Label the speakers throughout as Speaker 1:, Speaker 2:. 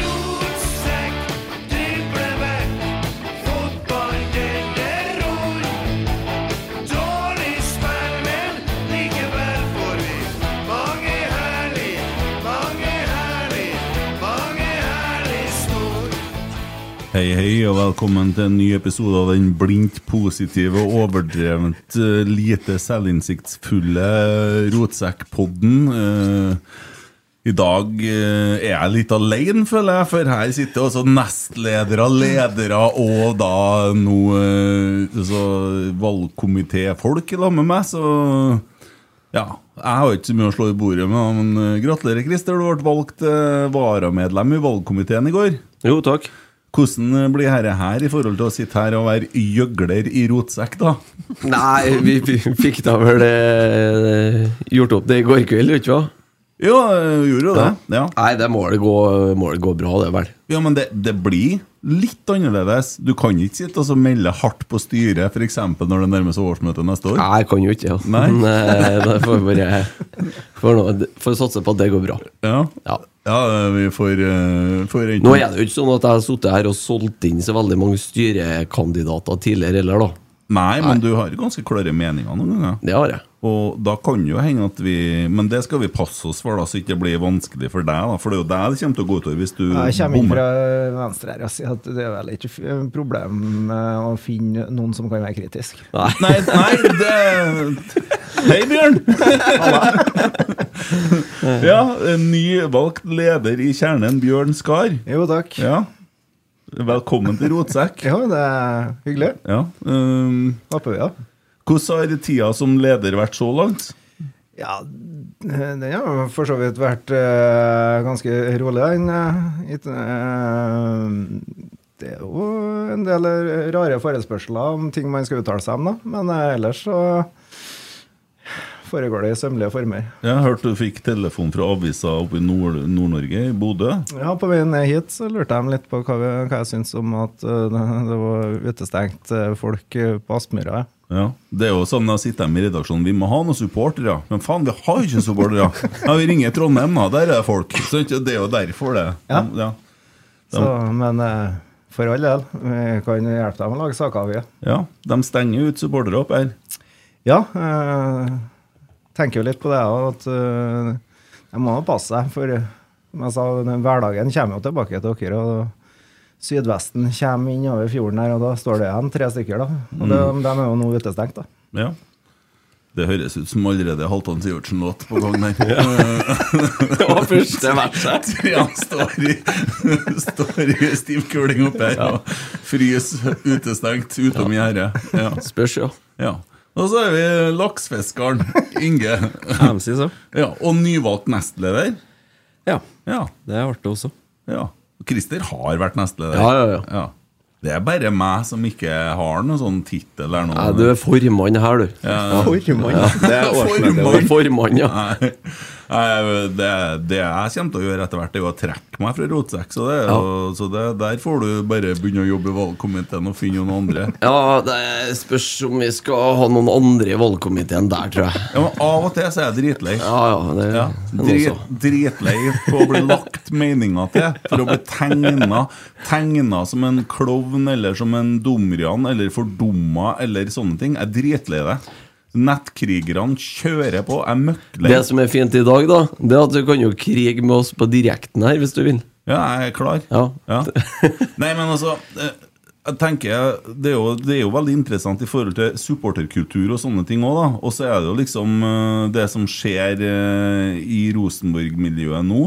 Speaker 1: Rotsekk, dribleback, fotball eller ror. Dårlig spill, men likevel får vi mange herlig, mange herlig, mange herlig snor.
Speaker 2: Hei, hei, og velkommen til en ny episode av den blindt positive og overdrevent eh, lite selvinnsiktsfulle Rotsekkpodden. Eh, I dag eh, er jeg litt alene, føler jeg, for her sitter også nestledere, ledere og da nå eh, altså, valgkomitéfolk i lag med meg, så ja. Jeg har ikke så mye å slå i bordet med, da, men eh, gratulerer, Christer. Du ble valgt eh, varamedlem i valgkomiteen i går.
Speaker 3: Jo, takk.
Speaker 2: Hvordan eh, blir dette her i forhold til å sitte her og være gjøgler i rotsekk, da?
Speaker 3: Nei, vi f- fikk da vel eh, gjort opp det i går kveld, gjorde vi ikke hva?
Speaker 2: Jo, jeg gjorde jo det. Ja,
Speaker 3: Nei, det må det gå, må det gå bra, det vel.
Speaker 2: ja men det, det blir litt annerledes. Du kan ikke sitte og så melde hardt på styret, f.eks. når det nærmer seg årsmøtet neste år.
Speaker 3: Nei, jeg kan jo ikke det.
Speaker 2: Nei.
Speaker 3: Men eh, da får vi bare får, nå- får satse på at det går bra.
Speaker 2: Ja,
Speaker 3: Ja.
Speaker 2: ja vi får, eh, får
Speaker 3: Nå er det jo ikke sånn at jeg har sittet her og solgt inn så veldig mange styrekandidater tidligere heller, da.
Speaker 2: Nei, men du har ganske klare meninger noen ganger.
Speaker 3: Det har jeg.
Speaker 2: Og da kan jo hende at vi Men det skal vi passe oss for, da, så ikke det blir vanskelig for deg. da For det er jo deg det kommer til å gå utover hvis du
Speaker 4: Ja, Jeg kommer inn
Speaker 2: bommer.
Speaker 4: fra venstre her og sier at det er vel ikke f- problem eh, å finne noen som kan være kritisk.
Speaker 2: Nei, nei, det Hei, Bjørn! ja, en nyvalgt leder i kjernen, Bjørn Skar.
Speaker 4: Jo, takk. Ja,
Speaker 2: Ja. Velkommen til Rotsekk.
Speaker 4: det er hyggelig.
Speaker 2: Ja. Um,
Speaker 4: Håper vi, da.
Speaker 2: hvordan har tida som leder vært så langt?
Speaker 4: Ja, den har jo for så vidt vært eh, ganske rolig, den. eh, it- eh, det er jo en del rare forespørsler om ting man skal uttale seg om, da. Men eh, ellers så foregår det i sømmelige former.
Speaker 2: Jeg hørte du fikk telefon fra avisa oppe i Nord- Nord-Norge, i Bodø.
Speaker 4: Ja, På veien ned hit så lurte jeg dem litt på hva, vi, hva jeg syntes om at eh, det, det var utestengt eh, folk eh, på Aspmyra.
Speaker 2: Ja, Det er jo sånn da sitter de i redaksjonen Vi må ha noen supportere. Men faen, vi har ikke supportere! Ja, vi ringer Trondheim, da. Der er det folk. Så det er jo derfor, det.
Speaker 4: Ja.
Speaker 2: ja.
Speaker 4: Så, men eh, for all del, vi kan hjelpe dem å lage saker, vi.
Speaker 2: Ja, de stenger ut supportere opp her.
Speaker 4: Ja, eh, tenker jo litt på det òg, at eh, jeg må jo passe seg. For eh, som jeg sa, den hverdagen kommer jo tilbake til dere. og Sydvesten kommer inn over fjorden her, og da står det igjen tre stykker. da. Og de, de er jo nå utestengt, da.
Speaker 2: Ja. Det høres ut som allerede Halvdan Sivertsen-låt på gang der. Eh,
Speaker 3: Det var første verset.
Speaker 2: Trian står i, står i stiv kuling oppe her og fryser utestengt utom gjerdet. Ja.
Speaker 3: Spørs, ja.
Speaker 2: Ja. Og så er vi laksefiskeren Inge.
Speaker 5: MC, så.
Speaker 2: Ja, og nyvalgt nestleder.
Speaker 5: Ja,
Speaker 2: Ja.
Speaker 5: det er artig også.
Speaker 2: ja. Og Christer har vært nestleder.
Speaker 3: Ja, ja, ja.
Speaker 2: Det er bare meg som ikke har noen sånn tittel eller noe.
Speaker 3: Nei, du er formann her, du.
Speaker 4: Formann.
Speaker 5: Det er
Speaker 2: Formann.
Speaker 5: årsmøtet vårt.
Speaker 3: Du er formann, ja.
Speaker 2: Nei, Nei, Det, det jeg kommer til å gjøre etter hvert, er jo å trekke meg fra rotsekk. Så, det, er jo- så det, der får du bare begynne å jobbe i valgkomiteen og finne noen andre.
Speaker 3: Ja, det spørs om vi skal ha noen andre i valgkomiteen der, tror jeg.
Speaker 2: Ja, men Av og til så er jeg dritlei.
Speaker 3: Ja, ja, det
Speaker 2: Ja,
Speaker 3: det er
Speaker 2: drit,
Speaker 3: noe så.
Speaker 2: dritlei på å bli lagt meninger til, for å bli tegna, tegna som en klovn eller som en dumrian eller fordumma eller sånne ting. Jeg er dritlei det. Nettkrigerne kjører på. Jeg er møkklei.
Speaker 3: Det som er fint i dag, da, det er at du kan jo krige med oss på direkten her, hvis du vil.
Speaker 2: Ja, jeg er klar.
Speaker 3: Ja.
Speaker 2: Nei, men altså eh, jeg tenker, det er, jo, det er jo veldig interessant i forhold til supporterkultur og sånne ting òg, da. Og så er det jo liksom eh, det som skjer eh, i Rosenborg-miljøet nå.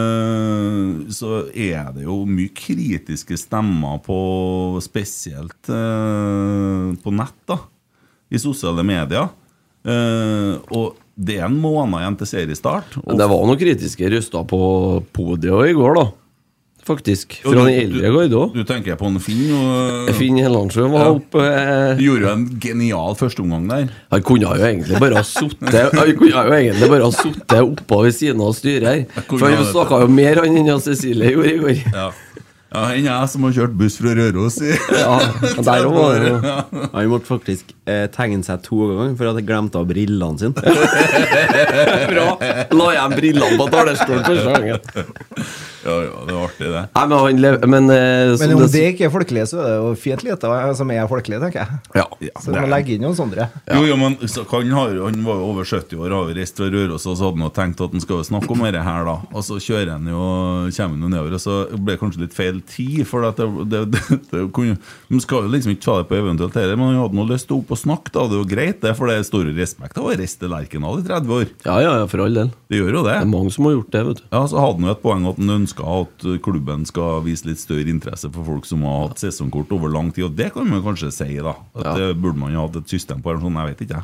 Speaker 2: eh, Så er det jo mye kritiske stemmer på spesielt eh, på nett, da. I sosiale medier. Eh, Og det er en måned igjen til seriestart.
Speaker 3: Men
Speaker 2: Og
Speaker 3: Det var noen kritiske røster på podiet også i går, da. Faktisk.
Speaker 2: Jo,
Speaker 3: Fra
Speaker 2: du-
Speaker 3: den eldre garde òg.
Speaker 2: Du tenker på en Finn og
Speaker 3: Finn Hellandsjø var
Speaker 2: Ja.
Speaker 3: oppe. eh,
Speaker 2: Du gjorde jo en genial førsteomgang der.
Speaker 3: Han kunne jo egentlig bare ha sittet Han kunne jo egentlig bare ha sittet oppå ved siden av styret her.
Speaker 2: kunne
Speaker 3: For
Speaker 2: ha
Speaker 3: han
Speaker 2: det.
Speaker 3: snakka jo mer han enn han Cecilie gjorde i går.
Speaker 2: Ja. Ja, Enn jeg som har kjørt buss fra Røros i
Speaker 3: Ja, der også var det jo
Speaker 6: Han måtte faktisk eh, tegne seg to ganger for at jeg glemte av brillene sine.
Speaker 3: bra. La igjen brillene på talerstolen første gangen.
Speaker 2: Ja, ja, det var artig, det.
Speaker 3: Nei, men han lever Men, eh, som
Speaker 4: Men om
Speaker 3: det-
Speaker 4: det ikke er folkelig, så er det jo fint lite som er folkelig, tenker jeg.
Speaker 3: Ja.
Speaker 4: Så du må legge inn noen sånne.
Speaker 2: Jo, jo, men så, han, har, jo- han var jo over 70 år, har jo reist fra Røros, og så hadde han jo tenkt at han skal jo snakke om dette her, da. Og så kjører han jo, kommer han jo nedover, og så ble det kanskje litt feil tid, for at det, det, det, det kunne Man skal jo liksom ikke ta det på eventuelt dette, men han hadde nå lyst til å opp og snakke, da. Det er jo greit, det, for det er stor respekt av å reiste Lerkendal i 30 år.
Speaker 3: ja, ja, ja, for all del. Det
Speaker 2: Det gjør jo det.
Speaker 3: er mange som har gjort det, vet du.
Speaker 2: Ja, så hadde han jo et poeng at han ønska at uh, klubben skal vise litt større interesse for folk som har hatt sesongkort over lang tid, og det kan man jo kanskje si, da. At Det burde man jo hatt et system på, eller sånn, jeg vet ikke, jeg.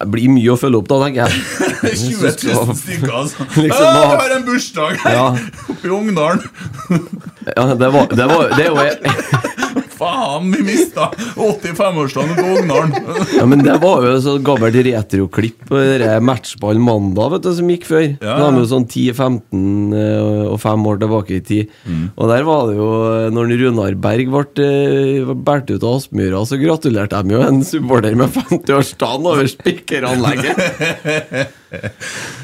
Speaker 3: Det blir mye å følge opp, da, tenker jeg.
Speaker 2: 20 000 stykker, altså!
Speaker 3: Liksom
Speaker 2: «Å, jeg
Speaker 3: da-
Speaker 2: har en bursdag her!
Speaker 3: Ja.
Speaker 2: Oppe i Ungdalen!
Speaker 3: Ja, det var, det var det er jo,
Speaker 2: Faen, vi mista 85-årsdagen på Ungdalen!
Speaker 3: ja, Men det var jo et sånt gammelt retroklipp på det der matchball mandag vet du, som gikk før. Det
Speaker 2: Ja.
Speaker 3: var jo sånn 10-15 eh, og fem år tilbake i tid.
Speaker 2: Mm.
Speaker 3: Og der var det jo eh, Når Runar Berg ble eh, båret ut av Aspmyra, så gratulerte de jo en supporter med 50-årsdagen over spikeranlegget.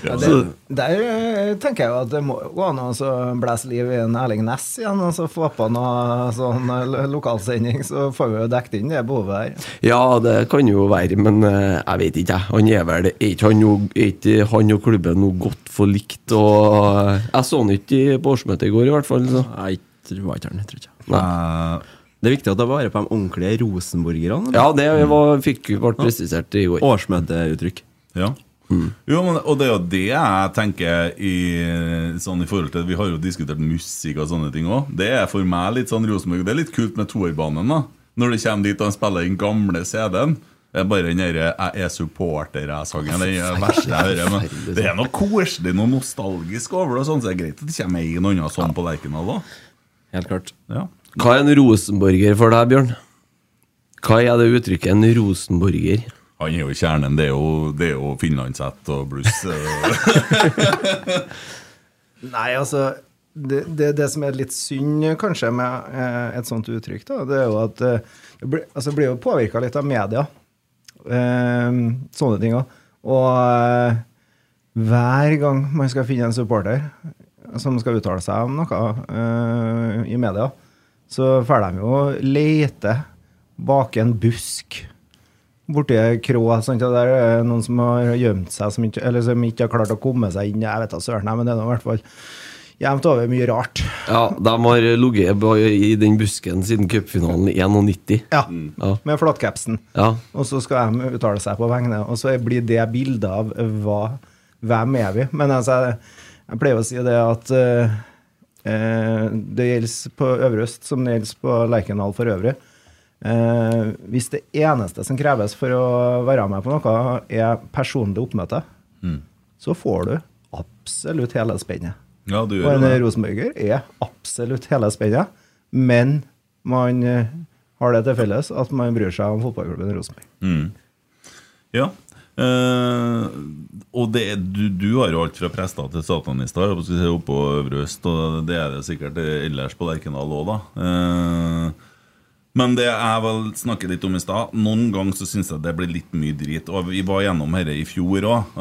Speaker 4: Ja, det, der eh, tenker jeg jo at det må gå an å så blæse liv i en Erling Næss igjen, og så få på noe sånn eh, lo- lokalsending, så får vi jo dekket inn det behovet her.
Speaker 3: Ja, det kan jo være, men eh, jeg vet ikke, jeg. Han er vel Er ikke han, jo- er ikke han og klubben noe godt for likt? Og eh, jeg så han ikke i- på årsmøtet i går, i hvert fall. Så.
Speaker 6: Nei, det var ikke han, jeg tror ikke.
Speaker 2: Eh,
Speaker 6: Det er viktig å ta vare på de ordentlige rosenborgerne. eller?
Speaker 3: Ja, det var, fikk ble presisert i går.
Speaker 6: Årsmøteuttrykk.
Speaker 2: Ja. Jo, men, og det er jo det jeg tenker i, sånn, i forhold til Vi har jo diskutert musikk og sånne ting òg. Det er for meg litt sånn Rosenborg. Det er litt kult med toerbanen. da Når det kommer dit og han spiller den gamle CD-en. Det er bare den derre 'Jeg er supporter'-sangen. Det er det verste jeg hører. Men det er noe koselig noe nostalgisk over det. og Sånn, så det er greit at det kommer en og annen sånn på Lerkendal òg.
Speaker 6: Helt klart.
Speaker 2: Ja.
Speaker 3: Hva er en rosenborger for deg, Bjørn? Hva er det uttrykket 'en rosenborger'?
Speaker 2: Han er jo kjernen. Det er jo, det er jo finlandshett og blues. eh,
Speaker 4: Nei, altså, det, det, det som er litt synd kanskje med eh, et sånt uttrykk, da, det er jo at eh, det blir, altså, det blir jo påvirket litt av media, eh, sånne ting også. Og eh, hver gang man skal finne en supporter som skal uttale seg om noe eh, i media, så får de jo lete bak en busk borti ei krå. Sant? og Der er det noen som har gjemt seg, som ikke, eller som ikke har klart å komme seg inn. Jeg vet da søren, nei, men det er nå i hvert fall jevnt over mye rart.
Speaker 3: Ja, de har ligget på- i den busken siden cupfinalen i 91.
Speaker 4: Ja,
Speaker 3: Ja.
Speaker 4: Med flatcapsen.
Speaker 3: Ja.
Speaker 4: Og så skal de uttale seg på vegne, og så blir det bildet av hva, hvem er vi? Men altså, jeg- jeg pleier å si det at eh, eh, det gjelder på Øvre Øst som det gjelder på Lerkendal for øvrig. Eh, hvis det eneste som kreves for å være med på noe, er personlig oppmøte,
Speaker 2: Mm.
Speaker 4: så får du absolutt hele spennet.
Speaker 2: ja, du
Speaker 4: Og
Speaker 2: gjør jo
Speaker 4: en
Speaker 2: det.
Speaker 4: rosenborger er absolutt hele spennet, men man eh, har det til felles at man bryr seg om fotballklubben Rosenborg.
Speaker 2: Ja. Eh, og det, er- du, du har jo alt fra prester til satanister jeg holdt på å si, oppå Øvre Øst, og det er det sikkert ellers på Lerkendal òg, da. Eh, men det jeg vel snakket litt om i stad, noen ganger så syns jeg det blir litt mye drit. Og vi var gjennom dette i fjor òg.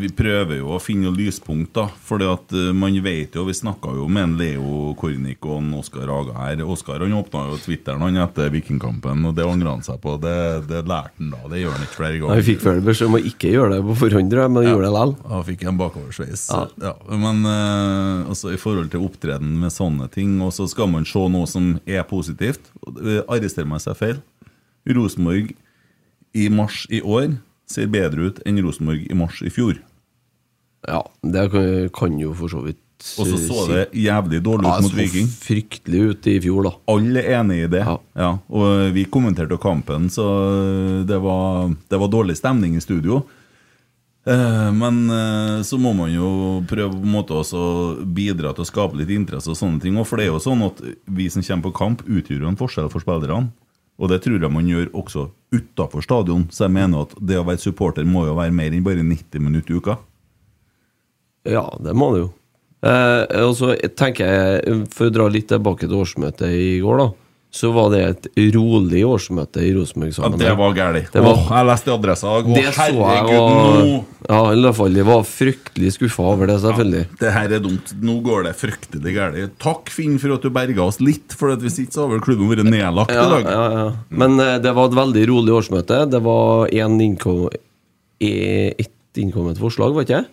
Speaker 2: vi prøver jo å finne lyspunkt, da. Fordi at eh, man vet jo Vi snakka jo med en Leo Kornik og en Oskar Haga her. Oskar han åpna jo Twitteren han etter Vikingkampen, og det angra han seg på. Det, det lærte han da. Det gjør han ikke flere
Speaker 3: Nei,
Speaker 2: ganger.
Speaker 3: Vi fikk vel beskjed om å ikke gjøre det på forhånd, tror jeg, men gjorde det likevel.
Speaker 2: Ja, fikk en bakoversveis. Ja.
Speaker 3: Ja.
Speaker 2: men eh, altså, i forhold til opptreden med sånne ting, og så skal man se noe som er positivt. Eh, Arrester meg seg feil. Rosenborg i mars i år ser bedre ut enn Rosenborg i mars i fjor.
Speaker 3: Ja, det kan, kan jo for så vidt
Speaker 2: Og så så
Speaker 3: si.
Speaker 2: det jævlig dårlig
Speaker 3: Ja,
Speaker 2: ut
Speaker 3: det
Speaker 2: mot
Speaker 3: så
Speaker 2: Viking.
Speaker 3: fryktelig ut i fjor, da.
Speaker 2: Alle er enig i det. Ja.
Speaker 3: Ja.
Speaker 2: Og vi kommenterte jo kampen, så det var, det var dårlig stemning i studio. Eh, Men eh, så må man jo prøve på en måte også å bidra til å skape litt interesse og sånne ting. Og for det er jo sånn at vi som kommer på kamp, utgjør jo en forskjell for spillerne. Og det tror jeg man gjør også utafor stadion. Så jeg mener at det å være supporter må jo være mer enn bare 90 minutter i uka.
Speaker 3: Ja, det må det jo. Eh, og så tenker jeg, for å dra litt tilbake til årsmøtet i går, da. Så var det et rolig årsmøte i
Speaker 2: Ja,
Speaker 3: Rosenborg-sammenheng.
Speaker 2: det var galt.
Speaker 3: Det var-
Speaker 2: Åh, Jeg leste i Adressa i dag.
Speaker 3: Det
Speaker 2: Å,
Speaker 3: så jeg,
Speaker 2: herregud, nå
Speaker 3: og ja, i alle fall, jeg var fryktelig skuffa over det, selvfølgelig.
Speaker 2: Det her er dumt. Nå går det fryktelig galt. Takk, Finn, for at du berga oss litt. For at hvis ikke så hadde vel klubben vært nedlagt i
Speaker 3: Ja,
Speaker 2: dag.
Speaker 3: ja, ja.
Speaker 2: Mm.
Speaker 3: Men eh, det var et veldig rolig årsmøte. Det var én innkom... e- Ett innkommet forslag, var ikke det?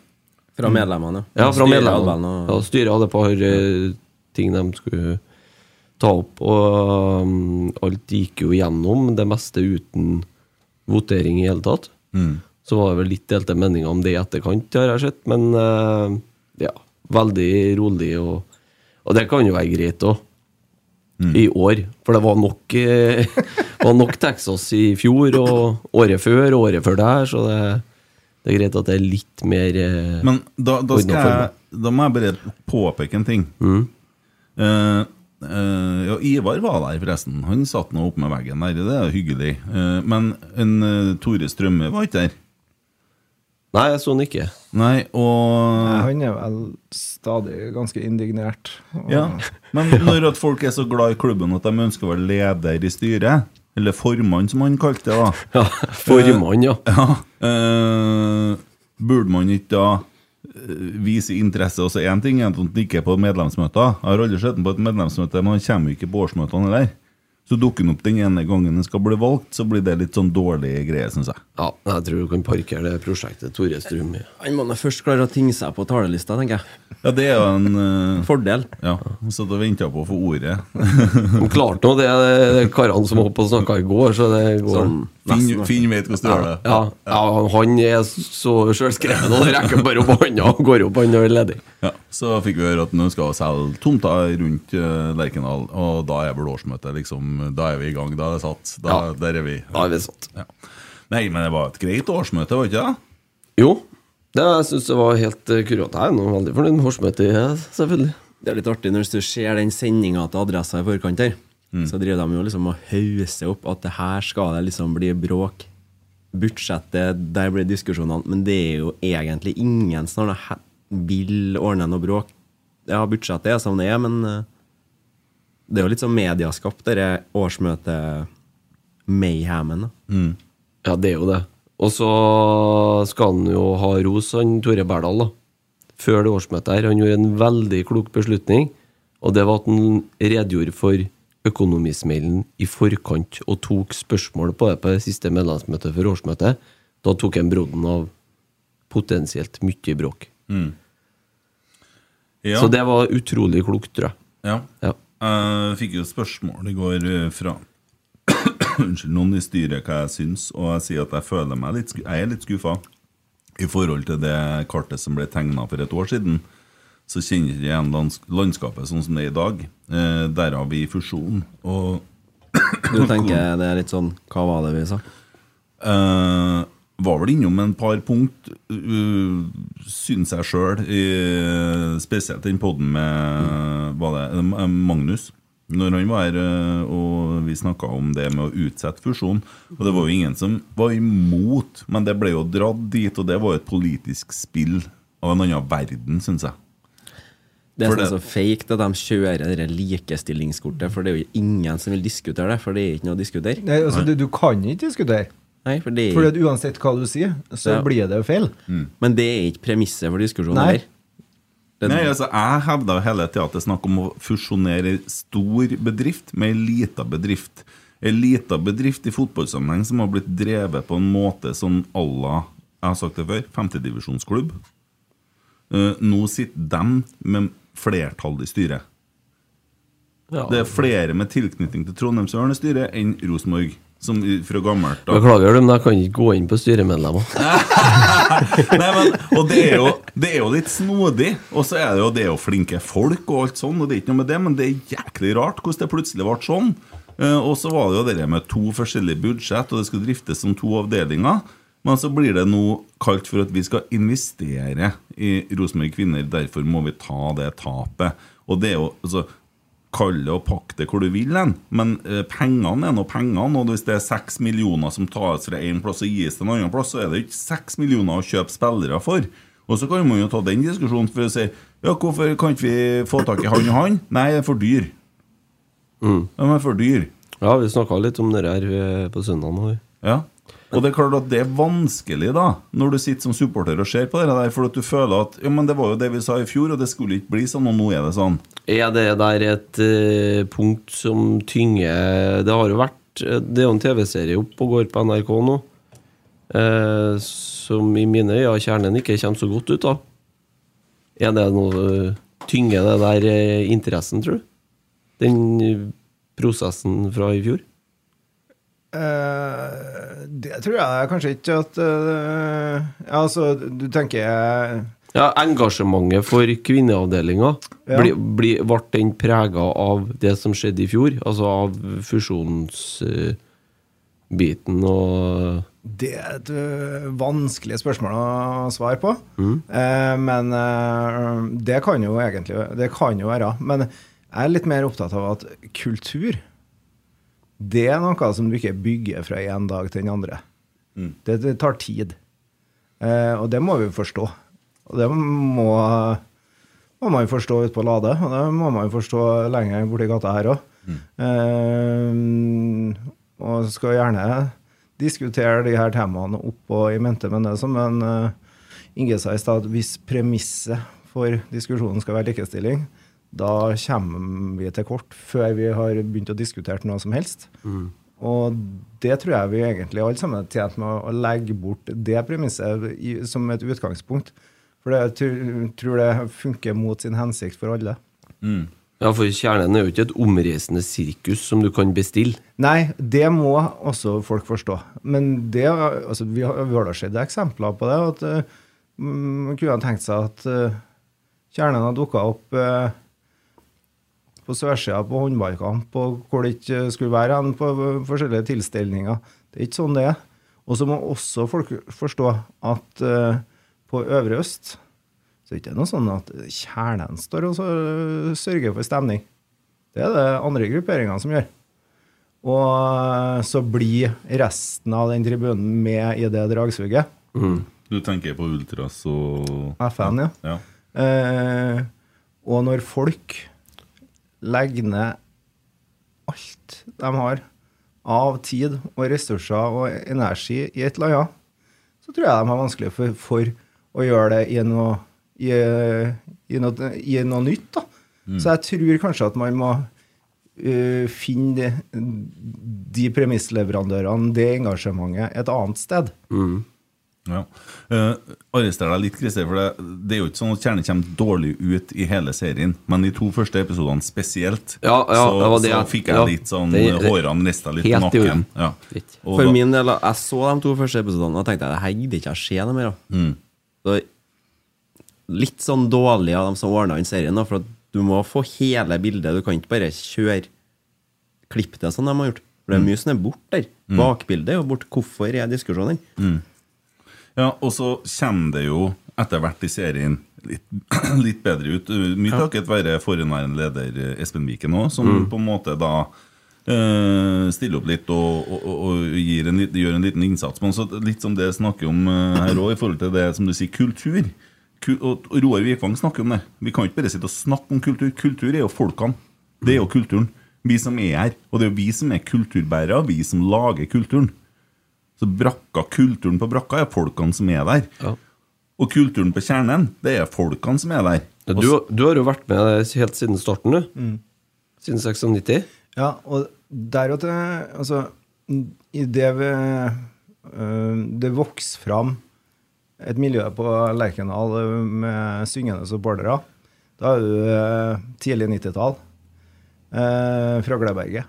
Speaker 5: Fra medlemmene,
Speaker 3: Ja, fra
Speaker 5: Styret hadde vel
Speaker 3: medlemmene.
Speaker 5: noe-
Speaker 3: Ja, styret hadde et par eh, ting de skulle ta opp, og um, alt gikk jo gjennom. Det meste uten votering i hele tatt. Så var det vel litt delte meninger om det i etterkant, har jeg sett, men eh, ja. Veldig rolig, og, og det kan jo være greit òg. I år. For det var nok, eh, var nok Texas i fjor, og året før, og året før der, så det, det er greit at det er litt mer eh,
Speaker 2: Men da, da, skal jeg,
Speaker 3: Ordna
Speaker 2: da må jeg bare påpeke en ting.
Speaker 3: Mm.
Speaker 2: Eh, eh, ja, Ivar var der, forresten. Han satt nå oppe med veggen der. Det er jo hyggelig. Eh, men en, eh, Tore Strømme var ikke der.
Speaker 3: Nei, jeg så den ikke.
Speaker 2: Nei, og
Speaker 4: Han er vel stadig ganske indignert. Og-
Speaker 2: Ja, men når at folk er så glad i klubben at de ønsker å være leder i styret, eller formann som han kalte det da,
Speaker 3: Ja, Formann, ja.
Speaker 2: ja, eh, burde man ikke da eh, vise interesse også én ting, er at han ikke er på medlemsmøter. Jeg har aldri sett ham på et medlemsmøte, men han kommer jo ikke på årsmøtene heller. Så dukker han opp den ene gangen han skal bli valgt, så blir det litt sånn dårlig greie, syns jeg.
Speaker 3: Ja, Jeg tror du kan parkere det prosjektet Tore Strøm. i.
Speaker 5: Han må nå først klare å tinge seg på talerlista, tenker jeg.
Speaker 2: Ja, det er jo en eh,
Speaker 5: Fordel.
Speaker 2: Ja, satt og venta på å få ordet.
Speaker 3: De klarte nå det, det er karene som var oppe og snakka i går, så det går.
Speaker 5: Sånn,
Speaker 2: Finn,
Speaker 5: nesten.
Speaker 2: Finn vet hvordan du gjør det.
Speaker 3: Ja, ja, han er så sjølskreven, og det rekker bare opp hånda og går opp hånda og er ledig.
Speaker 2: Ja, Så fikk vi høre at nå skal vi selge tomta rundt eh, Lerkendal, og da er vel årsmøtet liksom Da er vi i gang, da er det satt. Da,
Speaker 3: Ja.
Speaker 2: Der er vi.
Speaker 3: Da er vi satt.
Speaker 2: Ja. Nei, men det var et greit årsmøte, var det ikke det?
Speaker 3: Jo, det jeg syns det var helt eh, kurant. Jeg er nå veldig fornøyd med årsmøtet, jeg, selvfølgelig.
Speaker 5: Det er litt artig når du ser den sendinga til adressa i forkant her. Så driver de jo liksom og hauser opp at det her skal det liksom bli bråk. Budsjettet, der blir diskusjonene. Men det er jo egentlig ingen som har noe he- vil ordne noe bråk. Ja, budsjettet er som det er, men eh, det er jo litt sånn medieskapt, dette årsmøte-mayhemen. da.
Speaker 3: Ja, det er jo det. Og så skal han jo ha ros, han Tore Berdal, da. Før det årsmøtet her. Han gjorde en veldig klok beslutning, og det var at han redegjorde for økonomismailen i forkant og tok spørsmål på det på det siste medlemsmøtet for årsmøtet. Da tok han brodden av potensielt mye bråk.
Speaker 2: Ja.
Speaker 3: Så det var utrolig klokt, tror jeg.
Speaker 2: ja.
Speaker 3: Ja.
Speaker 2: Jeg fikk jo spørsmål i går eh, fra Unnskyld, noen i styret hva jeg syns, og jeg sier at jeg føler meg litt sku- Jeg er litt skuffa i forhold til det kartet som ble tegna for et år siden. Så kjenner jeg ikke igjen lands landskapet sånn som det er i dag. Eh, derav i fusjonen. Og
Speaker 5: Du tenker det er litt sånn Hva var det vi sa?
Speaker 2: Eh, var vel innom en par punkt, uh, syns jeg sjøl. Spesielt den poden med hva det, eh, Magnus. når han var her, eh, og vi snakka om det med å utsette fusjonen. Og det var jo ingen som var imot, men det ble jo dratt dit, og det var jo et politisk spill av en annen verden, syns jeg.
Speaker 5: Det
Speaker 2: For
Speaker 5: er sånn
Speaker 2: det-
Speaker 5: så fake at de kjører det der likestillingskortet, for det er jo ingen som vil diskutere det, for det er ikke noe å diskutere.
Speaker 4: Nei, altså, du, du kan ikke diskutere.
Speaker 5: Nei, for det er
Speaker 4: For at uansett hva du sier, så
Speaker 5: Ja.
Speaker 4: blir det jo feil.
Speaker 5: Men det er ikke premisset for diskusjonen
Speaker 4: Nei.
Speaker 5: heller. Det-
Speaker 2: Nei, altså, Jeg hevda hele tida at det er snakk om å fusjonere en stor bedrift med en lita bedrift. En lita bedrift i fotballsammenheng som har blitt drevet på en måte som Allah Jeg har sagt det før femtedivisjonsklubb. Eh, nå sitter de med flertall i styret.
Speaker 3: Ja.
Speaker 2: Det er flere med tilknytning til Trondheimsørnes styre enn Rosenborg, som i- fra gammelt av.
Speaker 3: Beklager, men jeg kan ikke gå inn på styremedlemmer.
Speaker 2: Nei, men, og det er, jo, det er jo litt snodig, og så er det jo, det er jo flinke folk og alt sånn, og det er ikke noe med det, men det er jæklig rart hvordan det plutselig ble sånn. Eh, og så var det jo det der med to forskjellige budsjett, og det skulle driftes som to avdelinger. Men så blir det nå kalt for at vi skal investere i Rosenborg Kvinner, derfor må vi ta det tapet. Og det er jo altså, Kall det og pakk det hvor du vil, hen, men eh, pengene er nå pengene. Og hvis det er seks millioner som tas fra én plass og gis til en annen plass, så er det ikke seks millioner å kjøpe spillere for. Og så kan man jo ta den diskusjonen for å si ja, hvorfor kan ikke vi få tak i han og han? Nei, det er for dyr. De er for dyr.
Speaker 3: Ja, vi snakka litt om det her eh, på søndag nå. vi.
Speaker 2: Ja. Og det er klart at det er vanskelig da når du sitter som supporter og ser på det der, for at du føler at ja, men det var jo det vi sa i fjor, og det skulle ikke bli sånn, og nå er det sånn.
Speaker 3: Er det der et eh, punkt som tynger Det har jo vært eh, Det er jo en TV-serie opp og går på NRK nå, eh, som i mine øyne kjernen ikke kommer så godt ut av. Er det noe eh, Tynger det der eh, interessen, tror du? Den eh, prosessen fra i fjor?
Speaker 4: Eh, det tror jeg kanskje ikke at eh, Ja, altså, du tenker eh,
Speaker 3: Ja, Engasjementet for kvinneavdelinga,
Speaker 4: Ja.
Speaker 3: bli, bli, ble den prega av det som skjedde i fjor? Altså av fusjonsbiten og
Speaker 4: Det er et ø, vanskelig spørsmål å svare på. Eh, men eh, det kan jo egentlig Det kan jo være. Men jeg er litt mer opptatt av at kultur, det er noe som du ikke bygger fra en dag til den andre. Det, det tar tid. Eh, og det må vi forstå. Og det må, må man jo forstå ute på Lade, og det må man jo forstå lenger borti gata her òg. og skal gjerne diskutere de her temaene opp og i mente, men det er som en eh, Inge sa i stad, hvis premisset for diskusjonen skal være likestilling, da kommer vi til kort før vi har begynt å diskutere noe som helst. Og det tror jeg vi egentlig alle sammen er tjent med å legge bort det premisset i, som et utgangspunkt. For det, jeg tror- tror det funker mot sin hensikt for alle.
Speaker 3: Ja, for kjernen er jo ikke et omreisende sirkus som du kan bestille.
Speaker 4: Nei, det må også folk forstå. Men det, altså, vi har vi har da sett eksempler på det. At eh, man kunne ha tenkt seg at eh, kjernen har dukka opp eh, på sørsida på håndballkamp, og hvor det ikke eh, skulle være hen på eh, forskjellige tilstelninger. Det er ikke sånn det er. Og så må også folk forstå at eh, på Øvre Øst så er det ikke noe sånn at kjernen står og så, eh, sørger for stemning. Det er det andre grupperingene som gjør. Og eh, så blir resten av den tribunen med i det dragsuget.
Speaker 2: Du tenker på ultras og
Speaker 4: FN, ja.
Speaker 2: Ja.
Speaker 4: Eh, og når folk legger ned alt de har av tid og ressurser og energi i et eller annet, så tror jeg de har vanskelig for, for å gjøre det i noe, i, i noe, i noe nytt. Da. Så jeg tror kanskje at man må eh, finne de, de premissleverandørene, det engasjementet, et annet sted.
Speaker 2: Ja. Eh, arrester deg litt, Christer, for det, det er jo ikke sånn at kjernen kommer dårlig ut i hele serien, men de to første episodene spesielt,
Speaker 3: Ja, ja,
Speaker 2: så,
Speaker 3: det var det, ja.
Speaker 2: så fikk jeg
Speaker 3: Ja.
Speaker 2: litt sånn
Speaker 3: Det- det-
Speaker 2: Hårene rista litt på
Speaker 3: Helt i
Speaker 2: nakken.
Speaker 3: orden.
Speaker 2: Ja.
Speaker 3: Riktig.
Speaker 2: Og
Speaker 5: For
Speaker 2: da-
Speaker 5: min del, jeg så de to første episodene og tenkte jeg, det her gidder ikke jeg se noe mer av.
Speaker 2: Mm.
Speaker 5: Så, litt sånn dårlig av dem som ordna inn serien, da, for at du må få hele bildet. Du kan ikke bare kjøre klipp det sånn de har gjort. For det
Speaker 4: Mm.
Speaker 5: er mye som er bort der. Bakbildet er jo bort. Hvorfor er diskusjonen?
Speaker 2: Ja, og så kommer det jo etter hvert i serien litt, litt bedre ut. Uh, Mye takket være forhenværende leder eh, Espen Viken òg, som på en måte da eh, stiller opp litt og, og, og- og gir en, lit- gjør en liten innsats. Men også litt som det jeg snakker om eh, her òg, i forhold til det som du sier, kultur. Ku- og og Roar Vikvang snakker om det. Vi kan ikke bare sitte og snakke om kultur. Kultur er jo folkene. Det er jo kulturen. Vi som er her. Og det er jo vi som er kulturbærere, vi som lager kulturen. Så brakka, kulturen på brakka er folkene som er der.
Speaker 3: Ja.
Speaker 2: Og kulturen på kjernen, det er folkene som er der.
Speaker 3: Ja, Du, du har jo vært med helt siden starten, du. Siden 96.
Speaker 4: Ja, og der og til Altså, i det vi øh, Det vokser fram et miljø på Lerkendal øh, med syngende supportere. Da er det øh, tidlig 90-tall. øh, fra Gleberget.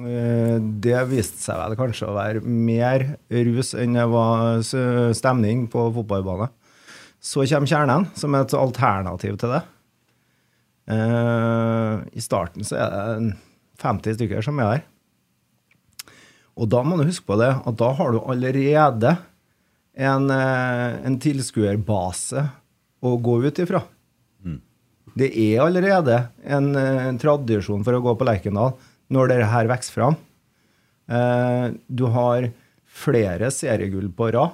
Speaker 4: Eh, det viste seg vel kanskje å være mer rus enn det var s- stemning på fotballbanen. Så kommer kjernen, som et alternativ til det. Eh, I starten så er det en 50 stykker som er der. Og da må du huske på det, at da har du allerede en, eh, en tilskuerbase å gå ut ifra. Det er allerede en, eh, en tradisjon for å gå på Lerkendal når det her vokser fram. Eh, Du har flere seriegull på rad.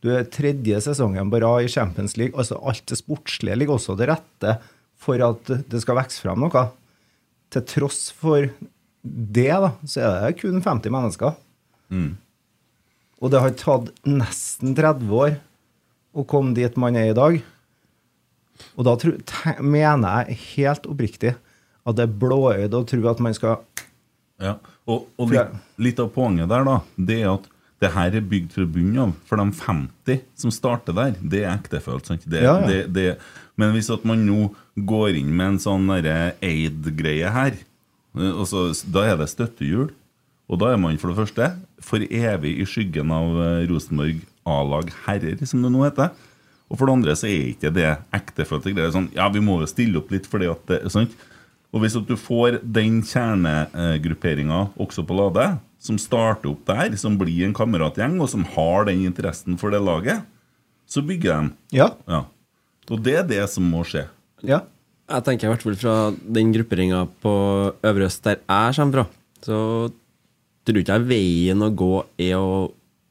Speaker 4: Du er tredje sesongen på rad i Champions League. altså Alt det sportslige ligger også til rette for at det skal vokse fram noe. Til tross for det, da, så er det kun 50 mennesker. Og det har tatt nesten 30 år å komme dit man er i dag. Og da tro- te- mener jeg helt oppriktig at det er blåøyd å tro at man skal
Speaker 2: Ja. Og, og
Speaker 4: For jeg-
Speaker 2: litt, litt av poenget der, da, det er at det her er bygd fra bunnen av. For de 50 som starter der, det er ektefølt. sant? Det,
Speaker 4: Ja, ja.
Speaker 2: Det, det, men hvis at man nå går inn med en sånn derre aid-greie her, eh, og så, da er det støttehjul. Og da er man for det første for evig i skyggen av eh, Rosenborg A-lag herrer, som det nå heter. Og for det andre så er ikke det ektefølte greier. Sånn, ja, vi må jo stille opp litt fordi at det sant? Og hvis at du får den kjernegrupperinga også på Lade, som starter opp der, som blir en kameratgjeng, og som har den interessen for det laget, så bygger de.
Speaker 4: Ja.
Speaker 2: Ja. Og det er det som må skje.
Speaker 4: ja.
Speaker 5: Jeg tenker i hvert fall fra den grupperinga på Øvre Øst der jeg kommer fra, så tror ikke jeg veien å gå er å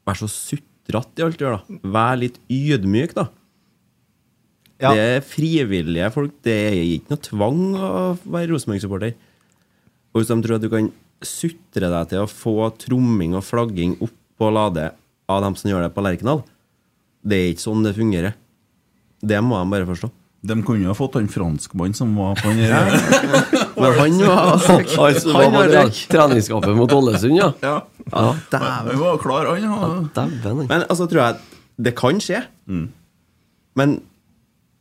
Speaker 5: være så sutrete i alt du gjør, da. Vær litt ydmyk, da.
Speaker 4: Ja.
Speaker 5: Det er frivillige folk. Det er ikke noe tvang å være Rosenborg-supporter. Og hvis de tror at du kan sutre deg til å få tromming og flagging opp på Lade av dem som gjør det på Lerkendal, det er ikke sånn det fungerer. Det må de bare forstå.
Speaker 2: De kunne jo ha fått han franskmannen som var på den her.
Speaker 5: Men han var
Speaker 3: Altså, hva var det? Treningskampen mot Ålesund, ja.
Speaker 2: Ja.
Speaker 3: ja
Speaker 2: Han var klar, han. Ja.
Speaker 3: Dæven.
Speaker 5: Men altså tror jeg at det kan skje.
Speaker 4: Mm.
Speaker 5: Men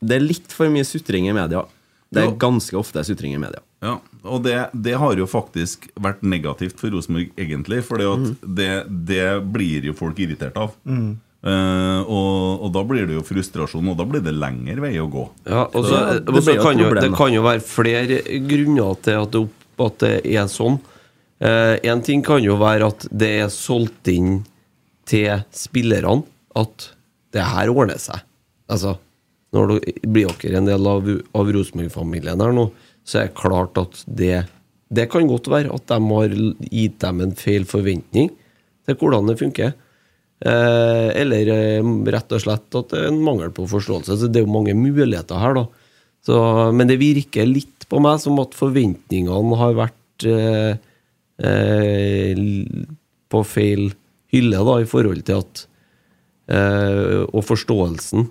Speaker 5: det er litt for mye sutring i media. Det er
Speaker 2: Jo.
Speaker 5: ganske ofte sutring i media.
Speaker 2: Ja, og det, det har jo faktisk vært negativt for Rosenborg, egentlig. For
Speaker 5: Mhm.
Speaker 2: det, det blir jo folk irritert av. Eh, og, og da blir det jo frustrasjon, og da blir det lengre vei å gå.
Speaker 3: Ja, og så,
Speaker 5: Ja, det
Speaker 3: og så
Speaker 5: blir jo et
Speaker 3: kan jo,
Speaker 5: problem,
Speaker 3: det
Speaker 5: da.
Speaker 3: kan jo være flere grunner til at det, opp- at det er sånn. Én ting kan jo være at det er solgt inn til spillerne at det her ordner seg. Altså, når du blir dere en del av, av Rosenborg-familien her nå, så er det klart at det Det kan godt være at de har gitt dem en feil forventning til hvordan det funker. Eh, eller eh, rett og slett at det er en mangel på forståelse. Så det er jo mange muligheter her, da. Så, men det virker litt på meg som at forventningene har vært eh, eh, l- på feil hylle, da, i forhold til at eh, Og forståelsen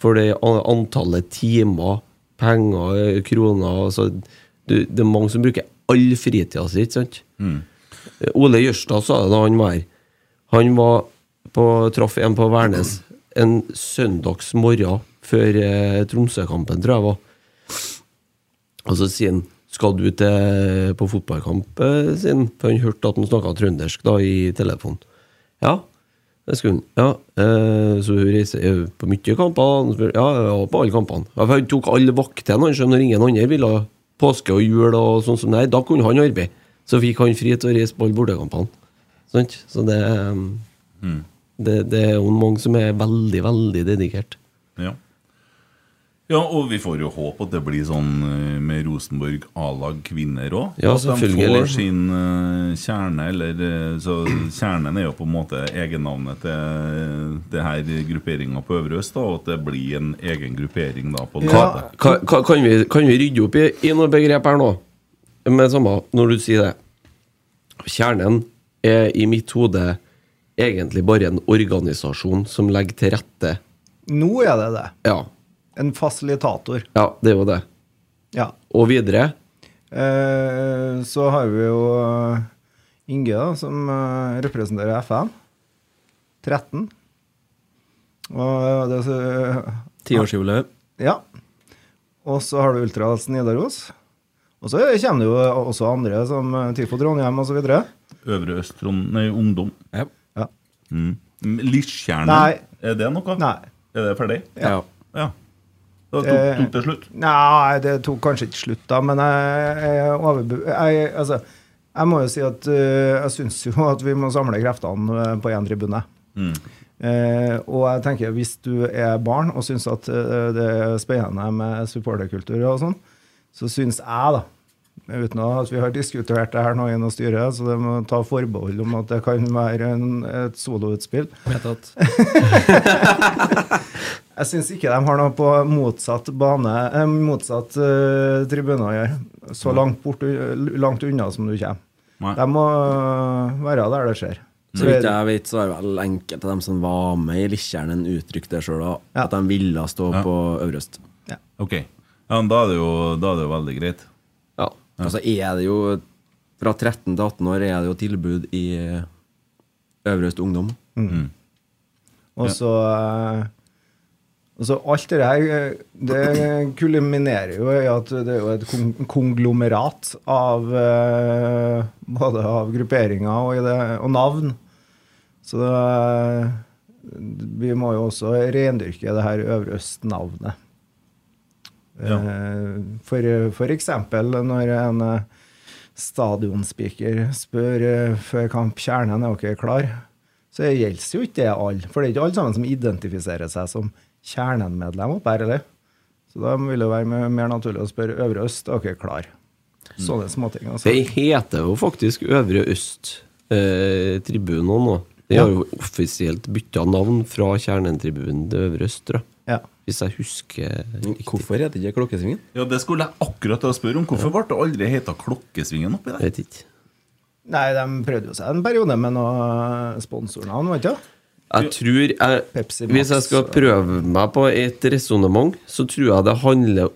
Speaker 3: for det an- antallet timer, penger, eh, kroner altså, du, Det er mange som bruker all fritida si, ikke sant? Ole Jørstad sa det da han var her. Han var på, traff en på Værnes en søndags morgen før eh, Tromsø-kampen, tror jeg det var. Og så sier han skal du til på fotballkamp, eh, sier han. For han hørte at han snakka trøndersk da i telefonen. Ja, det skulle han. Ja, eh, så hun reiser eh, på mye kamper? Han spør, ja, ja, på alle kampene. Ja, for han tok alle vaktene, han skjønner når ingen andre ville ha påske og jul og sånn som det her. Da kunne han arbeide. Så fikk han fri til å reise på alle bortekampene. Sant? Så det, eh, det, det er jo mange som er veldig, veldig dedikert.
Speaker 2: Ja. Ja, og vi får jo håpe at det blir sånn eh, med Rosenborg A-lag kvinner òg.
Speaker 3: Ja,
Speaker 2: at de
Speaker 3: selvfølgelig.
Speaker 2: får sin eh, kjerne, eller eh, Så kjernen er jo på en måte egennavnet til eh, det her grupperinga på Øvre Øst, da, og at det blir en egen gruppering da på
Speaker 4: Ja.
Speaker 2: Lade.
Speaker 3: Ka, ka, kan, vi, kan vi rydde opp i, i noen begrep her nå? Med samme når du sier det. Kjernen er i mitt hode egentlig bare en organisasjon som legger til rette
Speaker 4: Nå er det det.
Speaker 3: Ja,
Speaker 4: En fasilitator.
Speaker 3: ja det er jo det.
Speaker 4: Ja.
Speaker 3: Og videre
Speaker 4: Eh, så har vi jo eh, Inge, da, som eh, representerer FM. 13. Og eh, det er så
Speaker 5: Tiårsjubileet.
Speaker 4: Ja. Og så har du Ultras Nidaros. Og så kommer det jo også andre, som eh, TIFO Trondheim osv.
Speaker 2: Øvre Øst Trond- nei, Ungdom.
Speaker 5: Ja.
Speaker 4: Ja.
Speaker 2: Mm. Liskjernen,
Speaker 4: Nei.
Speaker 2: er det noe?
Speaker 4: Nei. Eh,
Speaker 2: Er det ferdig?
Speaker 5: Ja.
Speaker 2: Ja. Da tok,
Speaker 4: Det-
Speaker 2: tok det slutt.
Speaker 4: Nei, det tok kanskje ikke slutt, da, men jeg, jeg er overbe... Jeg, altså, jeg må jo si at eh, jeg syns jo at vi må samle kreftene eh, på én tribune. Eh, og jeg tenker hvis du er barn og syns at eh, det er spennende med supporterkultur og sånn, så syns jeg, da Uten at vi har diskutert det her nå gjennom styret, så det må ta forbehold om at det kan være en, et soloutspill.
Speaker 5: Vedtatt.
Speaker 4: Jeg syns ikke de har noe på motsatt bane, eh, motsatt eh, tribune å gjøre. Så langt, bort, eh, langt unna som du kommer.
Speaker 2: Nei.
Speaker 4: De må eh, være der det skjer.
Speaker 5: Så vidt jeg vet, så er vel enkelte av dem som var med i Likkjernen, uttrykt det sjøl,
Speaker 4: Ja.
Speaker 5: at de ville stå
Speaker 2: Ja.
Speaker 5: på Øverøst.
Speaker 2: Ok. Ja, men da er det jo, da er det jo veldig greit.
Speaker 3: Ja.
Speaker 5: Altså er det jo Fra 13 til 18 år er det jo tilbud i eh, Øverøst Ungdom.
Speaker 4: Og så eh, og så alt det her eh, det kulminerer jo i at det er jo et kon- konglomerat av eh, både av grupperinger og, i det, og navn. Så det, eh, vi må jo også rendyrke det her Øvre Øst-navnet.
Speaker 2: Ja.
Speaker 4: Eh, For, for eksempel når en eh, stadionspeaker spør eh, før kamp kjernen er dere klar, så gjelder jo ikke det alle. For det er ikke alle sammen som identifiserer seg som kjernen-medlem oppe her, eller? Så da vil det være mer- mer naturlig å spørre Øvre Øst er dere klar.
Speaker 5: Mm.
Speaker 4: Sånne småting. Altså.
Speaker 3: Det heter jo faktisk Øvre Øst-tribunen nå. De har jo offisielt bytta navn fra Kjernen-tribunen til Øvre Øst, tror jeg.
Speaker 4: Ja.
Speaker 3: Hvis jeg husker riktig.
Speaker 5: Hvorfor heter det ikke Klokkesvingen?
Speaker 2: Ja, det skulle jeg akkurat til å spørre om. Hvorfor ble det aldri heta Klokkesvingen oppi der?
Speaker 3: Vet ikke.
Speaker 4: Nei, de prøvde jo seg en periode med noe sponsornavn, vet du.
Speaker 3: Jeg tror jeg,
Speaker 4: Pepsi Max
Speaker 3: Hvis jeg skal
Speaker 4: og-
Speaker 3: prøve meg på et resonnement, så tror jeg det handler,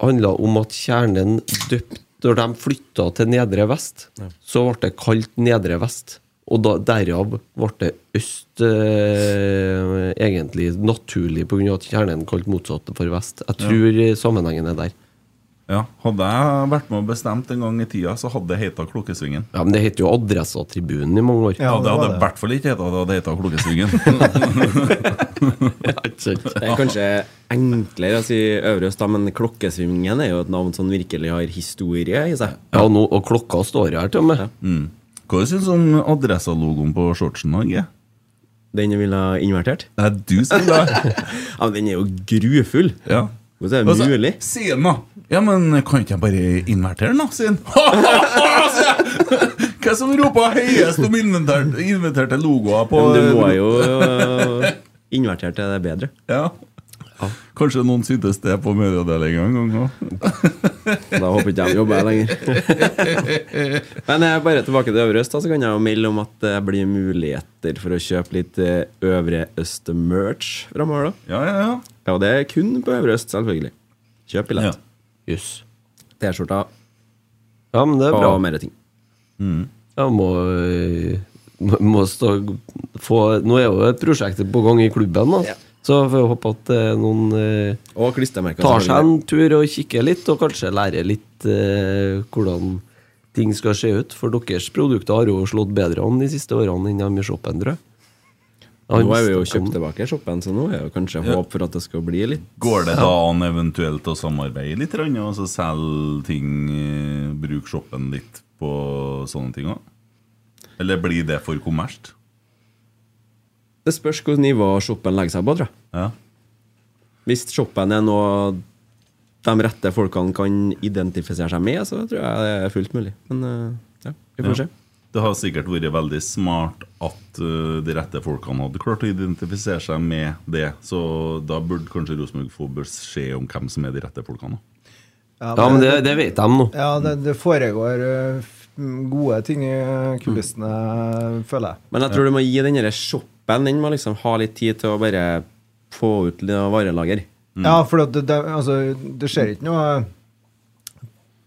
Speaker 3: handler om at kjernen døpt Når de flytta til Nedre Vest, så ble det kalt Nedre Vest. Og da, derav ble det øst eh, egentlig naturlig, pga. at kjernen kalte motsatte for vest. Jeg tror eh, sammenhengen er der.
Speaker 2: Ja, Hadde jeg vært med og bestemt en gang i tida, så hadde det heta Klokkesvingen.
Speaker 3: Ja, Men det heter jo Adressatribunen i mange år.
Speaker 2: Ja, det
Speaker 4: var
Speaker 2: hadde i hvert fall ikke heta det hadde heta Klokkesvingen.
Speaker 3: Ikke sant?
Speaker 5: Det er kanskje enklere å si Øverøst, da, men Klokkesvingen er jo et navn som virkelig har historie i seg.
Speaker 3: ja nå, og klokka står her, til og med.
Speaker 2: Hva syns du om Adressa-logoen på shortsen? Norge?
Speaker 5: Den vil ha invertert.
Speaker 2: Det er du som vil ha
Speaker 5: Ja, men den er jo grufull!
Speaker 2: ja.
Speaker 5: Hvordan er det
Speaker 2: Altså,
Speaker 5: mulig?
Speaker 2: Sier den, da. Ja, men kan ikke jeg bare invertere den, da? Sier den. Hva som roper høyest om inventerte, inventerte logoer på
Speaker 5: Men du må jo øh, Invertert er det bedre.
Speaker 2: Ja. Kanskje noen syntes det på medieavdelinga en gang òg.
Speaker 5: Da håper ikke jeg de jobber her lenger. Men jeg er bare tilbake til Øvre Øst, da, så kan jeg jo melde om at det blir muligheter for å kjøpe litt eh, Øvre Øst-merch framover, da.
Speaker 2: Ja, ja, ja.
Speaker 5: Ja, og det er kun på Øvre Øst, selvfølgelig. Kjøp
Speaker 2: ja.
Speaker 5: billett.
Speaker 3: Jøss.
Speaker 5: T-skjorta
Speaker 3: Ja, men det er bra.
Speaker 5: og mer ting.
Speaker 3: Jeg må, øh, må- må stå, få, nå er jo prosjektet på gang i klubben, da.
Speaker 5: Ja.
Speaker 3: så får jeg håpe at eh, noen eh,
Speaker 5: Og klistremerker.
Speaker 3: tar seg
Speaker 5: selvfølgelig.
Speaker 3: en tur og kikker litt, og kanskje lærer litt eh, hvordan ting skal se ut. For deres produkter har jo slått bedre an de siste årene enn de i shoppen, tror jeg.
Speaker 5: Nå er vi jo kjøpt tilbake i shoppen, så nå er jo kanskje håp for at det skal bli litt
Speaker 2: Går det da an eventuelt å samarbeide litt, grann, og så selge ting, eh, bruke shoppen litt på sånne ting òg? Eller blir det for kommersielt?
Speaker 5: Det spørs hvilket nivå shoppen legger seg på, tror jeg.
Speaker 2: Ja.
Speaker 5: Hvis shoppen er noe de rette folkene kan identifisere seg med, så tror jeg det er fullt mulig. Men eh, ja, vi får
Speaker 2: Ja.
Speaker 5: se.
Speaker 2: Det har sikkert vært veldig smart at eh, de rette folkene hadde klart å identifisere seg med det. Så da burde kanskje Rosenborg få beskjed om hvem som er de rette folkene.
Speaker 3: Ja, men det, det vet de nå.
Speaker 4: Ja, det, det foregår øh, f- gode ting i øh, kulissene,
Speaker 3: Mm.
Speaker 4: føler jeg.
Speaker 5: Men jeg tror du må gi den derre shoppen Den må liksom ha litt tid til å bare få ut litt av varelager.
Speaker 3: Mm.
Speaker 4: Ja, for at det, det, altså, det skjer ikke noe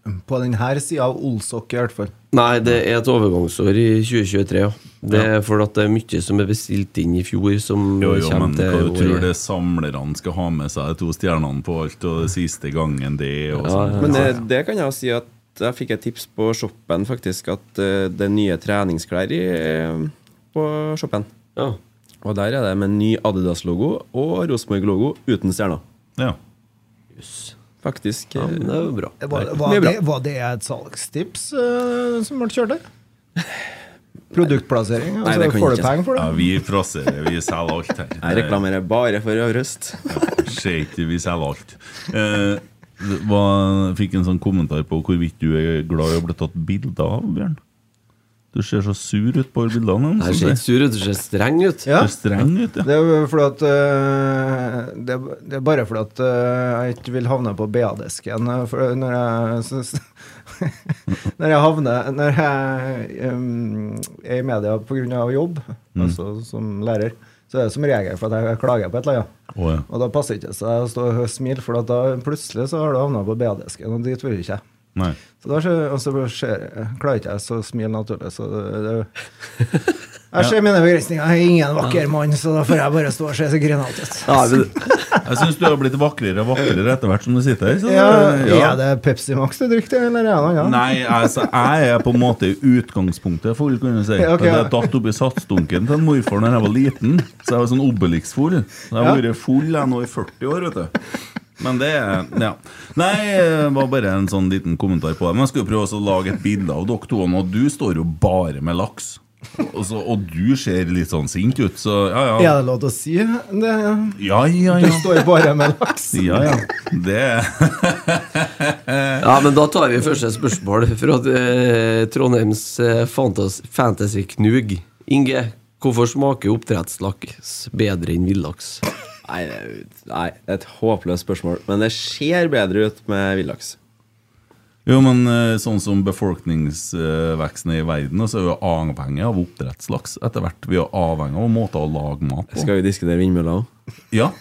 Speaker 4: eh, på denne sida av Olsok, i hvert fall.
Speaker 3: Nei, det er et overgangsår i 2023, ja. Det er fordi at det er mye som er bestilt inn i fjor, som
Speaker 2: Jo, jo,
Speaker 3: kommer
Speaker 2: men hva
Speaker 3: til
Speaker 2: du tror
Speaker 3: året.
Speaker 2: det samlerne skal ha med seg de to stjernene på alt, og det siste gangen det og sånn.
Speaker 5: Men det, det kan jeg jo si at jeg fikk et tips på shoppen, faktisk, at eh, det er nye treningsklær i, eh, på shoppen.
Speaker 3: Ja.
Speaker 5: Og der er det med ny Adidas-logo og Rosenborg-logo uten stjerner.
Speaker 2: Ja.
Speaker 5: Faktisk. eh,
Speaker 3: ja, men det er jo bra.
Speaker 4: Var, var,
Speaker 5: Det er bra.
Speaker 4: det, var det et salgstips øh, som ble kjørt der? Produktplassering? Altså,
Speaker 5: det kan jeg
Speaker 4: får du
Speaker 5: ikke si.
Speaker 4: penger for
Speaker 2: ja
Speaker 4: det?
Speaker 2: vi frasserer, vi selger alt her.
Speaker 5: Jeg reklamerer bare for Øvrøst.
Speaker 2: Skjeit i, vi selger alt. Eh, det var, fikk en sånn kommentar på hvorvidt du er glad i å bli tatt bilde av, Bjørn. Du ser så sur ut på bildene.
Speaker 3: Jeg ser ikke sur ut, du ser streng ut.
Speaker 4: Ja.
Speaker 2: Du ser streng ut, ja.
Speaker 4: Det er, jo fordi at, øh, det, er- det er bare fordi at øh, jeg ikke vil havne på BA-desken. øh, for Når jeg, synes- når jeg havner Når jeg øhm, er i media pga. jobb,
Speaker 5: Mm.
Speaker 4: altså som lærer, så er det som regel for at jeg klager på et eller annet.
Speaker 2: Å, ja.
Speaker 4: Og da passer ikke seg å stå og smile, for at da plutselig så har du havna på BA-desken, og dit vil du ikke.
Speaker 2: Nei.
Speaker 4: Så da skjer, og så skjer, klarer ikke jeg så å smile naturlig, så det, det Jeg ser mine begrensninger. Jeg er ingen vakker mann, så da får jeg bare stå og se så grinete ut.
Speaker 3: Ja, men,
Speaker 2: Jeg syns du har blitt vakrere og vakrere etter hvert som du sitter her. Så,
Speaker 4: Ja,
Speaker 2: ja.
Speaker 4: Er det Pepsi Max du drikker, eller er det noe annet?
Speaker 2: Nei, altså, jeg er på en måte utgangspunktet, for å kunne si.
Speaker 4: Ja, ok,
Speaker 2: Jeg
Speaker 4: ja.
Speaker 2: datt oppi satsdunken til en morfar da jeg var liten, så jeg var sånn Obelix-full. Så jeg har vært full jeg nå i 40 år, vet du. Men det ja. Nei, det var bare en sånn liten kommentar på det. Men jeg skulle prøve også å lage et bilde av dere to, og du står jo bare med laks. Og, så, og du ser litt sånn sint ut, så ja, ja.
Speaker 4: Er det lov til å si det?
Speaker 2: Ja, ja,
Speaker 4: Du
Speaker 2: ja.
Speaker 4: står bare med laks.
Speaker 2: Ja, ja. Det
Speaker 3: ja, men da tar vi første spørsmål fra eh, Trondheims eh, fantas fantasy-knug. Inge, hvorfor smaker oppdrettslaks bedre enn villaks?
Speaker 5: Nei, det er jo- nei, det er et håpløst spørsmål. Men det ser bedre ut med villaks.
Speaker 2: Jo, men eh, sånn som befolkningsveksten er i verden, så er vi jo avhengig av oppdrettslaks etter hvert. Vi er avhengig av måter å lage mat på.
Speaker 5: Skal vi diskutere vindmøller òg?
Speaker 2: Ja.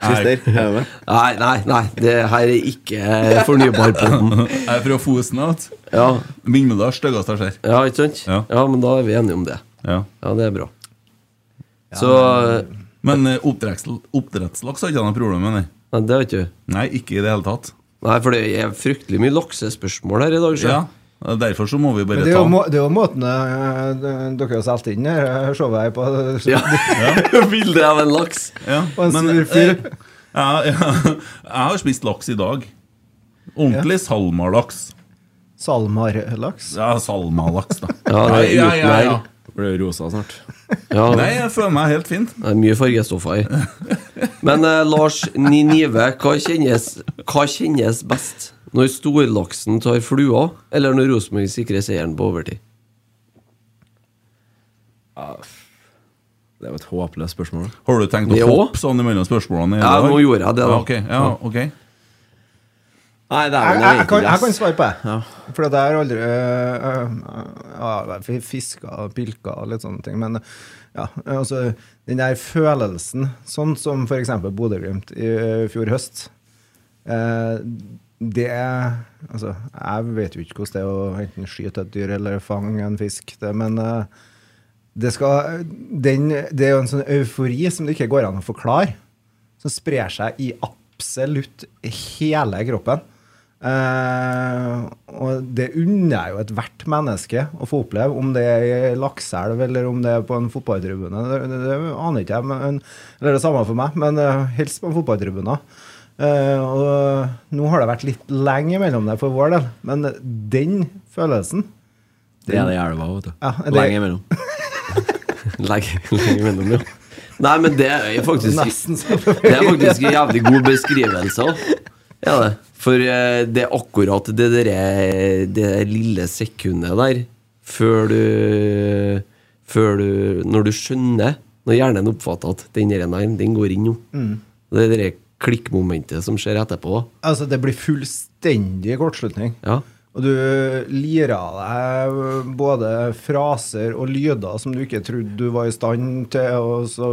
Speaker 2: Jeg,
Speaker 5: Christer, er du med?
Speaker 3: Nei, nei, nei, det her er ikke eh, fornybar på den.
Speaker 2: jeg er fra Fosen. vet du.
Speaker 3: Ja,
Speaker 2: Vindmøller er styggest jeg ser.
Speaker 3: ja, ikke sant?
Speaker 2: Ja.
Speaker 3: Ja, men da er vi enige om det.
Speaker 2: Ja.
Speaker 3: Ja, det er bra. Så
Speaker 2: Men eh, oppdretts, oppdrettslaks har ikke noe problem med det.
Speaker 3: Nei, det vet du.
Speaker 2: Nei, ikke i det hele tatt.
Speaker 3: Nei, for det er fryktelig mye laksespørsmål her i dag.
Speaker 2: Ja.
Speaker 3: Ja.
Speaker 2: Derfor så må vi bare
Speaker 4: Men det er
Speaker 2: ta
Speaker 4: jo, må, det er jo måten øh, dere har solgt inn her, showet her på.
Speaker 3: Ja. Bildet av en laks.
Speaker 2: ja.
Speaker 4: Og en
Speaker 2: men,
Speaker 4: sur fyr.
Speaker 2: eh, Jeg, jeg har spist laks i dag. Ordentlig salmalaks.
Speaker 4: Salmarlaks.
Speaker 2: Ja, salmalaks, da.
Speaker 3: Ja, det er
Speaker 2: Ja, ja, ja, ja.
Speaker 3: uten her.
Speaker 5: Blir du rosa snart?
Speaker 3: Ja,
Speaker 2: Nei, jeg føler meg helt fint.
Speaker 3: det er mye fargestoffer her. Men eh, Lars Ninive, hva kjennes, hva kjennes best? Når storlaksen tar flua, eller når Rosenborg sikrer seieren på overtid?
Speaker 5: Det er jo et håpløst spørsmål.
Speaker 2: Har du tenkt å
Speaker 3: Det
Speaker 2: hoppe
Speaker 3: òg?
Speaker 2: sånn imellom spørsmålene? i
Speaker 3: Ja,
Speaker 2: dag?
Speaker 3: nå gjorde jeg det, da.
Speaker 2: Ja, ok, ja, ok.
Speaker 5: Nei, det er
Speaker 4: Jeg,
Speaker 5: vel
Speaker 4: jeg, jeg, kan, jeg
Speaker 5: egentlig,
Speaker 4: kan
Speaker 5: ass.
Speaker 4: svare på det. For det er aldri eh, øh, øh, øh, Fiska og pilka og litt sånne ting. Men øh, ja, øh, altså den der følelsen, sånn som f.eks. Bodø-Glimt i øh, fjor høst eh, Det Altså, jeg vet jo ikke hvordan det er å enten skyte et dyr eller fange en fisk, det, men eh, det, skal, den, det er jo en sånn eufori som det ikke går an å forklare, som sprer seg i absolutt hele kroppen. Eh, og det unner jeg jo ethvert menneske å få oppleve, om det er i ei lakseelv eller om det er på en fotballtribune. Det, det, det aner ikke jeg, men, eller det er samme for meg, men eh, helst på en fotballtribune. Eh, og nå har det vært litt lenge mellom det for vår del, men den følelsen
Speaker 5: Det er det i elva, vet du.
Speaker 4: Ja, det-
Speaker 5: Lenge imellom.
Speaker 3: Legg, legg imellom, ja. Nei, men det er faktisk
Speaker 4: Nesten så
Speaker 3: Det er faktisk en jævlig god beskrivelse. også. Ja, det. For eh, det er akkurat det derre Det der lille sekundet der før du Før du Når du skjønner, når hjernen oppfatter at den der nei, den går inn nå. Det er det derre klikkmomentet som skjer etterpå.
Speaker 4: Altså, det blir fullstendig kortslutning.
Speaker 3: Ja.
Speaker 4: Og du lirer av deg både fraser og lyder som du ikke trodde du var i stand til å så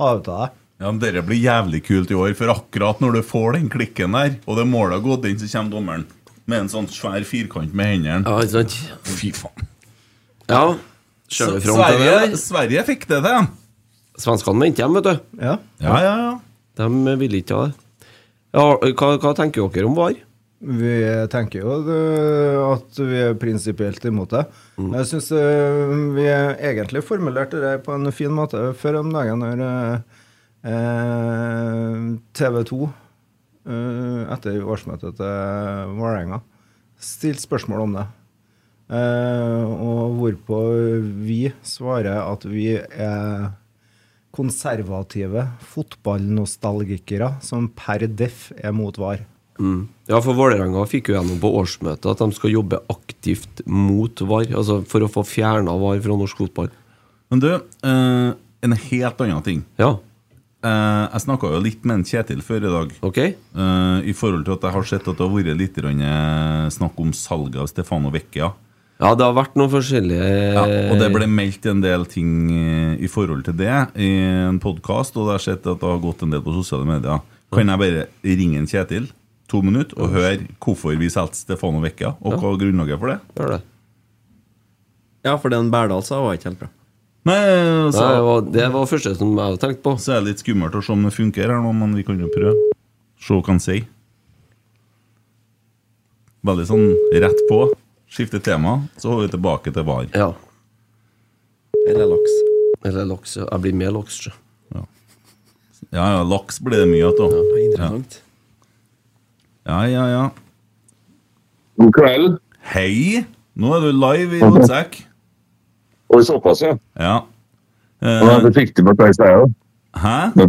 Speaker 4: ha ut av deg.
Speaker 2: Ja, men Dette blir jævlig kult i år, for akkurat når du får den klikken der, og det målet har gått inn, så kommer dommeren med en sånn svær firkant med hendene.
Speaker 3: Ja, ikke sant?
Speaker 2: Fy faen.
Speaker 3: Ja. Kjører vi fram til det
Speaker 2: Sverige,
Speaker 3: der?
Speaker 2: Sverige fikk det til.
Speaker 3: Svenskene venter hjem, vet du.
Speaker 4: Ja.
Speaker 2: Ja, ja, ja.
Speaker 3: De vil ikke ha det. Ja, hva, hva tenker dere om VAR?
Speaker 4: Vi tenker jo det- at vi er prinsipielt imot det. Jeg syns vi egentlig formulerte det på en fin måte før om dagen når eh, TV 2 eh, etter årsmøtet til Vålerenga stilte spørsmål om det. Eh, og hvorpå vi svarer at vi er konservative fotballnostalgikere som per deff er mot VAR.
Speaker 3: Mm. Ja, for Vålerenga fikk jo gjennom på årsmøtet at de skal jobbe aktivt mot VAR, altså for å få fjerna VAR fra norsk fotball.
Speaker 2: Men du, eh, en helt annen ting.
Speaker 3: Ja,
Speaker 2: Eh, jeg snakka jo litt med en Kjetil før i dag.
Speaker 3: ok?
Speaker 2: eh, I forhold til at jeg har sett at det har vært litt grann, eh, snakk om salget av Stefano Vecchia.
Speaker 3: Ja, det har vært noen forskjellige
Speaker 2: Ja, og
Speaker 6: Eh,
Speaker 2: det ble meldt en del ting eh, i forhold til det i en podkast, og jeg har sett at det har gått en del på sosiale medier. Kan jeg bare ringe en Kjetil to minutter og høre hvorfor vi solgte Stefano Vecchia, og hva er grunnlaget for det?
Speaker 3: Gjør det.
Speaker 6: Ja, for den Berdal sa var ikke helt bra.
Speaker 2: Nei,
Speaker 3: Nei,
Speaker 2: så,
Speaker 3: det, var, det var det første som jeg hadde tenkt på.
Speaker 2: så er det litt skummelt å se om det funker her nå, men vi kan jo prøve. Se hva han sier. Veldig sånn rett på. Skifte tema, så er vi tilbake til VAR.
Speaker 3: Ja.
Speaker 6: Eller laks.
Speaker 3: Eller laks. ja. Jeg blir med laks. sjø.
Speaker 2: Ja, ja, laks blir det mye av. da.
Speaker 6: Det er interessant.
Speaker 2: Ja, ja, ja.
Speaker 7: God kveld.
Speaker 2: Hei! Nå er du live i Rotsekk.
Speaker 7: Oi, såpass, ja.
Speaker 2: Ja.
Speaker 7: Må
Speaker 2: Eh,
Speaker 7: være forsiktig med hva jeg sier. da.
Speaker 2: hæ?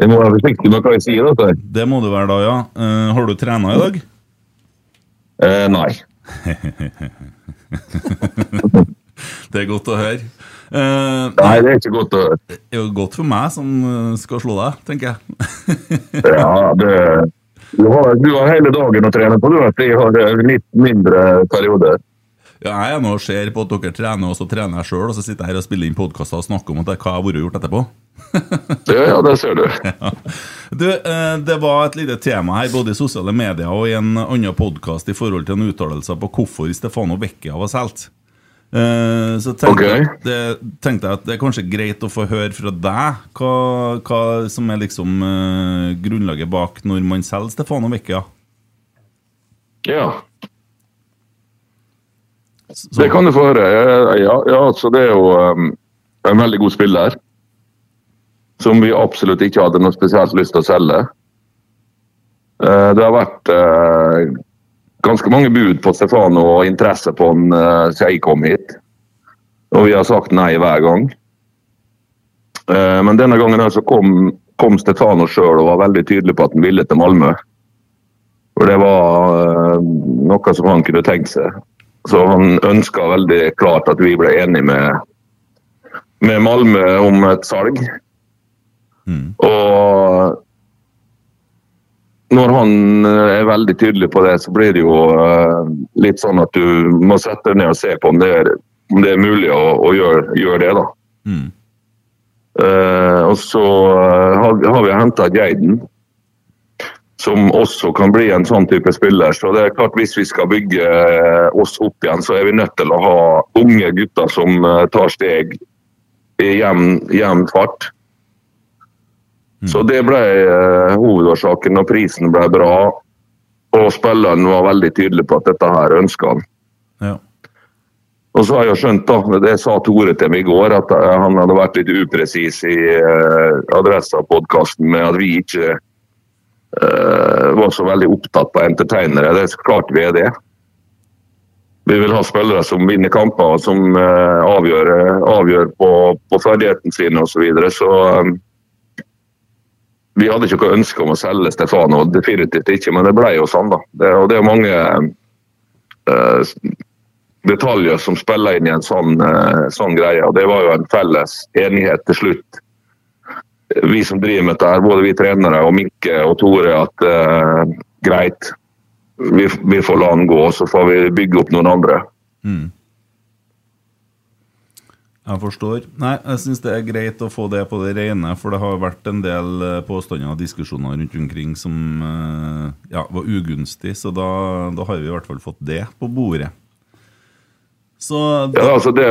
Speaker 7: Jeg må være forsiktig med hva jeg sier. Dette. her.
Speaker 2: Det må du være da, ja. Eh, har du trena i dag?
Speaker 7: Eh, nei.
Speaker 2: Det er godt å høre. Eh,
Speaker 7: nei, det er ikke godt å høre.
Speaker 2: det er jo godt for meg som eh, skal slå deg, tenker jeg.
Speaker 7: Ja, det, du, har, du har hele dagen å trene på, du. vet. Jeg har eh, litt mindre perioder.
Speaker 2: Ja, jeg er nå og ser på at dere trener, og så trener jeg sjøl, og så sitter jeg her og spiller inn podkaster og snakker om at det, hva jeg har vært og gjort etterpå.
Speaker 7: Ja, ja, det ser du.
Speaker 2: Du, eh, Det var et lite tema her, både i sosiale medier og i en annen podkast, i forhold til en uttalelse på hvorfor Stefano Vecchia var solgt. Eh, Så tenkte,
Speaker 7: Ok.
Speaker 2: jeg- det, tenkte jeg at det er kanskje greit å få høre fra deg hva, hva som er liksom eh, grunnlaget bak når man selger Stefano Vecchia.
Speaker 7: Ja.
Speaker 2: Så,
Speaker 7: Det kan du få høre. Eh, Ja, ja altså, det er jo eh, en veldig god spiller. Som vi absolutt ikke hadde noe spesielt lyst til å selge. Eh, Det har vært eh, ganske mange bud på Stefano og interesse på han eh, siden jeg kom hit. Og vi har sagt nei hver gang. Eh, Men denne gangen her så kom, kom Stefano sjøl og var veldig tydelig på at han ville til Malmö. For det var eh, noe som han kunne tenkt seg. Så han ønska veldig klart at vi ble enige med, med Malmö om et salg. Og når han eh, er veldig tydelig på det, så blir det jo eh, litt sånn at du må sette deg ned og se på om det er, om det er mulig å, å gjøre, gjøre det, da.
Speaker 2: Mm.
Speaker 7: Eh, og så eh, har, har vi henta Geiden, som også kan bli en sånn type spiller. Så det er klart hvis vi skal bygge eh, oss opp igjen, så er vi nødt til å ha unge gutter som eh, tar steg i jevn, jevn fart. Så det ble eh, hovedårsaken, og prisen ble bra. Og spilleren var veldig tydelig på at dette her ønska han.
Speaker 2: ja.
Speaker 7: Og så har jeg skjønt, da, det sa Tore til meg i går, at eh, han hadde vært litt upresis i eh, Adressa-podkasten med at vi ikke eh, var så veldig opptatt av entertainere. Det er så klart vi er det. Vi vil ha spillere som vinner kamper, og som eh, avgjør, avgjør på, på ferdighetene sine osv. Så, videre. så eh, vi hadde ikke noe ønske om å selge Stefano, definitivt ikke, men det ble jo sånn, da. Det, og det er mange eh, s- detaljer som spiller inn i en sånn, eh, sånn greie, og det var jo en felles enighet til slutt. Vi som driver med dette, her, både vi trenere og Mikke og Tore, at eh, greit, vi, vi får la han gå, så får vi bygge opp noen andre.
Speaker 2: Jeg forstår. Nei, jeg syns det er greit å få det på det rene, for det har vært en del eh, påstander og diskusjoner rundt omkring som eh, ja, var ugunstig, så da, da har vi i hvert fall fått det på bordet. Så
Speaker 7: Ja, altså det,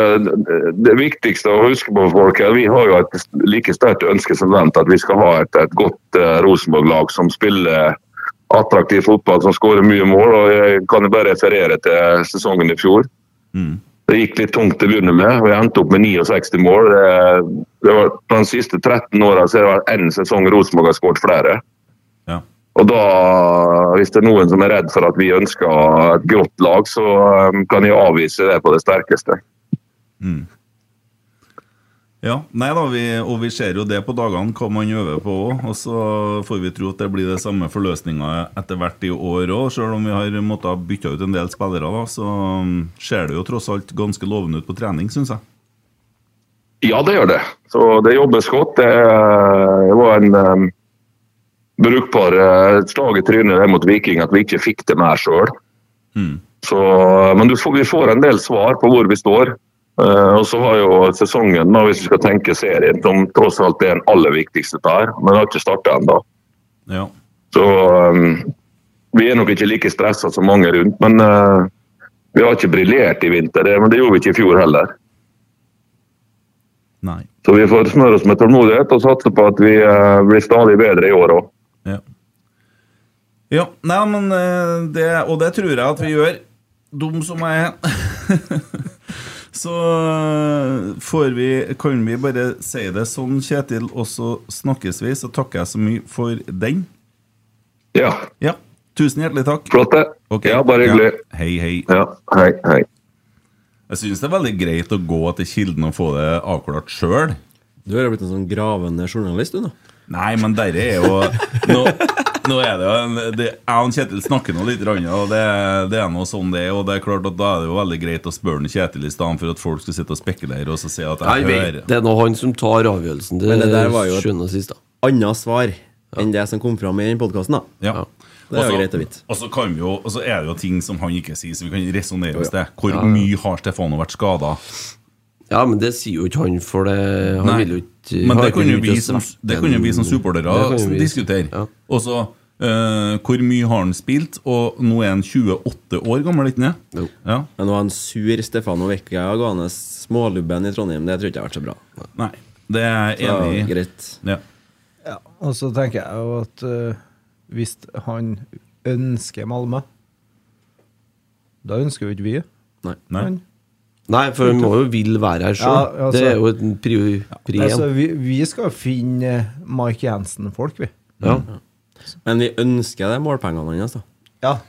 Speaker 7: det viktigste å huske på for folk er at vi har jo et like sterkt ønske som vent at vi skal ha et, et godt eh, Rosenborg-lag som spiller attraktiv fotball, som skårer mye mål. og Jeg kan jo bare referere til sesongen i fjor. Det gikk litt tungt til å begynne med. Vi endte opp med 69 mål. Det, det var, på de siste 13 årene så er det vel én sesong Rosenborg har skåret flere.
Speaker 2: ja.
Speaker 7: Og da, Hvis det er noen som er redd for at vi ønsker et grått lag, så eh, kan jeg avvise det på det sterkeste.
Speaker 2: Ja, nei da, vi, og vi ser jo det på dagene, hva man øver på òg. Og så får vi tro at det blir det samme for løsninga etter hvert i år òg. Selv om vi har måttet bytte ut en del spillere, da, så mm, ser det jo tross alt ganske lovende ut på trening, syns jeg.
Speaker 7: Ja, det gjør det. Så det jobbes godt. Det eh, var en eh, brukbar eh, slag i trynet der mot Viking at vi ikke fikk det mer sjøl. eh, Men du får, vi får en del svar på hvor vi står. Eh, og så har jo sesongen, da, hvis vi skal tenke serien, som tross alt er den aller viktigste der, men den har ikke starta ennå.
Speaker 2: Ja.
Speaker 7: Så eh, vi er nok ikke like stressa som mange rundt, men eh, vi har ikke briljert i vinter. Det, men det gjorde vi ikke i fjor heller.
Speaker 2: Nei.
Speaker 7: Så vi får smøre oss med tålmodighet og satse på at vi eh, blir stadig bedre i år òg.
Speaker 2: Ja. ja. Nei, men eh, det Og det tror jeg at vi gjør, dum som jeg er. Så eh, får vi, kan vi bare si det sånn, Kjetil, og så snakkes vi. Så takker jeg så mye for den.
Speaker 7: Ja,
Speaker 2: Ja. Tusen hjertelig takk.
Speaker 7: flott det.
Speaker 2: Ok.
Speaker 7: Ja, bare hyggelig.
Speaker 2: Ja. Hei, hei.
Speaker 7: Ja, hei, hei.
Speaker 2: Jeg syns det er veldig greit å gå til kilden og få det avklart sjøl.
Speaker 5: Du har jo blitt en sånn gravende journalist, du, da.
Speaker 2: Nei, men dette er jo Nå, nå er det jo en, det, Jeg og Kjetil snakker nå litt, rann, og det, det er noe sånn det er. Og det er klart at da er det jo veldig greit å spørre en Kjetil i stedet for at folk skal sitte og spekulere og så si at jeg hører
Speaker 3: Det er nå han som tar avgjørelsen til
Speaker 5: Men det der var jo et-
Speaker 3: sjuende og sist, da.
Speaker 5: Annet svar enn det som kom fram i den podkasten, da.
Speaker 2: ja.
Speaker 5: Det er jo
Speaker 2: Også-
Speaker 5: greit å vite.
Speaker 2: Og så kan vi jo, og så er det jo ting som han ikke sier, som vi kan resonnere oss til. Hvor mye har Stefano vært skada?
Speaker 3: Ja, men det sier jo ikke han, for det Han
Speaker 2: Nei,
Speaker 3: vil jo ikke
Speaker 2: Men
Speaker 3: har
Speaker 2: det
Speaker 3: ikke
Speaker 2: kunne jo
Speaker 3: lyst
Speaker 2: vi
Speaker 3: til å
Speaker 2: som,
Speaker 3: svekke
Speaker 2: det kunne jo vi som
Speaker 3: en- Det
Speaker 2: supportere
Speaker 3: kan jo vi-
Speaker 2: diskutere.
Speaker 3: Ja.
Speaker 2: Og så eh, Hvor mye har han spilt? Og nå er han 28 år gammel, ikke sant?
Speaker 3: Jo.
Speaker 2: Ja.
Speaker 5: Men å ha en sur Stefano Vecchia gående smålubben i Trondheim, det tror jeg ikke har vært så bra.
Speaker 2: Nei, det er jeg
Speaker 5: Ja,
Speaker 2: enig i.
Speaker 5: greit.
Speaker 2: Ja.
Speaker 4: Ja, og så tenker jeg jo at eh, hvis han ønsker Malmö, da ønsker jo ikke vi
Speaker 5: Nei.
Speaker 2: Nei.
Speaker 4: han.
Speaker 3: Nei, for han må jo vil være her sjøl.
Speaker 4: Ja, altså-
Speaker 3: det er jo et pri, pri
Speaker 4: Nei, så
Speaker 3: en.
Speaker 4: vi, vi skal finne eh, Mike Jensen-folk, vi.
Speaker 3: Ja.
Speaker 5: Men vi ønsker det målpengene hans, da.
Speaker 4: Ja.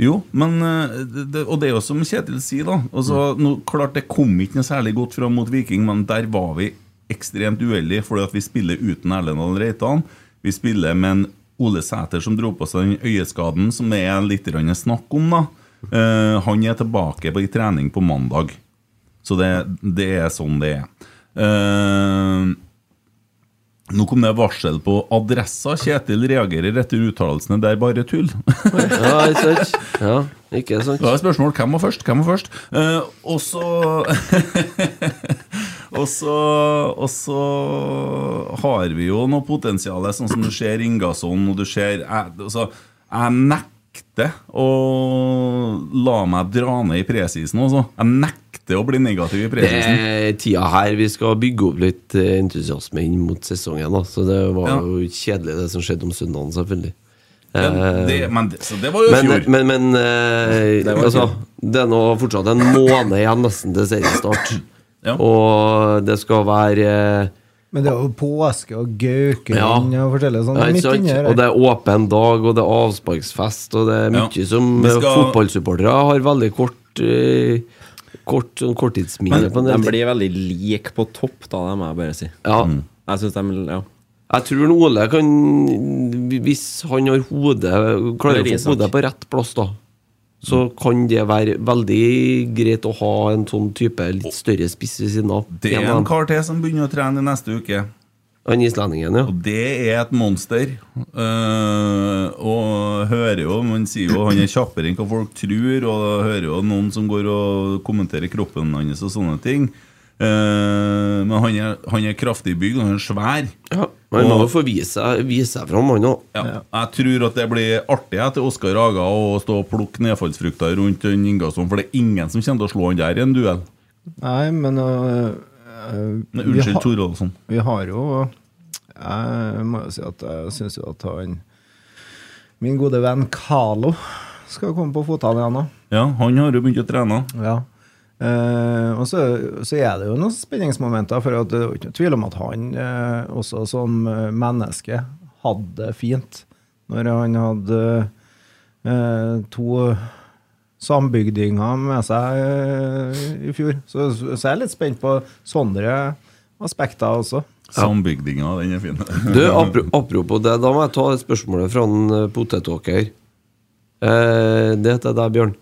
Speaker 2: Jo, men eh, det, det- Og det er jo som Kjetil sier, da. Altså, nå, klart det kom ikke noe særlig godt fram mot Viking, men der var vi ekstremt uheldige, fordi at vi spiller uten Erlend Dahl Reitan. Vi spiller med en Ole Sæter som dro på seg den øyeskaden som det er litt grann snakk om, da. Eh, han er tilbake på, i trening på mandag. Så det, det er sånn det er. Eh, nå kom det varsel på adressa. Kjetil reagerer etter uttalelsene 'det er bare tull'.
Speaker 3: ja, ikke sant? Ja, ikke sant?
Speaker 2: Da er spørsmålet hvem var først? Hvem var først? Eh, og så Og så Og så har vi jo noe potensial, sånn som du ser Ingasson og du ser jeg, altså, jeg nekter å la meg dra ned i presisen, altså. Jeg nekter å bli negativ i
Speaker 3: Det
Speaker 2: presisen.
Speaker 3: er tida her vi skal bygge opp litt eh, entusiasme inn mot sesongen. Da. Så det var
Speaker 2: Ja.
Speaker 3: jo kjedelig, det som skjedde om søndagen, selvfølgelig.
Speaker 2: Men det, men, det- så det var jo i
Speaker 3: eh, Men,
Speaker 2: fjor.
Speaker 3: men, men eh,
Speaker 5: Det var
Speaker 3: altså,
Speaker 5: fint.
Speaker 3: det er nå fortsatt en måned igjen nesten til seriestart.
Speaker 2: Ja.
Speaker 3: Og det skal være eh,
Speaker 4: Men det er jo påske og Gaukeland
Speaker 3: Ja.
Speaker 4: og forskjellig sånn
Speaker 3: ja, ikke
Speaker 4: midt
Speaker 3: sant?
Speaker 4: inni her.
Speaker 3: Og det er åpen dag, og det er avsparksfest, og det er
Speaker 2: Ja.
Speaker 3: mye som
Speaker 2: Vi
Speaker 3: eh,
Speaker 2: skal-
Speaker 3: fotballsupportere har veldig kort eh, Kort, sånn korttidsminne på en
Speaker 5: De
Speaker 3: del ting.
Speaker 2: Mm.
Speaker 5: blir veldig like på topp, da, det må jeg bare si.
Speaker 3: Ja.
Speaker 5: Jeg synes de, ja
Speaker 3: Jeg tror en Ole kan Hvis han har hodet klarer å få
Speaker 5: Eller Isak.
Speaker 3: hodet på rett plass, da, så
Speaker 2: Mm.
Speaker 3: kan det være veldig greit å ha en sånn type litt større spiss ved siden av.
Speaker 2: Det er
Speaker 3: En av
Speaker 2: en
Speaker 3: dem.
Speaker 2: kar til som begynner å trene i neste uke.
Speaker 3: Han islendingen, ja.
Speaker 2: Og det er et monster. Eh, og hører jo Man sier jo han er kjappere enn hva folk tror, og hører jo noen som går og kommenterer kroppen hans og sånne ting. Eh, men han er, han er kraftig bygd, og han er svær.
Speaker 3: ja. Han må
Speaker 2: Og-
Speaker 3: jo få vise seg- vise seg fram, han òg.
Speaker 2: Ja. Jeg tror at det blir artig etter Oskar Haga å stå og plukke nedfallsfrukter rundt den Ingasson, for det er ingen som kommer til å slå han der i en duell.
Speaker 4: Nei, men øh, øh,
Speaker 2: Nei,
Speaker 4: vi
Speaker 2: Unnskyld,
Speaker 4: har-
Speaker 2: Thorolfsson.
Speaker 4: Vi har jo Jeg må jo si at jeg syns jo at han Min gode venn Carlo skal komme på fotene igjen nå.
Speaker 2: Ja, han har jo begynt å trene.
Speaker 4: Ja. Eh, og så, så er det jo noen spenningsmomenter, for at det er jo ikke noe tvil om at han eh, også som eh, menneske hadde det fint når han hadde eh, to sambygdinger med seg eh, i fjor. Så, så jeg er litt spent på sånne aspekter også.
Speaker 2: Sambygdinga, den er fin.
Speaker 3: Du, apro- Apropos det, da må jeg ta et spørsmålet fra en eh, potetåker. Eh, det heter deg, Bjørn.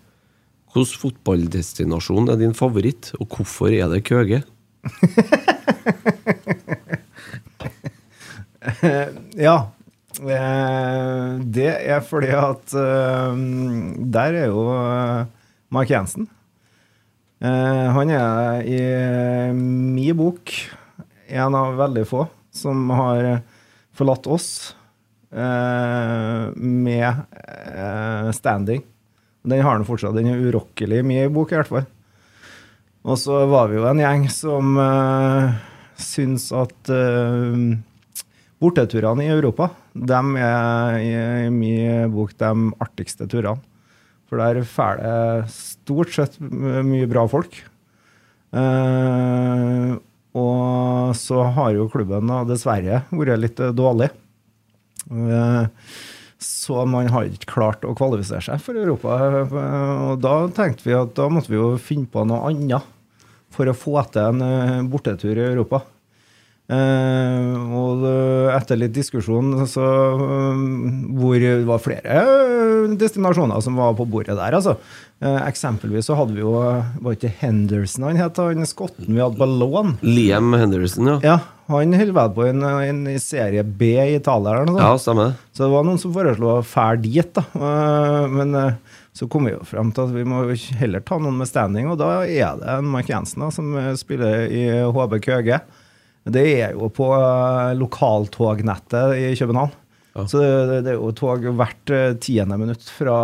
Speaker 3: Hvilken fotballdestinasjon er din favoritt, og hvorfor er det Køge?
Speaker 4: Ja. Eh, Det er fordi at eh, der er jo eh, Mark Jensen. Eh, Han er i eh, min bok en av veldig få som har forlatt oss eh, med eh, standing. Den har han fortsatt. Den er urokkelig i min bok, i hvert fall. Og så var vi jo en gjeng som uh, syns at eh, Borteturene i Europa de er i, i min bok de artigste turene. For der får det stort sett m- mye bra folk. Eh, og så har jo klubben da dessverre vært litt eh, dårlig. Eh, så man har ikke klart å kvalifisere seg for Europa. eh, Og da tenkte vi at da måtte vi jo finne på noe annet for å få til en eh, bortetur i Europa. Eh, og det- etter litt diskusjon så eh, Hvor det var flere eh, destinasjoner som var på bordet der, altså. Eh, eksempelvis så hadde vi jo eh, Var ikke Henderson han het, han skotten vi hadde på lån?
Speaker 3: Liam Henderson, ja.
Speaker 4: Ja, han holder vel på i en, en i serie B i Italia eller noe sånt.
Speaker 3: Ja, stemmer det.
Speaker 4: Så det var noen som foreslo å fære dit, da. Eh, Men eh, så kom vi jo frem til at vi må jo heller ta noen med standing, og da er det en Mark Jensen da, som eh, spiller i HB Køge. Det er jo på eh, lokaltognettet i København. Så det, det er jo tog hvert eh, tiende minutt fra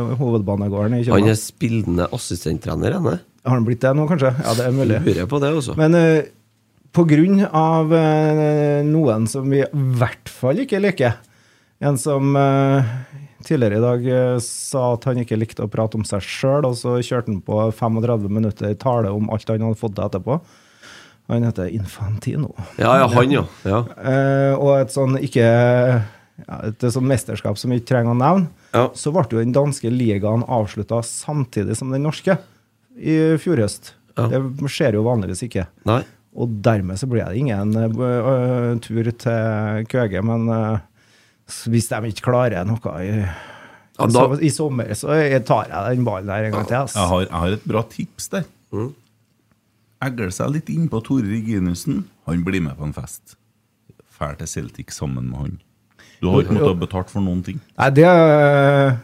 Speaker 4: eh, hovedbanegården i
Speaker 3: Han
Speaker 4: København.
Speaker 3: er spillende assistenttrener, han er.
Speaker 4: Har han blitt det nå, kanskje? Ja, det er mulig.
Speaker 3: Lurer på det, altså.
Speaker 4: Men eh, på grunn av eh, noen som vi i hvert fall ikke liker En som eh, tidligere i dag eh, sa at han ikke likte å prate om seg sjøl, og så kjørte han på 35 minutter tale om alt han hadde fått til etterpå. Han heter Infantino.
Speaker 3: Ja, ja, han, ja. ja.
Speaker 4: Eh, og et sånn ikke ja, Et sånn mesterskap som vi ikke trenger å nevne.
Speaker 3: Ja.
Speaker 4: Så ble jo den danske ligaen avslutta samtidig som den norske i fjor høst.
Speaker 3: Ja.
Speaker 4: Det skjer jo vanligvis ikke.
Speaker 3: Nei.
Speaker 4: Og dermed så ble det ingen eh, b- eh, tur til Køge, men eh, s- hvis de ikke klarer noe i,
Speaker 3: Ja, da,
Speaker 4: så, i sommer, så jeg tar jeg den ballen her en gang til. ass.
Speaker 2: Jeg har, jeg har et bra tips der. Egler seg litt inn på Tore Reginussen. Han blir med på en fest. Fær til Celtic sammen med han. Du har ikke måttet ha betalt for noen ting.
Speaker 4: Nei, det eh,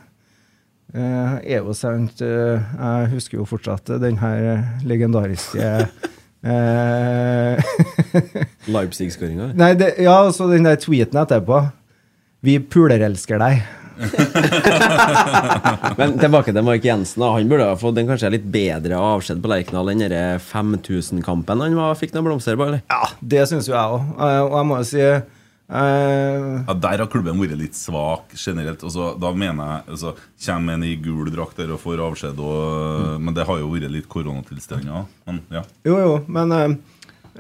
Speaker 4: eh, er jo sant. eh, jeg husker jo fortsatt den her legendariske eh,
Speaker 5: Leipzig-skåringa.
Speaker 4: Nei, det, ja, så den der tweeten etterpå. Vi pulerelsker deg.
Speaker 5: Men tilbake til Mark Jensen. da. Han burde ha fått en kanskje litt bedre avskjed på Lerkendal enn den 5000-kampen han var, fikk noen blomster på, eller?
Speaker 4: Ja, det syns jo jeg òg. og jeg må jo si eh,
Speaker 2: Ja, Der har klubben vært litt svak generelt. Og så, da mener jeg altså, Kommer en i gul drakt der og får avskjed, og, men det har jo vært litt koronatilstander. Men ja.
Speaker 4: Jo, jo, men eh,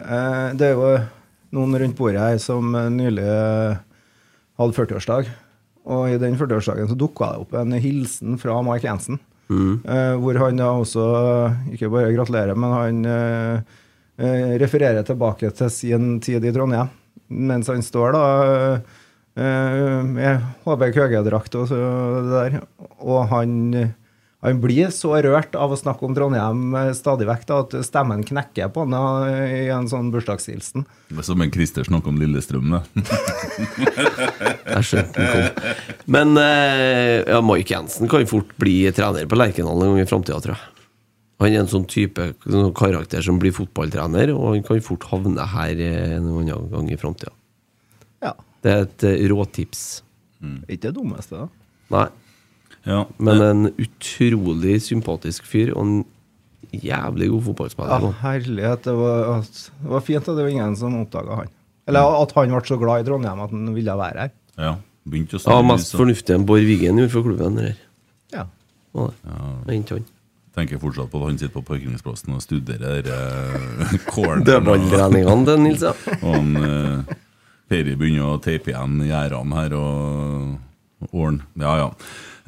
Speaker 4: eh, det er jo noen rundt bordet her som eh, nylig eh, hadde 40-årsdag. Og i den 40-årsdagen så dukka det opp en hilsen fra Mark Jensen. eh, hvor han da også eh, ikke bare gratulerer, men han eh, eh, refererer tilbake til sin tid i Trondheim. mens han står da eh, med HB Køge-drakt og så det der. Og han, han blir så rørt av å snakke om Trondheim eh, stadig vekk da, at stemmen knekker på han da, i en sånn bursdagshilsen.
Speaker 2: Det er Som en Christer snakker om Lillestrøm, det.
Speaker 3: Jeg skjønte den kom. Men eh, ja, Mike Jensen kan fort bli trener på Lerkendal en gang i framtida, tror jeg. Han er en sånn type sånn karakter som blir fotballtrener, og han kan fort havne her eh, en annen gang i framtida.
Speaker 4: Ja.
Speaker 3: Det er et eh, råtips.
Speaker 4: Ikke det dummeste, da.
Speaker 3: Nei,
Speaker 2: Ja.
Speaker 3: men en utrolig sympatisk fyr, og en jævlig god fotballspiller.
Speaker 4: Ja,
Speaker 3: nå.
Speaker 4: herlighet. Det var, at, det var fint at det var ingen som oppdaga han. Eller at han ble så glad i Trondheim at han ville være her.
Speaker 2: ja. Begynte å
Speaker 3: Ja,
Speaker 2: snakke
Speaker 3: mest fornuftig enn Bård Wiggen gjorde for klubben. det Der.
Speaker 4: Ja.
Speaker 3: Var det. Hent han.
Speaker 2: Tenker fortsatt på at han sitter på parkeringsplassen og studerer eh, corneren.
Speaker 3: Dødballtreningene til Nils, ja.
Speaker 2: Og han eh, Peri begynner å teipe igjen gjerdene her og åren. Ja, ja.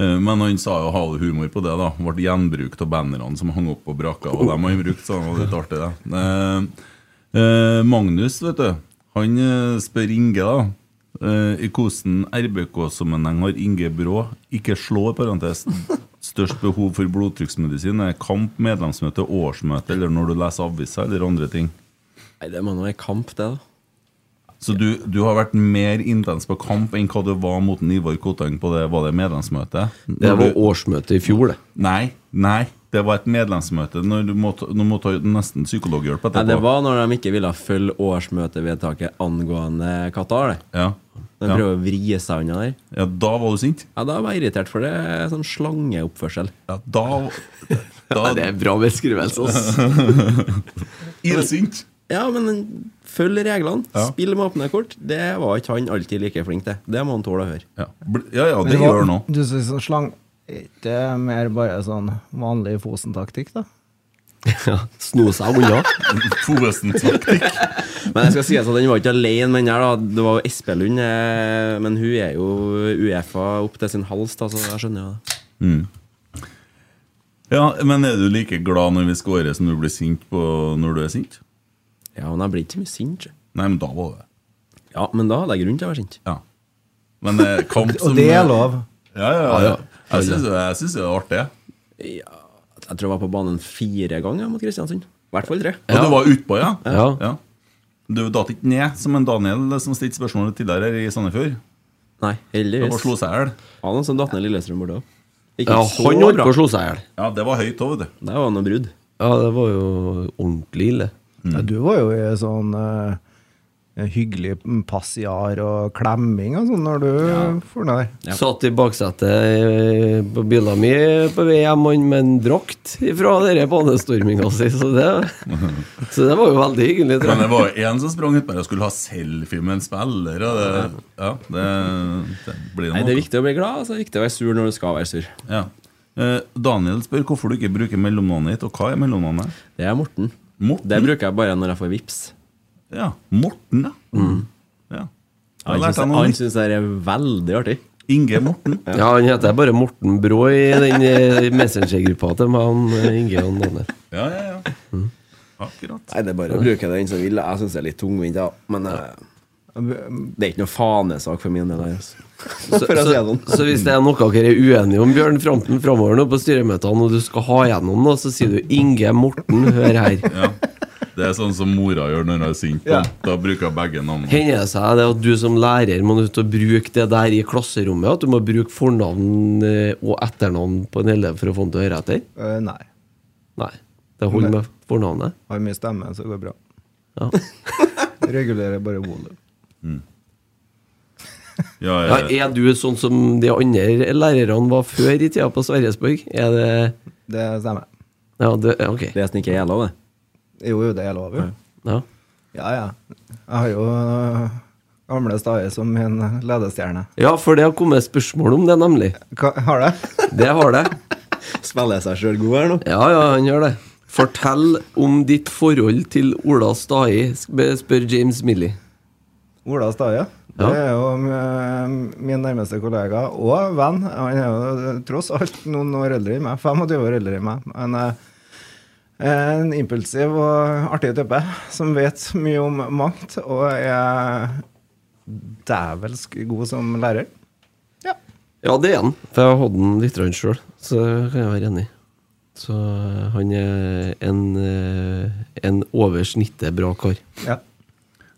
Speaker 2: Eh, Men han sa jo hale humor på det. da Ble gjenbrukt av bannerne som hang opp på brakka. Og dem har han brukt, så han var litt artig, det. Eh, eh, Magnus, vet du, han eh, spør Inge, da. eh, I hvordan RBK-sammenheng har Inge Brå ikke slå, i parentes. Størst behov for blodtrykksmedisin er kamp, medlemsmøte, årsmøte eller når du leser aviser eller andre ting.
Speaker 5: Nei, det må nå være kamp, det, da.
Speaker 2: Så du, du har vært mer intens på kamp enn hva du var mot Ivar Koteng på det, var det medlemsmøtet?
Speaker 3: Det
Speaker 2: Når
Speaker 3: var
Speaker 2: du,
Speaker 3: årsmøtet i fjor, det.
Speaker 2: nei, nei, det var et medlemsmøte. Når du måtte, nå må du ta nesten psykologhjelp
Speaker 5: Nei,
Speaker 2: etterpå.
Speaker 5: det var når de ikke ville følge årsmøtevedtaket angående Qatar. det.
Speaker 2: ja.
Speaker 5: De
Speaker 2: Ja.
Speaker 5: prøver å vri seg unna der.
Speaker 2: ja, da var du sint?
Speaker 5: Ja, Da var jeg irritert, for det er sånn slangeoppførsel.
Speaker 2: Ja, da, da
Speaker 3: Det er bra beskrivelse, ass.
Speaker 2: Ildsint!
Speaker 5: Ja, men følg reglene.
Speaker 2: Ja.
Speaker 5: Spill med åpne kort. Det var ikke han alltid like flink til. Det må han tåle å høre.
Speaker 2: Ja, bl- ja, ja det gjør nå.
Speaker 4: Du synes sånn slang ikke mer bare sånn vanlig Fosen-taktikk, da?
Speaker 3: Ja, Sno seg unna.
Speaker 2: Fosen-taktikk.
Speaker 5: Men jeg skal si at den var ikke alene, men her da, det var jo Espe Lund. eh, Men hun er jo Uefa opp til sin hals, da, så jeg skjønner jo det.
Speaker 2: Ja, men er du like glad når vi scorer som du blir sint på når du er sint?
Speaker 5: Ja, men jeg blir ikke så mye sint. sjø.
Speaker 2: Nei, men da var det
Speaker 5: Ja, men da hadde jeg grunn til å være sint.
Speaker 2: Ja. Men eh, kamp som
Speaker 4: Og det er lov.
Speaker 2: Ja, ja, ja.
Speaker 3: ja.
Speaker 2: Jeg syns det, jeg synes det er artig. jeg.
Speaker 5: Ja, jeg tror jeg var på banen fire ganger mot Kristiansund. I hvert fall tre.
Speaker 2: Ja, du var utpå, ja?
Speaker 3: Ja.
Speaker 2: Du datt ikke ned som en Daniel som stilte spørsmålet tidligere her i Sandefjord.
Speaker 5: Nei,
Speaker 2: Det var
Speaker 5: heldigvis.
Speaker 2: slo seg i hjel.
Speaker 5: Han som datt ned Lillestrøm borte òg. Ikke
Speaker 3: Ja,
Speaker 5: så
Speaker 3: han holdt
Speaker 5: bra.
Speaker 3: på å slå seg i hjel.
Speaker 2: Ja, det var høyt òg, vet du.
Speaker 5: Det var noe brudd.
Speaker 3: Ja, det var jo ordentlig ille.
Speaker 2: Mm.
Speaker 4: Ja, du var jo i sånn eh, hyggelig passiar og klemming og sånn når du for ned der.
Speaker 5: Ja.
Speaker 3: Satt i baksetet eh, på bilen min på vei hjem han med en drakt ifra denne banestorminga si, så det, så det var jo veldig hyggelig. tror
Speaker 2: Men det
Speaker 3: jeg.
Speaker 2: var jo en som sprang utpå og skulle ha selfie med en spiller. Og det, ja, det, det blir noe.
Speaker 5: Nei, Det er viktig å bli glad, og så er det viktig å være sur når du skal være sur.
Speaker 2: Ja. Eh, Daniel spør hvorfor du ikke bruker mellomnavnet ditt, og hva er mellomnavnet?
Speaker 5: Det er Morten.
Speaker 2: Morten?
Speaker 5: Det bruker jeg bare når jeg får vips.
Speaker 2: Ja, Morten, ja. ja. Jeg
Speaker 5: Mm.
Speaker 2: har
Speaker 5: Han
Speaker 2: lært deg
Speaker 5: syns-
Speaker 2: noe
Speaker 5: han
Speaker 2: nytt.
Speaker 5: syns det her er veldig artig.
Speaker 2: Inge Morten.
Speaker 3: Ja, Han heter bare Morten Brå i den eh, messengergruppa til meg, han eh, Inge og Nanne.
Speaker 2: Ja, ja, ja. Akkurat.
Speaker 5: Mm. Nei, det er bare å bruke den som vil. Jeg syns det er litt tungvint, ja. Men eh, det er ikke noe fanesak for min del. her, Altså.
Speaker 3: Så,
Speaker 5: For å si det
Speaker 3: så,
Speaker 5: sånn.
Speaker 3: så hvis det er noe dere er uenige om, Bjørn, fram- framover nå på styremøtene, og du skal ha gjennom noe, så sier du Inge Morten, hør her.
Speaker 2: Ja. Det er sånn som mora gjør når hun er sint.
Speaker 4: Ja.
Speaker 2: Da bruker hun begge navnene.
Speaker 3: Hender det seg det at du som lærer må nødt til å bruke det der i klasserommet? At du må bruke fornavn eh, og etternavn på en elev for å få han til å høre etter?
Speaker 4: Eh, nei.
Speaker 3: Nei. Det holder med fornavnet.
Speaker 4: Har mye stemme, så det går bra.
Speaker 3: Ja.
Speaker 4: Regulerer bare volum.
Speaker 2: Ja, eh,
Speaker 3: Ja,
Speaker 2: jeg,
Speaker 3: er du sånn som de andre lærerne var før i tida på Sverresborg? Er det
Speaker 4: Det stemmer.
Speaker 3: Ja, det, ja, ok.
Speaker 5: Det er snikker jeg lov, det.
Speaker 4: Jo, jo, det er lov, jo.
Speaker 3: Ja.
Speaker 4: Ja, ja. Jeg har jo eh, gamle Stae som min ledestjerne.
Speaker 3: ja, for det har kommet spørsmål om det, nemlig.
Speaker 4: Hva, har det?
Speaker 3: Det har det.
Speaker 5: Spiller jeg seg sjøl god her nå?
Speaker 3: Ja, ja, han gjør det. Fortell om ditt forhold til Ola Stai, sp- spør James Milley.
Speaker 4: Ola Stae. Det
Speaker 3: Ja.
Speaker 4: er jo eh, min nærmeste kollega og venn. Han er jo eh, tross alt noen år eldre enn meg. 25 år eldre enn meg. Men eh, En impulsiv og artig type som vet mye om mangt, og er dævelsk god som lærer.
Speaker 3: Ja, det er han. For jeg har hatt han litt sjøl, så det kan jeg være enig i. Så eh, han er en, eh, en over snittet bra kar.
Speaker 4: Ja.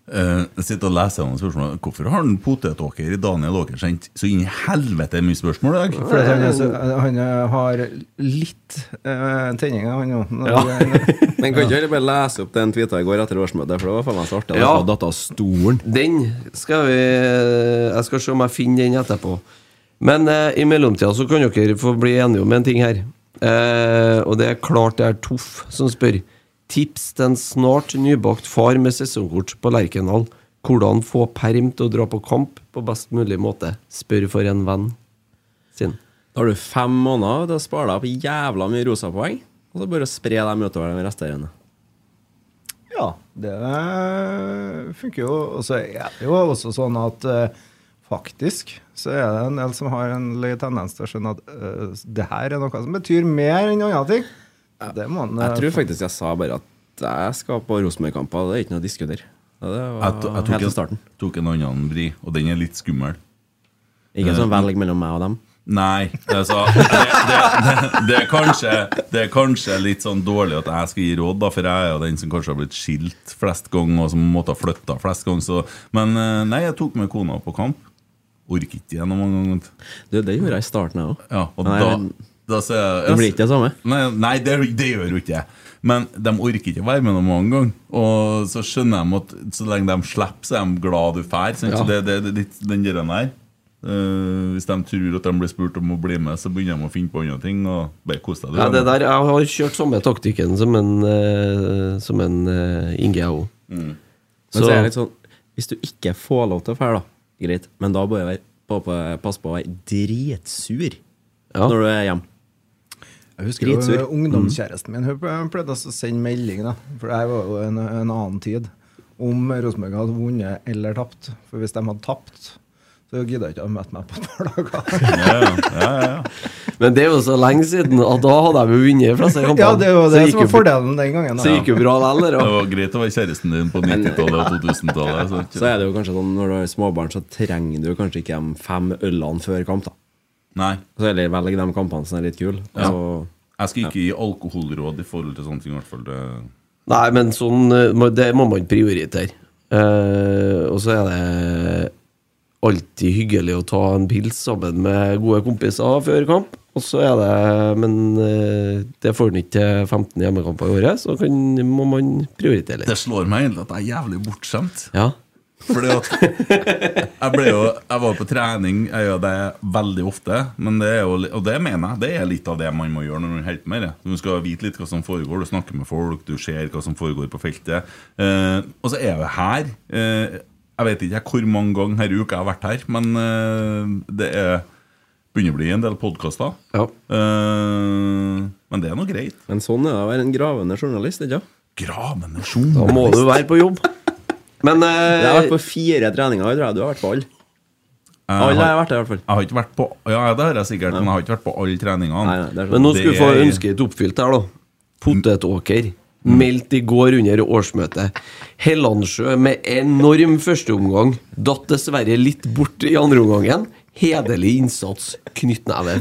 Speaker 2: Eh, Jeg sitter og leser gjennom spørsmålet. Hvorfor har den potetåker i Daniel Åker sendt så inn i helvete mye spørsmål i dag?
Speaker 4: For han, er så- han har litt eh, tenninger, han nå.
Speaker 6: Men kan ikke dere bare lese opp den tweeta i går etter årsmøtet, for det var faen meg så artig.
Speaker 3: Ja.
Speaker 6: Ja. Datt av stolen.
Speaker 3: Den skal vi Jeg skal se om jeg finner den etterpå. Men eh, i mellomtida så kan dere få bli enige om en ting her. Eh, og det er klart det er Toff som spør. Tips til en snart nybakt far med sesongkort på Lerkendal. Hvordan få perm til å dra på kamp på best mulig måte? Spør for en venn sin.
Speaker 6: Da har du fem måneder til å spare deg opp jævla mye rosa poeng. Og så bare spre dem utover de resterende.
Speaker 4: Ja, det funker jo. Og så er det jo også sånn at eh, faktisk så er det en del som har en lei tendens til å skjønne at eh, det her er noe som betyr mer enn andre ting. Det må en
Speaker 6: Jeg
Speaker 4: eh,
Speaker 6: tror faktisk jeg sa bare at jeg skal på Rosenborg-kamper, det er ikke noe å diskutere. Ja, Det var
Speaker 2: Jeg, to- jeg tok,
Speaker 6: helt til
Speaker 2: en,
Speaker 6: starten.
Speaker 2: tok en annen vri, og den er litt skummel.
Speaker 6: Ikke en sånn
Speaker 2: Eh,
Speaker 6: velg mellom meg og dem.
Speaker 2: Nei, altså det, det, det, det, er kanskje, det er kanskje litt sånn dårlig at jeg skal gi råd, da, for jeg er jo den som kanskje har blitt skilt flest ganger, og som måtte ha flytta flest ganger. Så. Men eh, nei, jeg tok med kona på kamp. Orker ikke igjen mange ganger.
Speaker 6: Du, det gjorde jeg i starten, jeg òg.
Speaker 2: Ja, og
Speaker 6: Nei,
Speaker 2: da,
Speaker 6: men-
Speaker 2: da sier jeg
Speaker 6: Det blir ikke det samme.
Speaker 2: Nei, nei det, det gjør jo ikke jeg. Men de orker ikke å være med noen mange gang. Og så skjønner de at så lenge de slipper, så er de glad du drar. sant?
Speaker 3: Ja.
Speaker 2: Så Det, det, det, er litt den der der. Eh, hvis de tror at de blir spurt om å bli med, så begynner de å finne på andre ting. Og bare kos deg. du
Speaker 3: Ja,
Speaker 2: er
Speaker 3: det
Speaker 2: med.
Speaker 3: der, Jeg har kjørt samme taktikken som en, eh, som en eh, Inge, jeg òg.
Speaker 6: Men så er det litt sånn Hvis du ikke får lov til å fære, da, greit, men da bør jeg passe på å være dritsur
Speaker 3: Ja.
Speaker 6: når du er hjemme.
Speaker 4: Jeg husker jo eh,
Speaker 6: Dritsur.
Speaker 4: ungdomskjæresten min hun pleide å sende melding, da, for det her var jo en, en annen tid, om Rosenborg hadde vunnet eller tapt. For hvis de hadde tapt, så gidda ikke de å møte meg på et par dager.
Speaker 3: Men det er jo så lenge siden, og da hadde jeg jo vunnet flest kamper.
Speaker 4: Ja, det var det
Speaker 3: gikk
Speaker 4: som var
Speaker 3: jo-
Speaker 4: fordelen den gangen. da.
Speaker 3: Så gikk jo bra likevel,
Speaker 2: Det
Speaker 3: det.
Speaker 2: var greit å være kjæresten din på 90-tallet og 2000-tallet. sant?
Speaker 6: Så er det jo kanskje sånn når du har småbarn, så trenger du kanskje ikke de fem ølene før kamp. da
Speaker 2: Nei,
Speaker 6: Så heller velg de kampene som er litt kule.
Speaker 2: Ja.
Speaker 6: Altså,
Speaker 2: jeg skal ikke gi alkoholråd i forhold til sånne ting. i hvert fall det...
Speaker 3: Nei, men sånn eh, må- Det må man prioritere. Eh, og så er det alltid hyggelig å ta en pils sammen med gode kompiser før kamp. Og så er det Men eh, det får man ikke til 15 hjemmekamper i året, så kan, må man prioritere
Speaker 2: Det
Speaker 3: litt.
Speaker 2: slår meg egentlig at jeg er jævlig bortskjemt.
Speaker 3: Ja.
Speaker 2: Fordi at jeg, ble jo, jeg var på trening, jeg gjør det veldig ofte. Men det er jo, li- og det mener jeg, det er litt av det man må gjøre når man holder på med det. Du skal vite litt hva som foregår, du snakker med folk, du ser hva som foregår på feltet. Eh, og så er jeg jo her. Eh, jeg vet ikke hvor mange ganger her i uka jeg har vært her, men eh, det er, begynner å bli en del podkaster.
Speaker 3: ja.
Speaker 2: Eh, men det er nå greit.
Speaker 6: men sånn er det å være en gravende journalist. ikke sant?
Speaker 2: Gravende
Speaker 3: Da må du være på jobb. Men
Speaker 6: Jeg har vært
Speaker 3: eh,
Speaker 6: på fire treninger, jeg tror jeg du har vært på alle.
Speaker 2: Jeg
Speaker 6: Alle har
Speaker 2: har,
Speaker 6: jeg vært der, i hvert fall.
Speaker 2: jeg har ikke vært på Ja, det har jeg sikkert, men jeg har ikke vært på alle treningene.
Speaker 6: Nei, nei, det er
Speaker 3: Men
Speaker 6: sånn.
Speaker 3: nå skal du få
Speaker 2: Det er-
Speaker 3: ønsket ditt oppfylt her, da. Potetåker. Meldt i går under årsmøtet. Hellandsjø med enorm førsteomgang. Datt dessverre litt bort i andreomgangen. Hederlig innsats. Knyttneve.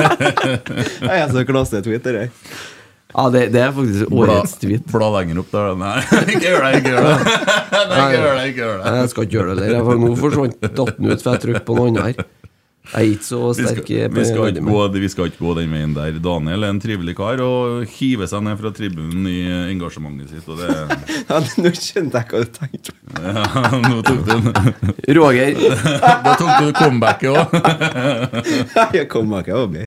Speaker 3: Ja,
Speaker 6: Jeg er så klassetweet, det der.
Speaker 3: det, det er faktisk årets tweet.
Speaker 2: Bla lenger opp der. Nei, ikke gjør det, ikke gjør det. Nei, ikke gjør det, ikke gjør det.
Speaker 3: Jeg skal ikke gjøre det der. for Nå forsvant datt den ut, for jeg trykte på noe annet her. Jeg er ikke så
Speaker 2: Vi
Speaker 3: sterk
Speaker 2: skal,
Speaker 3: i-
Speaker 2: vi, skal ikke
Speaker 3: men-
Speaker 2: gå, vi skal ikke gå den veien der. Daniel er en trivelig kar og hiver seg ned fra tribunen i engasjementet sitt. Og det,
Speaker 6: Ja, Nå skjønte jeg hva du tenkte.
Speaker 2: ja, nå tok du,
Speaker 3: Roger,
Speaker 2: da tok du comebacket òg.
Speaker 6: Jeg kom meg ikke over.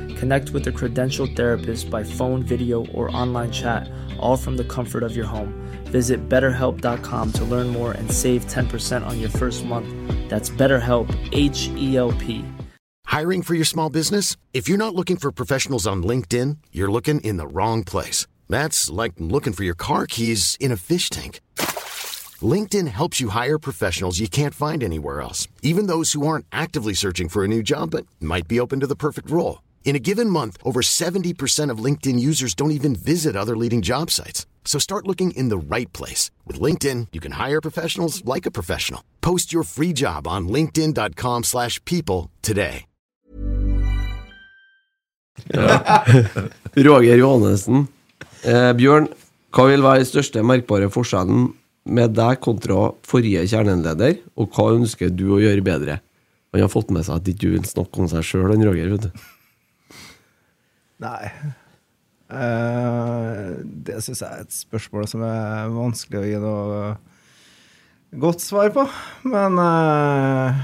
Speaker 8: Connect with a credentialed therapist by phone, video, or online chat, all from the comfort of your home. Visit betterhelp.com to learn more and save 10% on your first month. That's BetterHelp, H E L P.
Speaker 9: Hiring for your small business? If you're not looking for professionals on LinkedIn, you're looking in the wrong place. That's like looking for your car keys in a fish tank. LinkedIn helps you hire professionals you can't find anywhere else, even those who aren't actively searching for a new job but might be open to the perfect role. In a given month, over 70% of LinkedIn users don't even visit other leading job sites. So start looking in the right place. With LinkedIn, you can hire professionals like a professional. Post your free job on linkedin.com/people slash people today.
Speaker 3: Roger Johannessen. Eh, Bjørn, hva vil være den største merkbare forskjellen med deg kontra forrige kjerneleder, og hva ønsker du å gjøre bedre? Han har fått med seg at ikke du vil snakke om seg sjøl, han Roger, vet du.
Speaker 4: Nei. Eh, det syns jeg er et spørsmål som er vanskelig å gi noe eh, godt svar på. Men eh,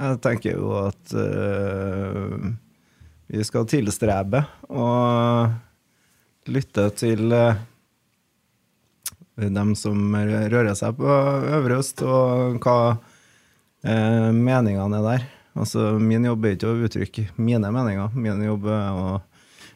Speaker 4: jeg tenker jo at eh, vi skal tilstrebe å lytte til eh, dem som rører seg på Øvre Øst, og hva eh, meningene er der. Altså, min jobb er ikke å uttrykke mine meninger. Min jobb er å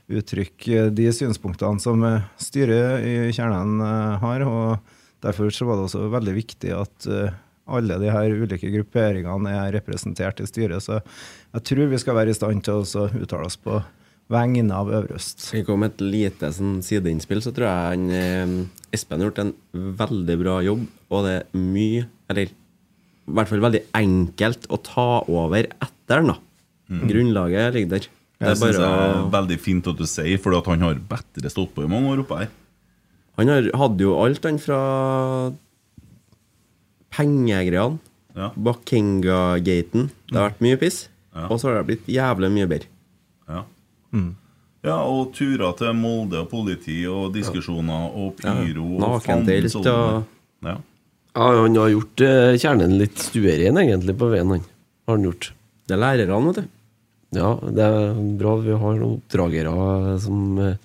Speaker 4: uttrykke de synspunktene som eh, styret i kjernen eh, har. og Derfor så var det også veldig viktig at eh, alle de her ulike grupperingene er representert i styret. Så jeg tror vi skal være i stand til å også uttale oss på vegne av Øvre Øst.
Speaker 5: Skal jeg komme med et lite sånn, sideinnspill, så tror jeg han, eh, Espen har gjort en veldig bra jobb. Og det er mye, eller i hvert fall veldig enkelt, å ta over etter den. da. Grunnlaget ligger der. Det
Speaker 2: Jeg
Speaker 5: er
Speaker 2: synes det
Speaker 5: bare
Speaker 2: er
Speaker 5: å
Speaker 2: veldig fint at du sier, for han har bedre stått på i mange år oppe her.
Speaker 5: Han har, hadde jo alt, han fra pengegreiene.
Speaker 2: Ja.
Speaker 5: Bakenga-gaten. Det har vært mye piss. Og så har det blitt jævlig mye bedre.
Speaker 2: Ja.
Speaker 5: Mm.
Speaker 2: Ja, og turer til Molde og politi og diskusjoner og pyro
Speaker 5: Ja,
Speaker 2: og
Speaker 5: nakendelt
Speaker 2: faen sånn.
Speaker 5: og-
Speaker 2: ja.
Speaker 3: Ja, han har gjort eh, kjernen litt stuerein, egentlig, på veien, han. Har han gjort.
Speaker 5: Det er lærerne, vet du.
Speaker 3: Ja, det er bra vi har noen oppdragere som, eh,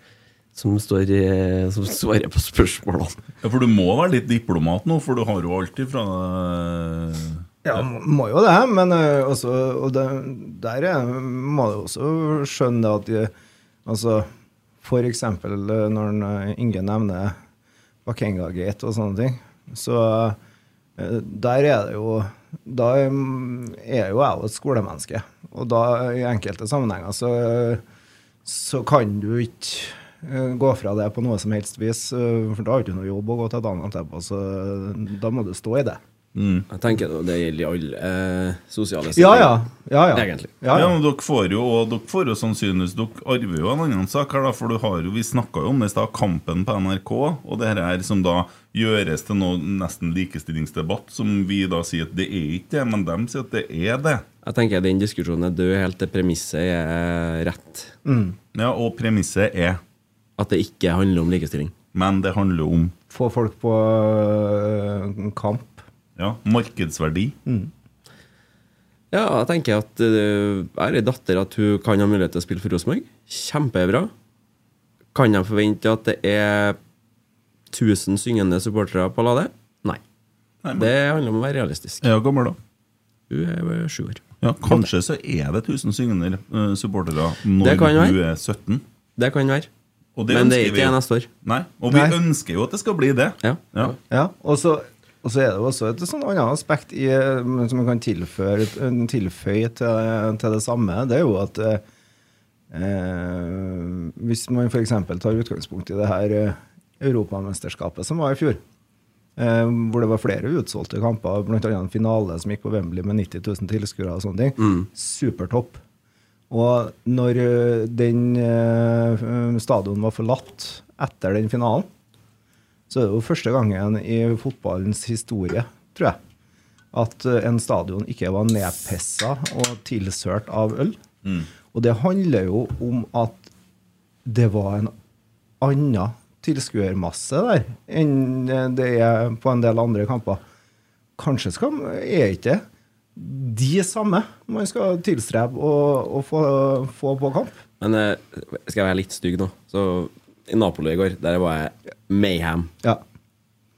Speaker 3: som, står, i- som svarer på spørsmålene.
Speaker 2: ja, for du må være litt diplomat nå, for du har jo alt ifra eh,
Speaker 4: Ja, må jo det, men ø, også, og det, der er- må du også skjønne det at de, altså, For eksempel ø, når en, ø, Inge nevner Bakenga-gate og sånne ting, så ø, der er det jo Da mm, er jo jeg jo et skolemenneske, og da i enkelte sammenhenger så, så kan du ikke ø, Gå fra det på noe som helst vis, ø, for da har du ikke noe jobb å gå til et annet etterpå. Så da må du stå i det.
Speaker 5: Jeg tenker at Det gjelder i alle eh, sosiale
Speaker 4: Ja, ja. Ja, ja.
Speaker 5: Egentlig.
Speaker 4: Ja,
Speaker 2: Ja,
Speaker 4: ja.
Speaker 2: men dere får jo og dere får jo sannsynligvis Dere arver jo en annen sak her, da, for du har jo, vi snakka jo om det i stad, Kampen på NRK, og det her er som da gjøres til noe nesten likestillingsdebatt, som vi da sier at det er ikke det, men dem sier at det er det.
Speaker 5: Jeg tenker Den diskusjonen er død helt til premisset er rett.
Speaker 2: Ja, Og premisset er
Speaker 5: At det ikke handler om likestilling.
Speaker 2: Men det handler om
Speaker 4: Få folk på øh, kamp.
Speaker 2: ja, markedsverdi.
Speaker 5: Ja, jeg tenker at eh, Jeg har en datter at hun kan ha mulighet til å spille for Rosenborg. Kjempebra. Kan jeg forvente at det er 1000 syngende supportere på Lade? Nei.
Speaker 2: Nei,
Speaker 5: Det handler om å være realistisk.
Speaker 2: Ja, gammel da.
Speaker 5: Hun er bare sju år.
Speaker 2: Ja, Kanskje så er det 1000 syngende eh, supportere når
Speaker 5: Det kan
Speaker 2: du
Speaker 5: være.
Speaker 2: er 17.
Speaker 5: Det kan være.
Speaker 2: Og
Speaker 5: Men det er
Speaker 2: ønsker
Speaker 5: ikke
Speaker 2: vi jo.
Speaker 5: det neste år.
Speaker 2: Nei, Og vi
Speaker 4: Nei.
Speaker 2: ønsker jo at det skal bli det.
Speaker 5: Ja.
Speaker 2: Ja.
Speaker 4: Ja, og så, og så er det jo også et sånn annet aspekt i, men som man kan tilføre, tilføye til, til det samme. Det er jo at eh, eh, hvis man f.eks. tar utgangspunkt i det her eh, europamesterskapet som var i fjor, eh, hvor det var flere utsolgte kamper, bl.a. en finale som gikk på Wembley med 90 000 tilskuere og sånne ting. Supertopp. Og når eh, den eh, stadion var forlatt etter den finalen, så er det jo første gangen i fotballens historie, tror jeg, at eh, en stadion ikke var nedpissa og tilsørt av øl. Og det handler jo om at det var en annen tilskuermasse der enn eh, det er på en del andre kamper. Kanskje skal, er ikke det de samme man skal tilstrebe å, å få, få på kamp.
Speaker 5: Men eh, skal jeg være litt stygg nå? Så I Napoli i går, der var jeg mayhem.
Speaker 4: Ja.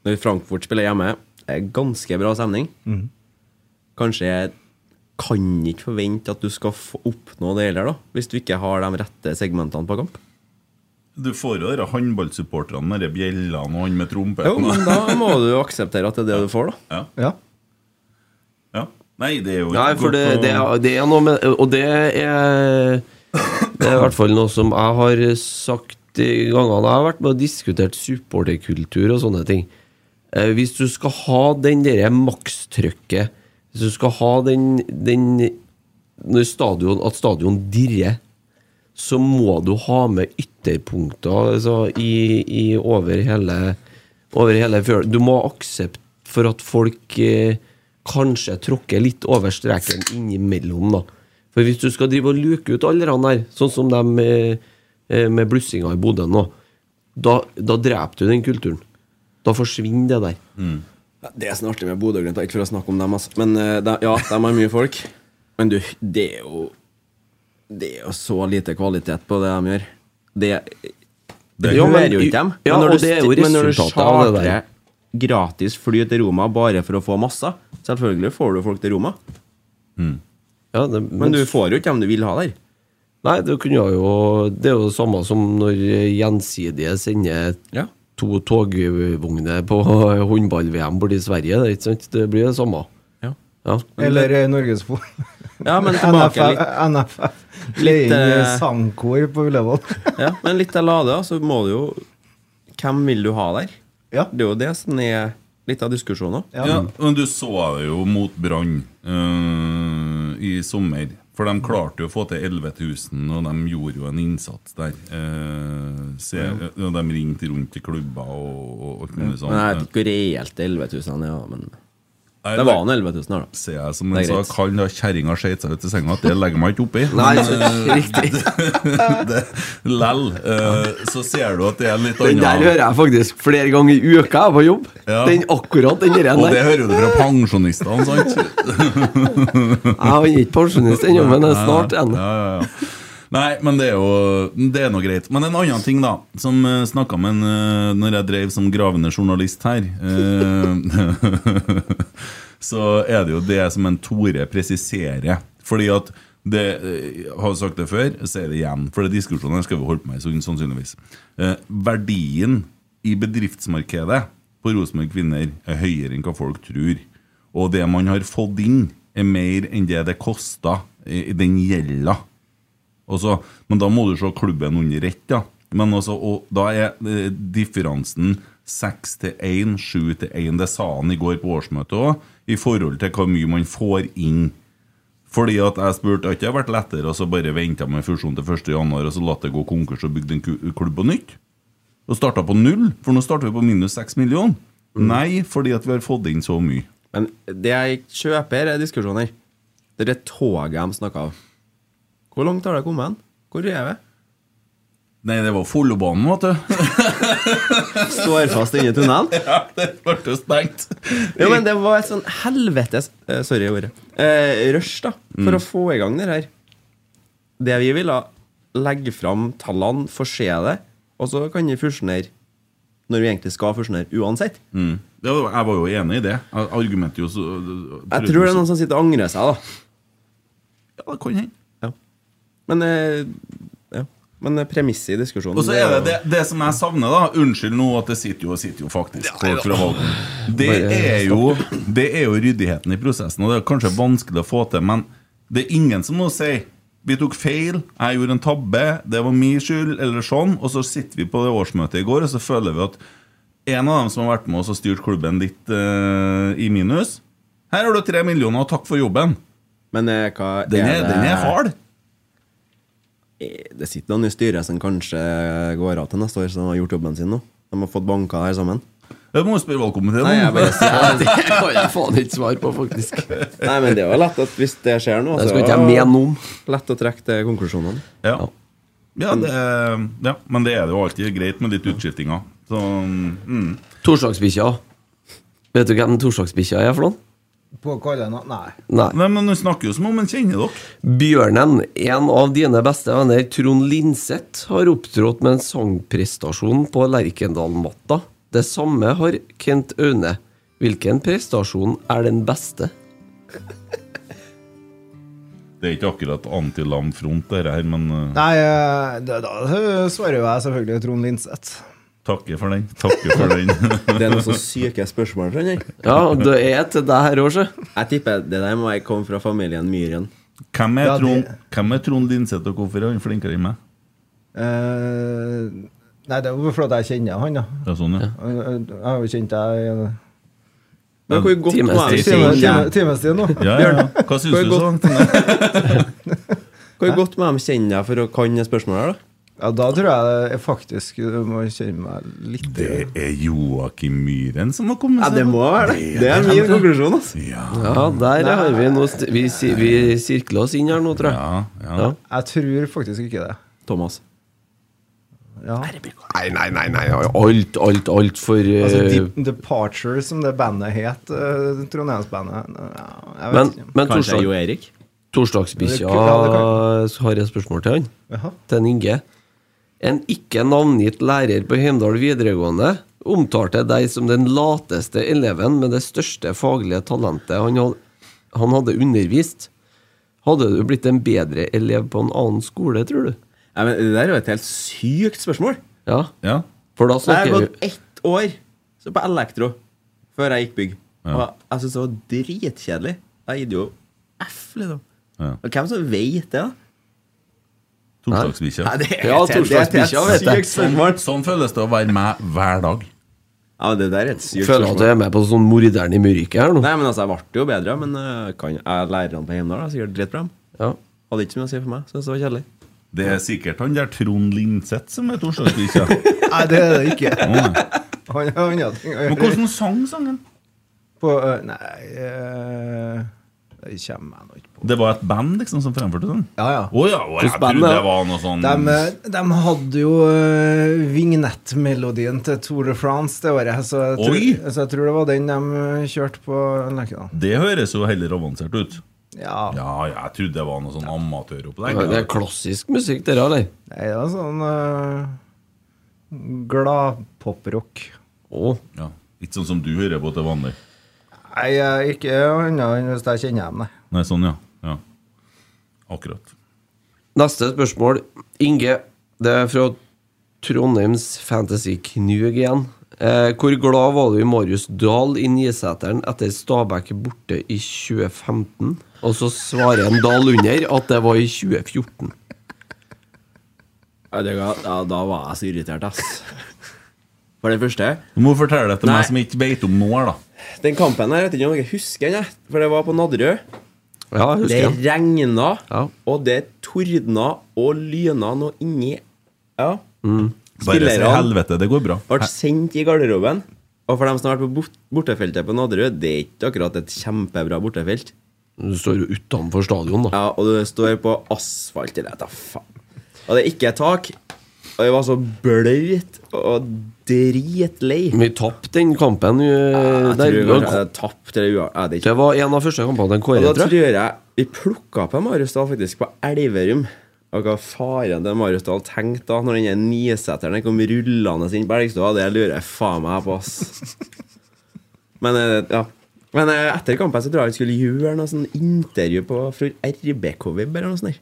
Speaker 5: Når Frankfurt spiller hjemme, det er ganske bra stemning.
Speaker 4: Mhm.
Speaker 5: Kanskje jeg kan ikke forvente at du skal få oppnå det heller, da, hvis du ikke har de rette segmentene på kamp.
Speaker 2: Du får jo dere håndballsupporterne med de bjellene og han med
Speaker 5: Jo,
Speaker 2: trompeten.
Speaker 5: men da må du jo akseptere at det er det du får, da.
Speaker 2: Ja.
Speaker 4: Ja.
Speaker 2: Ja. Nei, det er jo
Speaker 3: Nei, for det,
Speaker 2: å-
Speaker 3: det, er, det er noe med Og det er Det er i hvert fall noe som jeg har sagt de gangene jeg har vært med og diskutert supporterkultur og sånne ting. Eh, Hvis du skal ha den derre makstrykket Hvis du skal ha den, den når stadion, At stadion dirrer, så må du ha med ytterpunkter altså, i, i over hele, over hele fjøla. Du må aksepte for at folk eh, kanskje tråkker litt over streken innimellom, da. For hvis du skal drive og luke ut alle de der, sånn som dem eh, eh, med blussinga i Bodø nå, da, da dreper du den kulturen. Da forsvinner det der.
Speaker 5: Ja, Det er sånn artig med Bodø og Glimt, da, ikke for å snakke om dem, altså. Men eh, de, ja, de har mye folk. Men du, det er jo Det er jo så lite kvalitet på det de gjør. Det, det
Speaker 3: Ja, men-
Speaker 5: hører jo ikke dem.
Speaker 3: ja,
Speaker 5: men når
Speaker 3: og det er jo
Speaker 5: st- men når du
Speaker 3: resultatet av det der.
Speaker 5: chartrer gratis fly til Roma bare for å få masser, selvfølgelig får du folk til Roma.
Speaker 3: Ja, det,
Speaker 5: Men du får jo ikke dem du vil ha der.
Speaker 3: Nei, det, kunne jeg jo, det er jo det samme som når Gjensidige sender
Speaker 5: Ja.
Speaker 3: to togvogner på håndball-VM borte i Sverige. Det, er ikke sant? det blir det samme.
Speaker 5: Ja.
Speaker 3: Ja.
Speaker 4: Eller eh, Norgesfo.
Speaker 5: Ja, men tilbake
Speaker 4: NFF.
Speaker 5: litt
Speaker 4: NFF. Leie inn
Speaker 5: eh,
Speaker 4: eh, sangkor på Ullevål.
Speaker 5: ja, Men litt av lade, da, så må du jo Hvem vil du ha der?
Speaker 4: Ja.
Speaker 5: Det er jo det som er litt av diskusjonen.
Speaker 2: Ja. men du så det jo mot Brann eh, i sommer. For de klarte jo å få til 11 000, og de gjorde jo en innsats der. Eh, se, og De ringte rundt til klubber og, og, og kunne sånn.
Speaker 5: Men jeg vet ikke hvor reelt det 11 000 er, ja, men
Speaker 2: Nei,
Speaker 5: det var nå 11 000 her, da.
Speaker 2: Ser jeg som
Speaker 5: Det
Speaker 2: en
Speaker 5: er
Speaker 2: sa,
Speaker 5: greit.
Speaker 2: kall da kjerringa skeit seg ut i senga, at det legger meg ikke oppi.
Speaker 3: Nei,
Speaker 2: Men,
Speaker 3: så-
Speaker 2: eh,
Speaker 3: riktig.
Speaker 5: sånn,
Speaker 2: det- Lell. eh, så ser du at det er en litt
Speaker 3: Den der hører
Speaker 2: annen
Speaker 3: jeg faktisk flere ganger i uka jeg er på jobb.
Speaker 2: Ja.
Speaker 3: Den akkurat den der.
Speaker 2: Og det
Speaker 3: der.
Speaker 2: hører du fra pensjonistene, sant?
Speaker 3: Jeg er ikke pensjonist ennå, men jeg er snart en.
Speaker 2: Ja, ja, ja. Nei, men det er jo Det er noe greit. Men en annen ting, da, som uh, snakka med en eh, Når jeg drev som gravende journalist her, eh, så er det jo det som en Tore presiserer. Fordi at det, eh, jeg har sagt det før, jeg sier det igjen, for det diskusjonen her skal vi holde på med så- sannsynligvis. Eh, verdien i bedriftsmarkedet på Rosenborg Kvinner er høyere enn hva folk tror. Og det man har fått inn, er mer enn det det kosta i i den gjelda. Og så- men da må du se klubben under ett, da. Men altså, og da er eh, differansen 6 til 1, 7 til 1. Det sa han i går på årsmøtet òg, i forhold til hvor mye man får inn. Fordi at jeg spurte, har ikke det vært lettere å så bare vente med fusjon til 1. januar og så latt det gå konkurs og bygge en ku- klubb på nytt? Og starta på null? For nå starter vi på minus 6 millioner. Nei, fordi at vi har fått inn så mye.
Speaker 5: Men det jeg kjøper, er diskusjoner. Det er det toget de snakker av. Hvor langt har det kommet hen? Hvor er vi?
Speaker 2: Nei, det var Follobanen, vet du.
Speaker 5: Står fast inne i tunnelen?
Speaker 2: Ja, det ble jo stengt.
Speaker 5: Jo, men det var et sånn helvetes eh, Sorry ordet. Eh, rush, da, for
Speaker 2: Mm.
Speaker 5: å få i gang det her. Det vi ville legge fram tallene, forse det, og så kan vi fusjonere når vi egentlig skal fusjonere uansett.
Speaker 2: Mm. Det var, jeg var jo enig i det. Ar- Argumentet jo så
Speaker 5: Jeg tror det er noen som sitter og angrer seg, da.
Speaker 2: Ja, det kan hende.
Speaker 5: Men, eh, ja. Men eh, premisset i diskusjonen
Speaker 2: Og så er det,
Speaker 5: jo-
Speaker 2: det det som jeg savner, da. Unnskyld nå at det sitter jo, sitter jo faktisk folk fra Halden. Det er jo Det er jo ryddigheten i prosessen, og det er kanskje vanskelig å få til, men det er ingen som nå sier vi tok feil, jeg gjorde en tabbe, det var min skyld, eller sånn. Og så sitter vi på det årsmøtet i går, og så føler vi at en av dem som har vært med oss og styrt klubben litt eh, i minus Her har du tre millioner, og takk for jobben.
Speaker 5: Men eh, hva
Speaker 2: Den er, den er hard.
Speaker 5: Eh, Det sitter eh, noen i styret som kanskje går av til neste år, som har gjort jobben sin nå. De har fått banka her sammen.
Speaker 2: Jeg må spørre valgkomiteen
Speaker 5: Nei, jeg
Speaker 2: om
Speaker 5: bare
Speaker 2: det.
Speaker 5: sier
Speaker 3: Det kan jeg faen ikke svare på, faktisk. Det
Speaker 5: Nei, men det er jo lett at hvis det skjer nå
Speaker 3: skal ikke jeg mene noe om.
Speaker 5: Lett å trekke til konklusjonene.
Speaker 2: Ja. Ja, det, ja, men det er det jo alltid greit med litt utskiftinger. Så, mm.
Speaker 3: Torsdagsbikkja. Vet du hvem torsdagsbikkja er for noen?
Speaker 4: På kallen Nei.
Speaker 3: Nei.
Speaker 2: Nei, men Du snakker jo som om en kjenner dere.
Speaker 3: Bjørnen, en av dine beste venner, Trond Linseth, har opptrådt med en sangprestasjon på Lerkendal-matta. Det samme har Kent Aune. Hvilken prestasjon er den beste?
Speaker 2: Det er ikke akkurat antilam front, dette her, men eh,
Speaker 4: Nei, eh, da, da svarer jo jeg selvfølgelig Trond Linseth.
Speaker 2: takker for den. Takker for den.
Speaker 5: Det er noen så syke spørsmål. skjønner jeg.
Speaker 3: Ja, det er til deg her òg, sjø.
Speaker 5: Jeg tipper det der må jeg komme fra familien Myhren.
Speaker 2: Hvem er
Speaker 4: Ja, det-
Speaker 2: Trond, hvem er Trond Linseth, og hvorfor er han flinkere enn meg?
Speaker 4: Eh, nei, det er jo fordi jeg kjenner han, da.
Speaker 2: Det er sånn, ja.
Speaker 4: Jeg jeg har jo kjent deg i
Speaker 5: Men hvor godt må jeg
Speaker 3: Timestid.
Speaker 5: kjenne
Speaker 4: en
Speaker 5: dem?
Speaker 4: times tid nå.
Speaker 2: Ja, ja, ja. Hva syns du så langt?
Speaker 5: Hvor godt må de kjenne deg for å kan det spørsmålet her, da?
Speaker 4: Ja, da tror jeg jeg faktisk du må kjenne meg litt
Speaker 2: Det er Joakim Myhren som har kommet
Speaker 5: Ja, det må være det. Det er min konklusjon, altså.
Speaker 2: Ja,
Speaker 3: Ja, der har vi noe st vi, si- vi sirkler oss inn her nå, tror jeg.
Speaker 2: ja, ja.
Speaker 3: Ja.
Speaker 4: Jeg tror faktisk ikke det.
Speaker 5: Thomas.
Speaker 4: Ja.
Speaker 3: Nei, nei, nei, nei. Alt, alt, alt for eh,
Speaker 4: Altså Deep Departure, som det bandet het. eh, Trondheimsbandet. Ja, jeg vet
Speaker 3: Men,
Speaker 4: ikke.
Speaker 3: men
Speaker 5: Kanskje
Speaker 3: torsdag,
Speaker 5: Jo Erik?
Speaker 3: torsdagsbikkja
Speaker 4: Ja, det kan-
Speaker 3: så har jeg et spørsmål til han.
Speaker 4: Jaha.
Speaker 3: Til en Inge. En ikke navngitt lærer på Heimdal videregående omtalte deg som den lateste eleven med det største faglige talentet han, had- han hadde undervist. Hadde du blitt en bedre elev på en annen skole, tror du?
Speaker 5: Nei, men Det der er jo et helt sykt spørsmål.
Speaker 3: Ja,
Speaker 2: ja.
Speaker 3: for da
Speaker 5: Jeg har
Speaker 3: snakker
Speaker 5: gått
Speaker 3: vi
Speaker 5: ett år så på elektro før jeg gikk bygg. Og jeg syntes det var dritkjedelig. Jeg gitt jo F, liksom.
Speaker 2: Ja.
Speaker 5: Og hvem som vet det, da?
Speaker 2: Torsdagsbikkja.
Speaker 5: Nei, det er
Speaker 3: Ja,
Speaker 5: et- det er et helt
Speaker 3: torsdagsbikkja, vet jeg.
Speaker 5: sykt spørsmål.
Speaker 2: Sånn føles det å være med hver dag.
Speaker 5: Ja, men det der er et sykt
Speaker 3: Føler at
Speaker 5: spørsmål.
Speaker 3: jeg er med på sånn morderen i mørket her nå.
Speaker 5: Nei, men altså, Jeg ble jo bedre, men eh, kan, jeg lærerne på Heimdal er sikkert dritbra.
Speaker 3: Ja.
Speaker 5: Hadde ikke så mye å si for meg. Synes det var kjedelig.
Speaker 2: Det er sikkert han der Trond Linseth som er torsdagsbikkja.
Speaker 4: Nei, det er det ikke.
Speaker 2: Å, nei.
Speaker 4: Han har andre ting å
Speaker 2: Men
Speaker 4: gjøre.
Speaker 2: hvordan sang sangen?
Speaker 4: På, eh, nei eh, Det kommer jeg nå ikke på.
Speaker 2: Det var et band liksom som fremførte den?
Speaker 4: Ja, ja.
Speaker 2: Å ja, å, jeg
Speaker 3: Hvordan band,
Speaker 2: trodde
Speaker 3: da?
Speaker 2: det var noe sånn
Speaker 4: De, de eh, hadde jo eh, vignettmelodien til Tour de France det året, så jeg, tror,
Speaker 2: Oi!
Speaker 4: så jeg tror det var den de kjørte på Lerkendal.
Speaker 2: Det høres jo heller avansert ut.
Speaker 4: Ja.
Speaker 2: Ja, jeg trodde det var noe sånn amatøropplegg.
Speaker 3: Det er klassisk musikk, det der, eller?
Speaker 4: Nei, det var sånn uh, glad poprock.
Speaker 3: Å,
Speaker 2: Ja. Ikke sånn som du hører på til vanlig.
Speaker 4: Nei, jeg er ikke annet enn hvis jeg kjenner dem, nei.
Speaker 2: Nei, sånn, ja. ja. Akkurat.
Speaker 3: Neste spørsmål. Inge, det er fra Trondheims Fantasy Knug igjen. Eh, hvor glad var du i Marius Dahl i Niseteren etter Stabæk borte i 2015? Og så svarer en Dahl under at det var i 2014.
Speaker 5: Ja, det ga- ja, da var jeg så irritert, ass. For det første,
Speaker 2: Du må fortelle det til
Speaker 5: Nei.
Speaker 2: meg som ikke beit om noe her, da.
Speaker 5: den kampen her, jeg vet ikke om dere husker den, jeg, for det var på Nadderud.
Speaker 3: Ja, jeg husker
Speaker 5: Det
Speaker 3: han.
Speaker 5: regna,
Speaker 3: Ja.
Speaker 5: og det tordna og lyna noe inni Ja.
Speaker 3: Mm.
Speaker 2: Bare si
Speaker 5: Spillerne
Speaker 2: helvete, det går bra.
Speaker 5: ble sendt i garderoben. Og for dem som har vært på bort- bortefeltet på Nadderud, det er ikke akkurat et kjempebra bortefelt.
Speaker 3: Du står jo utenfor stadion, da.
Speaker 5: Ja, og det står på asfalt eller hva faen. Og det er ikke et tak. Og jeg var så bløt og dritlei.
Speaker 3: Vi tapte den kampen. eh,
Speaker 5: Jeg
Speaker 3: der,
Speaker 5: tror kanskje jeg hadde tapt eller uavgjort. Jeg vet ikke.
Speaker 3: det var en av første kampene den
Speaker 5: Og
Speaker 3: kåret,
Speaker 5: da
Speaker 3: tror jeg.
Speaker 5: tror jeg vi plukka på Marius Dahl faktisk på Elverum. Og hva faren til Marius Dahl tenkte da når den niseteren kom rullende inn på Elgstua, det lurer jeg faen meg på, ass. Men eh, ja. Men eh, etter kampen så tror jeg han skulle gjøre noe sånn intervju på fra RBK-web eller noe sånt. der.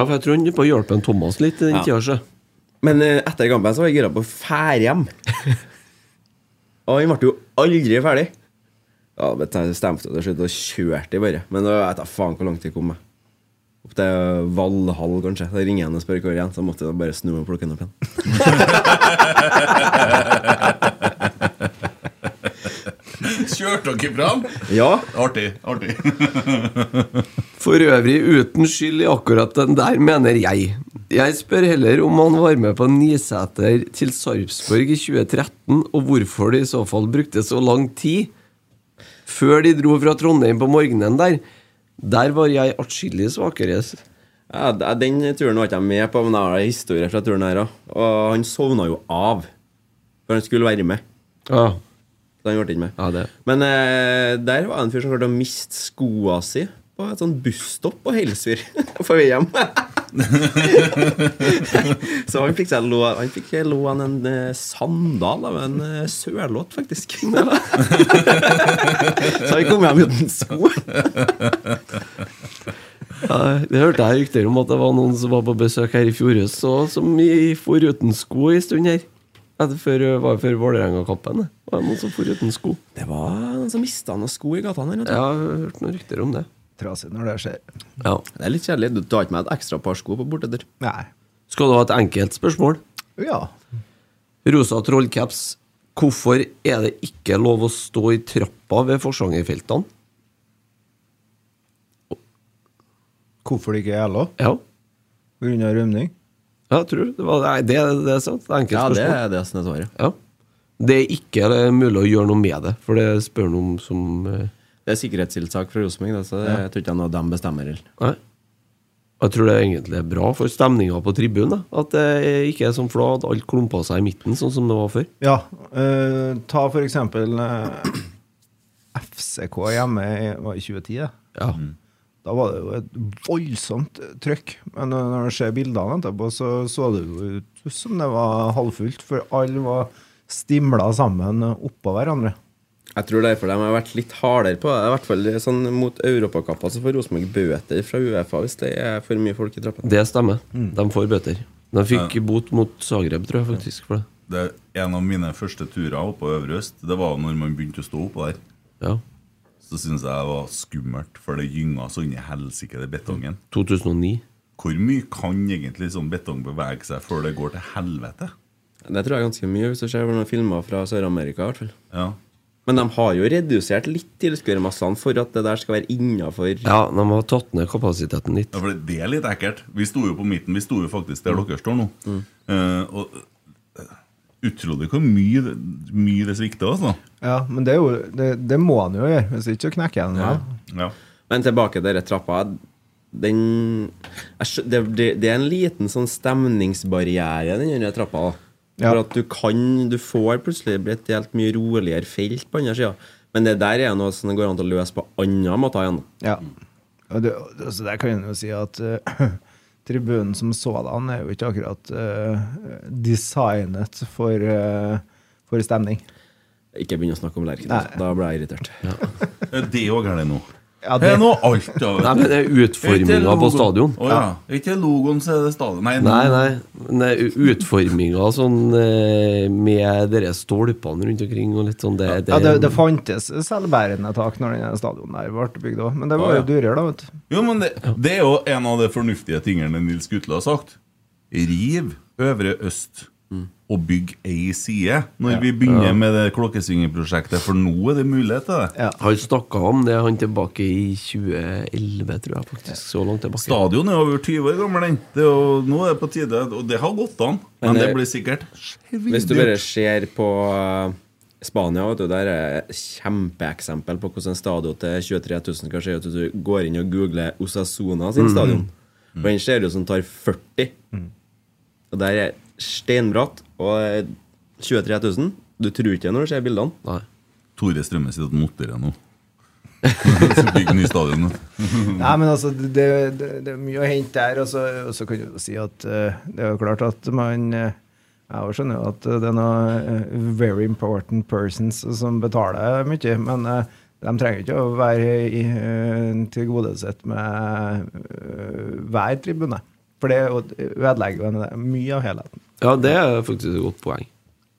Speaker 3: Ja, for jeg tror han på hjelpen Thomas litt den
Speaker 5: Ja.
Speaker 3: tida. sjø.
Speaker 5: Men eh, etter kampen så var jeg gira på å fære hjem. og han ble jo aldri ferdig. Ja, men jeg stemte til slutt og kjørte jeg bare. Men jeg vet da faen hvor langt jeg kom. meg. Opp til Valhall, kanskje. Da ringer han og spør hvor jeg er, så måtte jeg bare snu meg og plukke den opp igjen.
Speaker 2: Kjørte dere fram?
Speaker 5: Ja,
Speaker 2: Artig. artig
Speaker 3: For øvrig uten skyld i akkurat den der, mener jeg. Jeg spør heller om han var med på Nisæter til Sarpsborg i 2013, og hvorfor det i så fall brukte så lang tid før de dro fra Trondheim på morgenen der. Der var jeg atskillig svakere.
Speaker 5: Ja, d- den turen var ikke jeg med på, men jeg har en historie fra turen her òg. Og han sovna jo av. For han skulle være med.
Speaker 3: Ja,
Speaker 5: Så han ble ikke med.
Speaker 3: ja det
Speaker 5: Men eh, der var det en fyr som klarte å miste skoa si på et sånn busstopp på Helsfyr på vei hjem. så han fikk seg lå- han fikk låne en eh, sandal av en eh, sørlåt, faktisk. så han kom hjem uten sko.
Speaker 3: Ja, det hørte jeg rykter om at det var noen som var på besøk her i fjor høst, så- som i- for uten sko en stund her. Ja, det før, var jo før Vålerenga-kampen. det. Var det noen som for uten sko?
Speaker 5: Det var noen som mista noen sko i gatene her. vet du.
Speaker 3: Ja, jeg har hørt noen rykter om det.
Speaker 4: Trasig når det skjer.
Speaker 3: Ja.
Speaker 5: Det er litt kjedelig. Du tar ikke med et ekstra par sko på bortetur.
Speaker 4: Nei.
Speaker 3: Skal du ha et enkelt spørsmål?
Speaker 4: Ja.
Speaker 3: Rosa trollcaps, hvorfor er det ikke lov å stå i trappa ved Forsangerfeltene?
Speaker 4: Hvorfor det ikke er LO?
Speaker 3: Ja,
Speaker 4: Pga. rømning?
Speaker 3: ja, jeg tror det. Var, nei, det, det er sant. Det er enkelt
Speaker 5: Ja, det
Speaker 3: spørsmål.
Speaker 5: er det som er svaret.
Speaker 3: Ja. Det er ikke eh, mulig å gjøre noe med det, for det spør noen som eh,
Speaker 5: Det er sikkerhetstiltak fra Rosenborg, da, så det- jeg tror ikke det er noe de bestemmer. eller.
Speaker 3: Nei. Jeg tror det egentlig er bra for stemninga på tribunen. da. At det ikke er sånn flat, alt klumpa seg i midten, sånn som det var før.
Speaker 4: Ja. eh, ta for eksempel eh, FCK hjemme i var det 2010. det?
Speaker 3: Ja.
Speaker 4: Da var det jo et voldsomt trøkk. Men eh, når du ser bildene etterpå, så så det jo ut som det var halvfullt. For alle var stimla sammen oppå hverandre.
Speaker 5: Jeg tror derfor de har vært litt hardere på det. I hvert fall sånn mot europacuper så får Rosenborg bøter fra Uefa hvis det er for mye folk i trappene.
Speaker 3: Det stemmer. De får bøter. De fikk bot mot Zagreb, tror jeg faktisk. for det.
Speaker 2: Det er en av mine første turer oppe på Øvre Øst. Det var jo når man begynte å stå oppå der.
Speaker 3: Ja.
Speaker 2: Så syntes jeg det var skummelt, for det gynga så inn i helsike det betongen.
Speaker 3: 2009.
Speaker 2: Hvor mye kan egentlig sånn betong bevege seg før det går til helvete?
Speaker 5: Det tror jeg er ganske mye, hvis du ser hvordan de filmer fra Sør-Amerika. i hvert fall.
Speaker 2: Ja.
Speaker 5: Men de har jo redusert litt tilskuermassene for at det der skal være innafor.
Speaker 3: Ja, de har tatt ned kapasiteten litt.
Speaker 2: Ja, for det- Det er litt ekkelt. Vi sto jo på midten. Vi sto jo faktisk der dere står nå.
Speaker 3: Mm.
Speaker 2: Eh, og eh, utrolig hvor mye, det- mye det svikter, altså.
Speaker 4: Ja, men det, er jo, det, det må han jo gjøre, hvis ikke så knekker han. Ja.
Speaker 2: Ja.
Speaker 5: Men tilbake til den trappa. Den, jeg skjø- det, det, det er en liten sånn stemningsbarriere, den andre trappa. da.
Speaker 4: Ja.
Speaker 5: For at du kan Du får plutselig bli et helt mye roligere felt på andre sida. Men det der er noe som det går an til å løse på andre måter igjen.
Speaker 4: Ja. Og det, altså der kan jeg jo si at eh, tribunen som sådan er jo ikke akkurat eh, designet for, eh, for stemning.
Speaker 5: Ikke begynn å snakke om Lerken.
Speaker 4: Nei.
Speaker 5: altså. Da blir jeg irritert.
Speaker 2: Eh, Det òg er det nå.
Speaker 4: Ja,
Speaker 2: det
Speaker 4: det-
Speaker 2: er nå alt, da. vet
Speaker 3: Nei,
Speaker 2: du.
Speaker 3: men det er
Speaker 2: Ikke
Speaker 3: utforminga på
Speaker 2: logoen.
Speaker 3: stadion.
Speaker 2: Å ja. Ikke logoen, så er det stadion. Nei,
Speaker 3: Nei, nei. Men det er Utforminga sånn eh, med de stolpene rundt omkring og litt sånn, det, det,
Speaker 4: Ja, det, det fantes selvbærende tak når den stadion der ble bygd òg, men det var
Speaker 2: Å, ja.
Speaker 4: jo dyrere, da. vet du.
Speaker 2: Jo, men det, det er jo en av de fornuftige tingene Nils Gutle har sagt. Riv Øvre Øst
Speaker 5: Mm.
Speaker 2: og bygg ei side. Når vi begynner med det klokkesvingerprosjektet, for nå er det mulighet til det.
Speaker 3: Han snakka om det, han tilbake i 2011, tror jeg faktisk. Så langt tilbake.
Speaker 2: Stadion er over 20 år gammel, den. Det er jo, nå er det på tide, og det har gått an. Men,
Speaker 5: Men
Speaker 2: det
Speaker 5: det-
Speaker 2: blir sikkert
Speaker 5: Hvis du bare
Speaker 2: svindyrt.
Speaker 5: ser på eh, Spania, vet du, der er et kjempeeksempel på hvordan en stadion til 23 000 kan se ut. Hvis Du går inn og googler Osasuna
Speaker 3: Mm.
Speaker 5: sin stadion, og den ser ut som tar 40. Og der er steinbratt og eh, 23 000. Du tror ikke det når du ser bildene.
Speaker 3: Nei.
Speaker 2: Tore Strømme sitter og noterer nå. Så bygg ny stadion.
Speaker 4: Nei, men altså, det, det, det er mye å hente der. Og så, og så kan du jo si at eh, det er jo klart at man eh, Jeg skjønner jo at det er noen eh, very important persons som betaler mye, men eh, de trenger ikke å være i, eh, tilgodesett med eh, hver tribune. For det er jo- ødelegger jo en- mye av helheten.
Speaker 3: Ja, det er faktisk et godt poeng.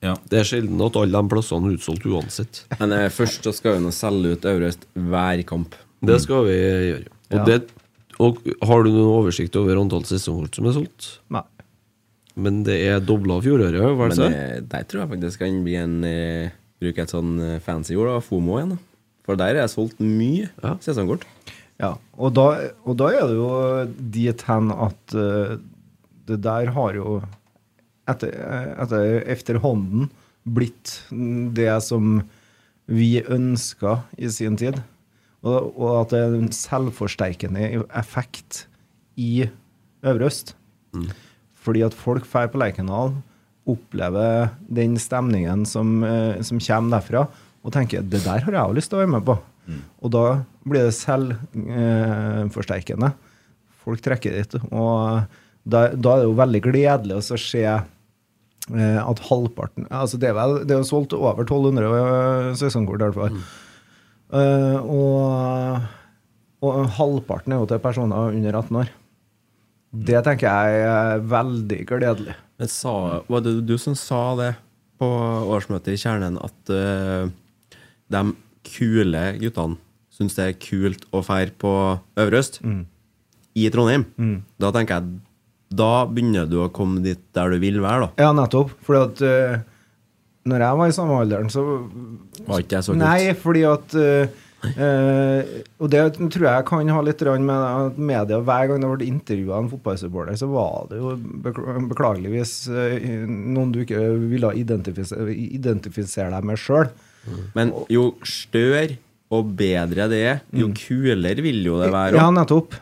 Speaker 2: Ja.
Speaker 3: Det er sjelden at alle de plassene er utsolgt uansett.
Speaker 5: Men eh, først så skal vi nå selge ut Euroest hver kamp.
Speaker 3: Det skal vi gjøre. Og,
Speaker 4: Ja.
Speaker 3: det, og har du noen oversikt over antall sesongkort som er solgt?
Speaker 4: Nei.
Speaker 3: Men det er dobla fjoråret, hva er
Speaker 5: Men
Speaker 3: det?
Speaker 5: eh, der tror jeg faktisk kan bli en eh, Bruke et sånn eh, fancy ord, da, FOMO igjen. da. For der er det solgt mye
Speaker 3: Ja.
Speaker 5: sesongkort.
Speaker 4: Ja, og da, og da er det jo dit hen at eh, det der har jo etter, eh, etter, efterhånden blitt det som vi ønska i sin tid. Og, og at det er en selvforsterkende effekt i Øvre Øst. Fordi at folk drar på Lerkendal, opplever den stemningen som, eh, som kommer derfra, og tenker 'det der har jeg også lyst til å være med på'. Og da blir det selvforsterkende. Eh, forsterkende. Folk trekker dit. Og da, da er det jo veldig gledelig å så se eh, at halvparten altså Det er vel, det er jo solgt over 1200 sesongkort, i hvert fall. Eh, og, og halvparten er jo til personer under 18 år. Det tenker jeg er veldig gledelig.
Speaker 5: Men sa, var det du som sa det på årsmøtet i Kjernen, at eh, de kule guttene syns det er kult å feire på Øvre Øst
Speaker 4: Mm.
Speaker 5: i Trondheim? Da tenker jeg da begynner du å komme dit der du vil være, da.
Speaker 4: Ja, nettopp. Fordi at eh, når jeg var i samme alderen, så
Speaker 5: Var ikke jeg så kult?
Speaker 4: Nei, fordi at eh, eh, Og det tror jeg kan ha litt grann med at media Hver gang det ble intervjua en fotballsupporter, så var det jo bekl- beklageligvis eh, noen du ikke ville identifisere, identifisere deg med sjøl.
Speaker 5: Men jo større og bedre det er, jo kulere vil jo det være.
Speaker 4: Mm. Ja,
Speaker 5: også.
Speaker 4: nettopp.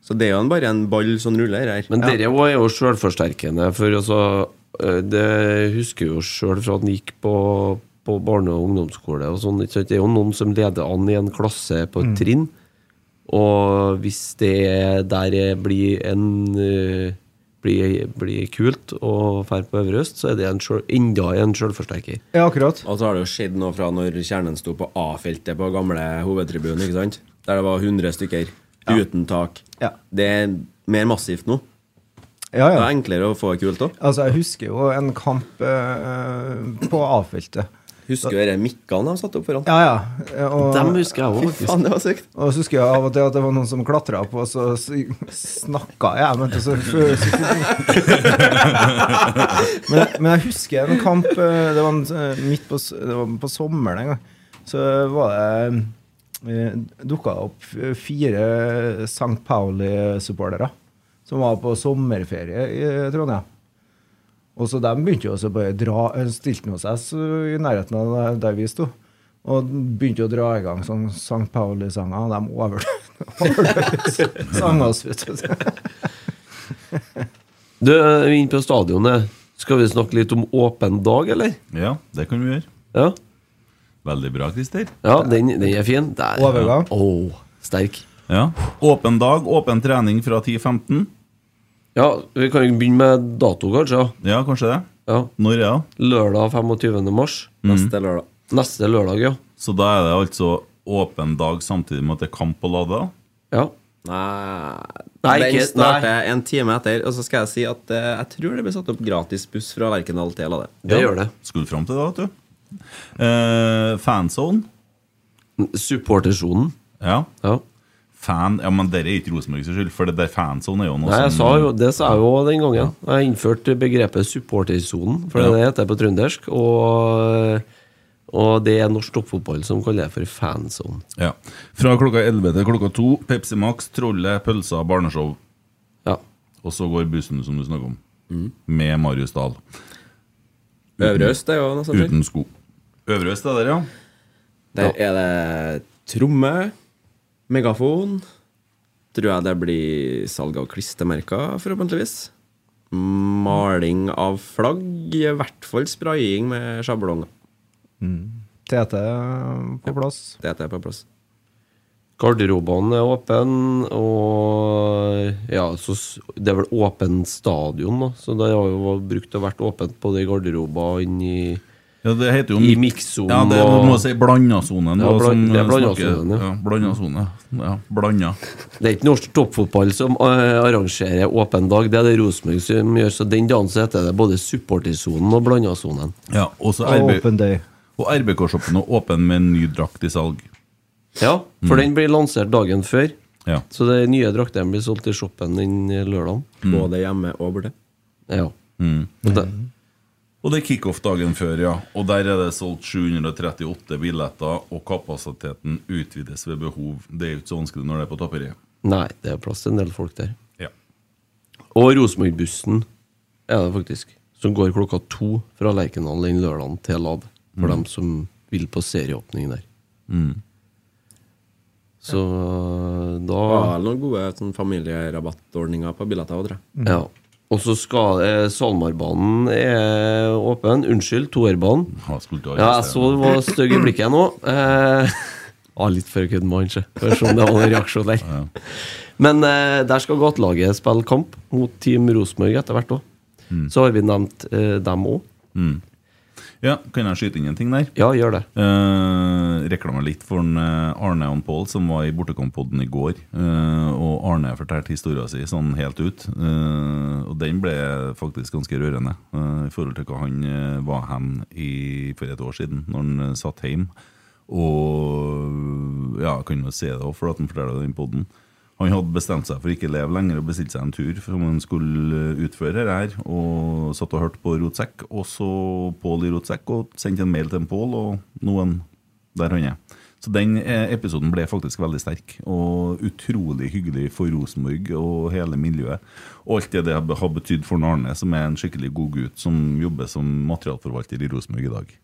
Speaker 5: Så det er jo en- bare en ball som ruller her.
Speaker 3: Men dette også er jo sjølforsterkende, for altså eh, Det husker jeg jo sjøl fra at han gikk på, på barne- og ungdomsskole og sånn. ikke sant? Det er jo noen som leder an i en klasse på et trinn, og hvis det der er- blir en eh, blir, blir kult og drar på Øvre Øst, så er det en sjøl- enda en sjølforsterker.
Speaker 4: Ja, akkurat.
Speaker 5: Og så har det jo skjedd noe fra når kjernen sto på A-feltet på gamle hovedtribunen, ikke sant? Der det var 100 stykker uten tak.
Speaker 4: Ja.
Speaker 5: Det er mer massivt nå.
Speaker 4: Ja,
Speaker 5: Det
Speaker 4: ja.
Speaker 5: er enklere å få det kult òg.
Speaker 4: Altså, jeg husker jo en kamp eh, på A-feltet.
Speaker 5: Husker du de mikkene de satte opp foran?
Speaker 4: Ja, ja. Og,
Speaker 3: Dem husker jeg òg, faktisk.
Speaker 5: Faen, det var sykt.
Speaker 4: Og så husker jeg av og til at det var noen som klatra opp, og så snakka jeg. Men, så, men, men jeg husker en kamp eh, Det var en, eh, midt på, s- det var på sommeren en gang. Så var det eh, dukka det opp fire St. Pauli-supportere som var på sommerferie i Trondheim. Og så de begynte jo også bare å dra, eh, stilte nå seg så i nærheten av der- der vi sto. Og begynte å dra i gang sånn St. Pauli-sanger, og de overdøvde sanger oss, vet du.
Speaker 3: Du, vi er inne på stadionet. Skal vi snakke litt om åpen dag, eller?
Speaker 2: Ja, det kan vi gjøre.
Speaker 3: Ja,
Speaker 2: Veldig bra, Christer.
Speaker 3: ja den, den er fin. Der.
Speaker 4: Overgang.
Speaker 3: Åh, sterk.
Speaker 2: Ja. Åpen dag, åpen trening fra 10-15.
Speaker 3: Ja, vi kan jo begynne med dato, kanskje. ja.
Speaker 2: Ja, kanskje det.
Speaker 3: Ja.
Speaker 2: Når er det?
Speaker 3: Lørdag 25. mars.
Speaker 5: Neste lørdag.
Speaker 3: Neste lørdag, ja.
Speaker 2: Så da er det altså åpen dag samtidig med at det er kamp på Lada.
Speaker 3: ja.
Speaker 5: Nei,
Speaker 3: Nei,
Speaker 5: Den
Speaker 3: ikke-
Speaker 5: starter
Speaker 3: nei.
Speaker 5: en time etter, og så skal jeg si at eh, jeg tror det blir satt opp gratis buss fra Lerkendal til Lade.
Speaker 3: Det gjør det.
Speaker 2: Skulle fram til det, vet du. Eh, fanzone.
Speaker 3: Supportersonen.
Speaker 2: Ja.
Speaker 3: Ja.
Speaker 2: Fan, ja, men dere er ikke Rosenborg sin skyld, for det der fanzone er jo noe
Speaker 3: Nei, jeg
Speaker 2: som
Speaker 3: sa jo, det sa jeg jo den gangen. Jeg innførte begrepet supportersonen, for
Speaker 2: Ja.
Speaker 3: det heter det på trøndersk. Og, og det er norsk toppfotball som kaller det for fanzone.
Speaker 2: Ja. Fra klokka 11 til klokka 2, Pepsi Max, trollet, pølser, barneshow.
Speaker 3: Ja.
Speaker 2: Og så går bussen, som du snakker om,
Speaker 3: Mm.
Speaker 2: med Marius Dahl.
Speaker 5: Øvre Øst er jo
Speaker 3: altså,
Speaker 5: noe sånt.
Speaker 2: Uten sko. Øvre øst er der, ja.
Speaker 5: Der er det tromme, megafon Tror jeg det blir salg av klistremerker, forhåpentligvis. Maling av flagg, i hvert fall spraying med sjablonger.
Speaker 4: Tete eh, på plass.
Speaker 5: Det er på plass.
Speaker 3: Garderobene er åpen, og ja, så s- det er vel åpen stadion, da. Så det har jo brukt å vært åpent både i garderober og inn i
Speaker 2: Ja, det heter jo
Speaker 3: I mikssonen
Speaker 2: Ja, det
Speaker 3: og-
Speaker 2: må jeg si blandasonen.
Speaker 3: Ja,
Speaker 2: da,
Speaker 3: blan-
Speaker 2: som
Speaker 3: det er
Speaker 2: snakker-
Speaker 3: blandasonen, ja. Mm.
Speaker 2: ja. Blanda sone. Ja, blanda.
Speaker 3: Det er ikke norsk toppfotball som eh, arrangerer åpen dag, det er det Rosenborg som gjør. Så den dagen så heter det både supportersonen og blandasonen.
Speaker 2: Ja, og så
Speaker 4: Og
Speaker 2: RB
Speaker 4: Open Day.
Speaker 2: og RBK-shoppen er åpen med en ny drakt i salg.
Speaker 3: Ja, for den blir lansert dagen før.
Speaker 2: Ja.
Speaker 3: Så de nye draktene blir solgt i shoppen den lørdagen.
Speaker 5: Både hjemme og borte.
Speaker 3: Ja. Og det,
Speaker 2: Og det er kickoff dagen før, ja. Og der er det solgt 738 billetter, og kapasiteten utvides ved behov. Det er jo ikke så vanskelig når det er på tapperiet.
Speaker 3: nei, det er plass til en del folk der.
Speaker 2: Ja.
Speaker 3: Og Rosenborg-bussen er det faktisk, som går klokka to fra Lerkendal den lørdagen til Lab. For dem som vil på serieåpning der. Så da
Speaker 5: Det var vel noen gode sånn, familierabattordninger på billetter òg, tror jeg.
Speaker 3: Ja. Og så skal eh, SalMar-banen er åpen. Unnskyld, toerbanen.
Speaker 2: Ja, skulle ta
Speaker 3: Ja, jeg
Speaker 2: resten.
Speaker 3: så det var stygg i blikket nå. Eh, ah, litt for å kødde med han, se. For å se om det var en reaksjon der. Men eh, der skal gatelaget spille kamp mot Team Rosenborg etter hvert òg. Så har vi nevnt eh, dem òg.
Speaker 2: Mm. Ja, kan jeg skyte inn en ting der?
Speaker 3: Ja, gjør det.
Speaker 2: Eh, reklame litt for en, eh, Arne og Pål som var i Bortekompodden i går. eh, og Arne fortalte historien sin sånn helt ut. eh, og den ble faktisk ganske rørende eh, i forhold til hva han eh, var hen i, for et år siden, når han eh, satt hjemme. Og ja, jeg kan jo se det òg, for at han forteller den podden. Han hadde bestemt seg for ikke å leve lenger og bestilte seg en tur som han skulle eh, utføre her. Og satt og hørte på Rotsekk, og så Pål i Rotsekk, og sendte en mail til en Pål, og noen der han er. Så den eh, episoden ble faktisk veldig sterk, og utrolig hyggelig for Rosenborg og hele miljøet. Og alt det det har betydd for Arne, som er en skikkelig god gutt som jobber som materialforvalter i Rosenborg i dag.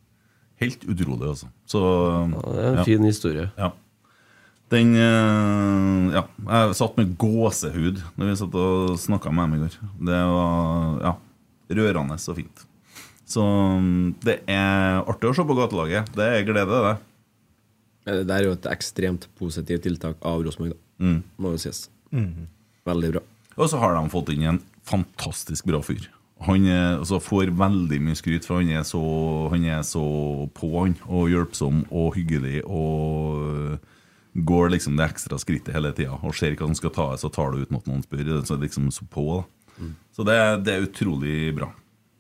Speaker 2: Helt utrolig, altså. Så
Speaker 3: Ja, det er en fin historie.
Speaker 2: ja. Den eh, Ja. Jeg satt med gåsehud Når vi satt og snakka med dem i går. Det var ja, rørende og fint. Så mm, det er artig å se på gatelaget. Det er glede, det.
Speaker 5: Men Det der er jo et ekstremt positivt tiltak av Rosenborg, da. Må jo sies. Veldig bra.
Speaker 2: Og så har de fått inn en fantastisk bra fyr. Han er, altså får veldig mye skryt, for han er så, han er så på, han. Og hjelpsom og hyggelig. Og går liksom det ekstra skrittet hele tida. Og ser hva han skal ta, så tar det uten at noen spør. Så er det liksom så på. Da. Så det, er- det er utrolig bra.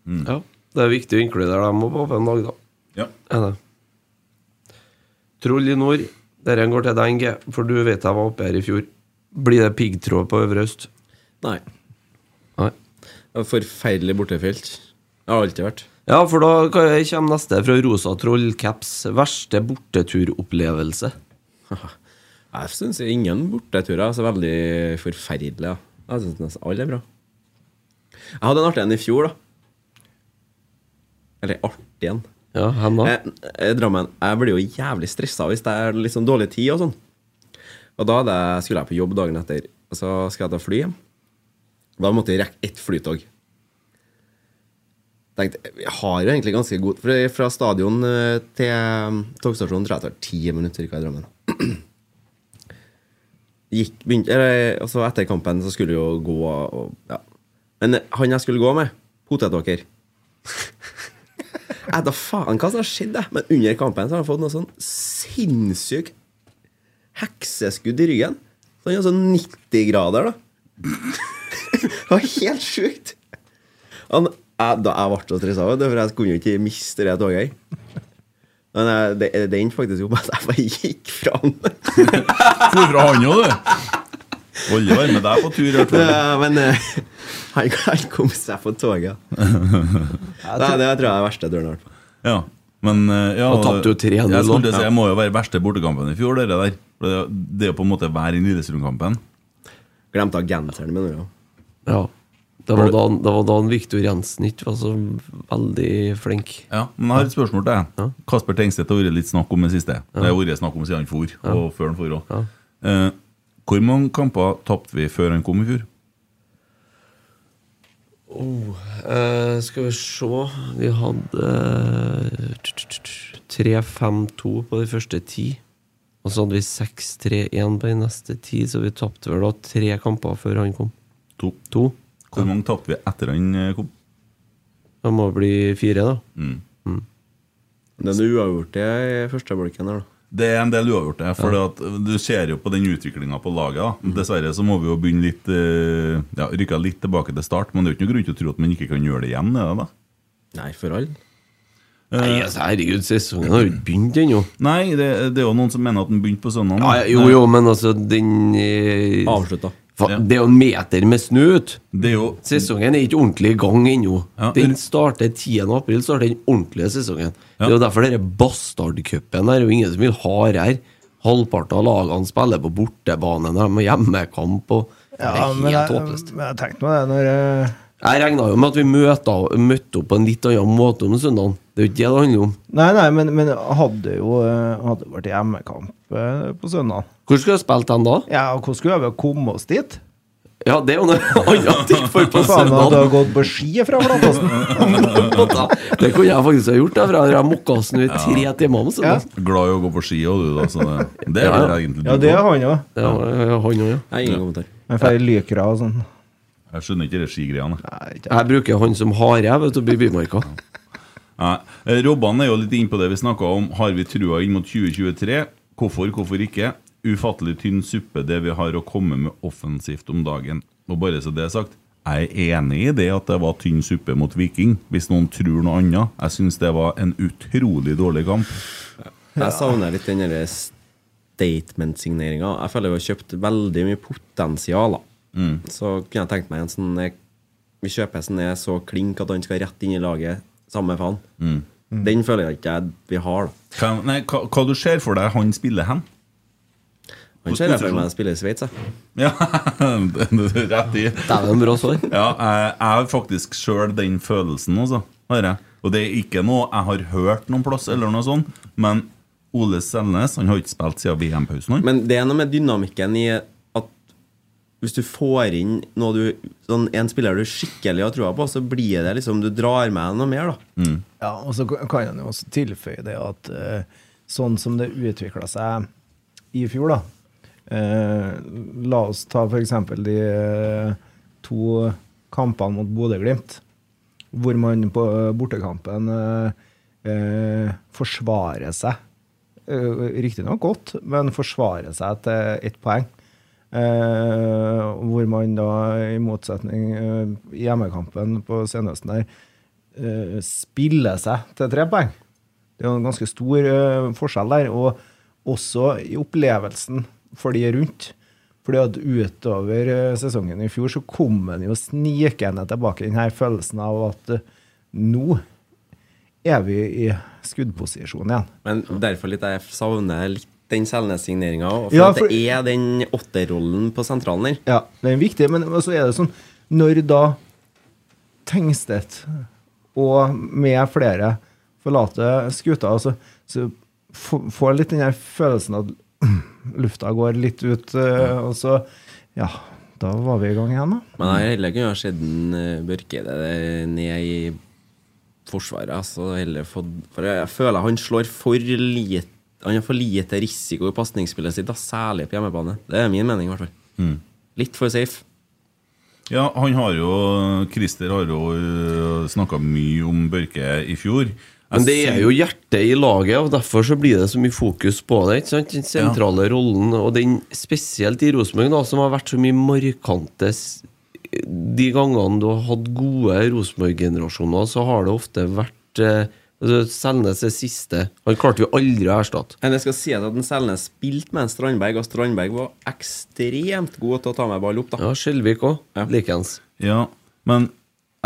Speaker 3: Ja, Det er viktig å inkludere dem òg på en dag, da.
Speaker 2: Ja.
Speaker 3: Er det. Troll i nord. Dette går til deg, Inge, for du vet jeg var oppe her i fjor. Blir det piggtråd på Øvre Øst?
Speaker 5: Nei.
Speaker 3: Nei.
Speaker 5: Det var Forferdelig bortefelt. Det har alltid vært.
Speaker 3: Ja, for da kan- kommer neste fra Rosa Troll Caps verste borteturopplevelse.
Speaker 5: Jeg syns ingen borteturer er så veldig forferdelige. da. Jeg syns nesten alle er bra. Jeg hadde en artig en i fjor, da. Eller artig en.
Speaker 3: Ja, hen da?
Speaker 5: Jeg, jeg, Eh, Drammen, jeg blir jo jævlig stressa hvis det er litt sånn dårlig tid og sånn. Og da hadde jeg, skulle jeg på jobb dagen etter, og så skal jeg ta fly hjem. Da måtte jeg rekke ett flytog. Tenkte, jeg har jo egentlig ganske god For det er fra stadion eh, til eh, togstasjonen tror jeg det tar ti minutter hva i Drammen. Gikk, begynte, eller, eh, og så etter kampen så skulle jeg jo gå og, ja. Men eh, han jeg skulle gå med, potetåker jeg vet da faen hva som har skjedd, jeg. men under kampen så har han fått noe sånn sinnssykt hekseskudd i ryggen. Så han er sånn 90 grader, da. det var helt sjukt. Han, jeg, da jeg ble så stressa, vet du, for jeg kunne jo ikke miste det toget. her. Men jeg, det, eh, det endte faktisk opp med at jeg bare gikk fra han.
Speaker 2: For fra han òg, du! Olje var med deg på tur, i hvert fall.
Speaker 5: Ja, men eh, han, han kom seg på toget. Nei, det tror jeg er verste døren jeg har vært på.
Speaker 2: Ja. Men eh, ja,
Speaker 3: Og tapte jo 3-0
Speaker 2: Jeg skulle til å
Speaker 3: da.
Speaker 2: si, jeg må jo være verste bortekampen i fjor, det der. For det- Det er jo på en måte hver i Lillestrøm-kampen.
Speaker 5: Glemte å ha genseren min. Ja.
Speaker 3: Ja. Det var da, det var da han Viktor Jensen ikke var så veldig flink.
Speaker 2: Ja, men jeg har et spørsmål til deg. Kasper Tengstedt har vært litt snakk om det siste. Det har vært snakk om siden han for, og før han for òg. Eh, hvor mange kamper tapte vi før han kom i fjor?
Speaker 3: Eh, skal vi se Vi hadde eh, t- t- t- 3-5-2 på de første ti. Og så hadde vi 6-3-1 på de neste ti, så vi tapte vel da tre kamper før han kom.
Speaker 2: To.
Speaker 3: To.
Speaker 2: Hvor mange tapte vi etter han eh, kom?
Speaker 3: Det må bli fire, da.
Speaker 5: Det er noe uavgjort i første bolken her, da.
Speaker 2: Det er en del uavgjort, det. For at du ser jo på den utviklinga på laget.
Speaker 3: Mhm.
Speaker 2: da Dessverre så må vi jo begynne litt eh, Ja, rykke litt tilbake til start, men det er jo ikke noen grunn til å tro at man ikke kan gjøre det igjen. Er det da?
Speaker 5: Nei, for all
Speaker 3: Nei, altså, herregud, sesongen har jo ikke begynt ennå.
Speaker 2: Nei, det, det er jo noen som mener at den begynte på søndag.
Speaker 3: Ja, ja, jo, jo, men altså, den eh,
Speaker 5: Avslutta.
Speaker 3: fa- Det er jo en meter med snø ute.
Speaker 2: Det er jo
Speaker 3: Sesongen er ikke ordentlig i gang ennå.
Speaker 2: Ja.
Speaker 3: Den starter 10. april, starter den ordentlige sesongen. Det er jo derfor denne bastardcupen er jo ingen som vil ha her. Halvparten av lagene spiller på bortebane når de har hjemmekamp. Og
Speaker 4: Ja, men
Speaker 3: helt
Speaker 4: jeg,
Speaker 3: håpløst.
Speaker 4: men jeg tenkte på det når jeg
Speaker 3: Jeg regna jo med at vi møta, møtte opp på en litt annen måte om søndagen. Det er jo ikke det det handler om.
Speaker 4: Nei, nei, men, men jeg hadde jo eh, hadde vært hjemmekamp eh, på søndag.
Speaker 3: Hvor skulle jeg spilt den da?
Speaker 4: Ja, og hvordan skulle vi ha kommet oss dit?
Speaker 3: Ja, det er jo noe annet ting for på
Speaker 4: Faen, jeg hadde
Speaker 3: søndag.
Speaker 4: jeg gått på ski fra Flatåsen!
Speaker 3: Det kunne jeg faktisk ha gjort, da, for jeg har mokkasen i tre timer om søndag.
Speaker 2: Glad i å gå på ski òg, du, da. Så det, det
Speaker 3: Ja,
Speaker 2: er
Speaker 3: ja.
Speaker 2: vel egentlig du
Speaker 4: Ja, det er
Speaker 2: også.
Speaker 4: han òg.
Speaker 3: Ja, han også, eh, ja.
Speaker 5: Nei, ingen kommentar.
Speaker 4: Med feil lykra og sånn.
Speaker 2: Jeg skjønner ikke de skigreiene. jeg.
Speaker 3: Jeg bruker han som hare, jeg, vet du, i Bymarka.
Speaker 2: Nei. Eh, Robban er jo litt inne på det vi snakka om. Har vi trua inn mot 2023? Hvorfor, hvorfor ikke? Ufattelig tynn suppe, det vi har å komme med offensivt om dagen. Og bare så det er sagt, jeg er enig i det at det var tynn suppe mot Viking, hvis noen tror noe annet. Jeg syns det var en utrolig dårlig kamp.
Speaker 5: Jeg savner litt den derre statement-signeringa. Jeg føler vi har kjøpt veldig mye potensial. da. Så kunne jeg tenkt meg en sånn eh, Vi kjøper en som er så klink at han skal rett inn i laget. Samme faen. Den føler jeg ikke jeg- vi har. da.
Speaker 2: Hva, nei, hva, hva du ser for deg han spiller hen?
Speaker 5: Han ser jeg for meg spiller i Sveits. jeg.
Speaker 2: Ja, det er rett i.
Speaker 3: Dæven bra svar.
Speaker 2: Ja, jeg, jeg har faktisk sjøl den følelsen, altså. Har jeg. Og det er ikke noe jeg har hørt noen plass, eller noe sånt. Men Ole Selnes han har ikke spilt siden VM-pausen. han.
Speaker 5: Men det er noe med dynamikken i at hvis du får inn noe du, sånn, en spiller du skikkelig har trua på, så blir det liksom Du drar med noe mer, da.
Speaker 4: Ja, og så kan han jo også tilføye det at eh, sånn som det utvikla seg i fjor, da eh, La oss ta f.eks. de eh, to kampene mot Bodø-Glimt, hvor man på eh, bortekampen eh, eh, forsvarer seg. Uh, Riktignok godt, men forsvarer seg til ett poeng. Eh, hvor man da, i motsetning eh, i hjemmekampen på senhøsten der, eh, spiller seg til tre poeng. Det er jo en ganske stor eh, forskjell der, og også i opplevelsen for de rundt. Fordi at utover eh, sesongen i fjor så kom man jo snikende tilbake i denne følelsen av at eh, nå er vi i skuddposisjon igjen.
Speaker 5: Men derfor litt jeg savner litt den Selnes-signeringa. For,
Speaker 4: Ja,
Speaker 5: at
Speaker 4: for-
Speaker 5: det er den åtterrollen på sentralen der.
Speaker 4: Ja, det er viktig, men så er det sånn Når da Tengstedt og med flere forlater skuta, altså, så f- får jeg litt den der følelsen at lufta går litt ut, eh, og så Ja, da var vi i gang igjen, da.
Speaker 5: Men jeg heller kunne ha sett den, eh, Børke det der ned i forsvaret. Altså, heller fått, for jeg føler han slår for lite Han har for lite risiko i pasningsspillet sitt, da, særlig på hjemmebane. Det er min mening, i hvert fall.
Speaker 4: Mm.
Speaker 5: Litt for safe.
Speaker 2: Ja, han har jo, Christer har jo snakka mye om Børke i fjor.
Speaker 3: Men det er jo hjertet i laget, og derfor så blir det så mye fokus på det. ikke sant? Den sentrale rollen, og den spesielt i Rosenborg, da, som har vært så mye markante s- De gangene du har hatt gode Rosenborg-generasjoner, så har det ofte vært eh, altså, Selnes er siste. Han klarte vi aldri å erstatte.
Speaker 5: Men det skal sies at den Selnes spilte med en Strandberg, og Strandberg var ekstremt god til å ta med ball opp. da
Speaker 3: Ja, Skjelvik òg.
Speaker 5: Ja.
Speaker 3: Likeens.
Speaker 2: Ja, men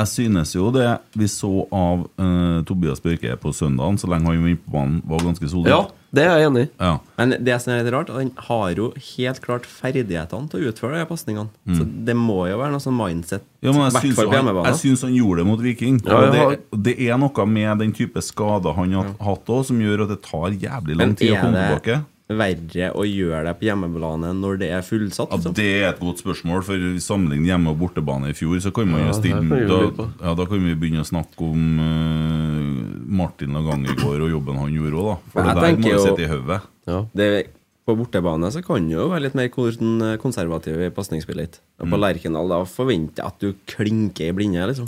Speaker 2: jeg synes jo det vi så av eh, Tobias Børke på søndagen, så lenge han var inne på banen, var ganske solid.
Speaker 3: Ja, det er jeg enig i.
Speaker 2: Ja.
Speaker 5: Men det som er litt rart, han har jo helt klart ferdighetene til å utføre de pasningene. Så det må jo være noe sånn mindset,
Speaker 2: Ja,
Speaker 5: i
Speaker 2: Mm. men jeg
Speaker 5: hvert
Speaker 2: syns,
Speaker 5: fall på
Speaker 2: han,
Speaker 5: hjemmebane.
Speaker 2: jeg syns han gjorde det mot Viking.
Speaker 3: Ja,
Speaker 2: og
Speaker 3: jeg
Speaker 2: det,
Speaker 3: har-
Speaker 2: det er noe med den type skader han har hatt òg, som gjør at det tar jævlig lang
Speaker 5: Men
Speaker 2: tid å komme
Speaker 5: er
Speaker 2: tilbake.
Speaker 5: det verre å gjøre det på hjemmebane når det er fullsatt?
Speaker 2: Ja,
Speaker 5: liksom?
Speaker 2: det er et godt spørsmål, for sammenlignet hjemme- og bortebane i fjor, så kan man
Speaker 3: Ja,
Speaker 2: jo stille
Speaker 3: det kan vi
Speaker 2: da,
Speaker 3: jo lure på.
Speaker 2: ja, da kan vi begynne å snakke om eh, Martin Lagangergaard og jobben han gjorde òg, da. For
Speaker 5: Men jeg
Speaker 2: det der må
Speaker 5: tenker
Speaker 2: jo
Speaker 5: jo-
Speaker 2: sitte i hodet.
Speaker 3: Ja.
Speaker 5: det, på bortebane så kan du jo være litt mer kon- konservativ i pasningsspillet ditt. Og
Speaker 2: Mm.
Speaker 5: På Lerkendal da forventer jeg at du klinker i blinde, liksom.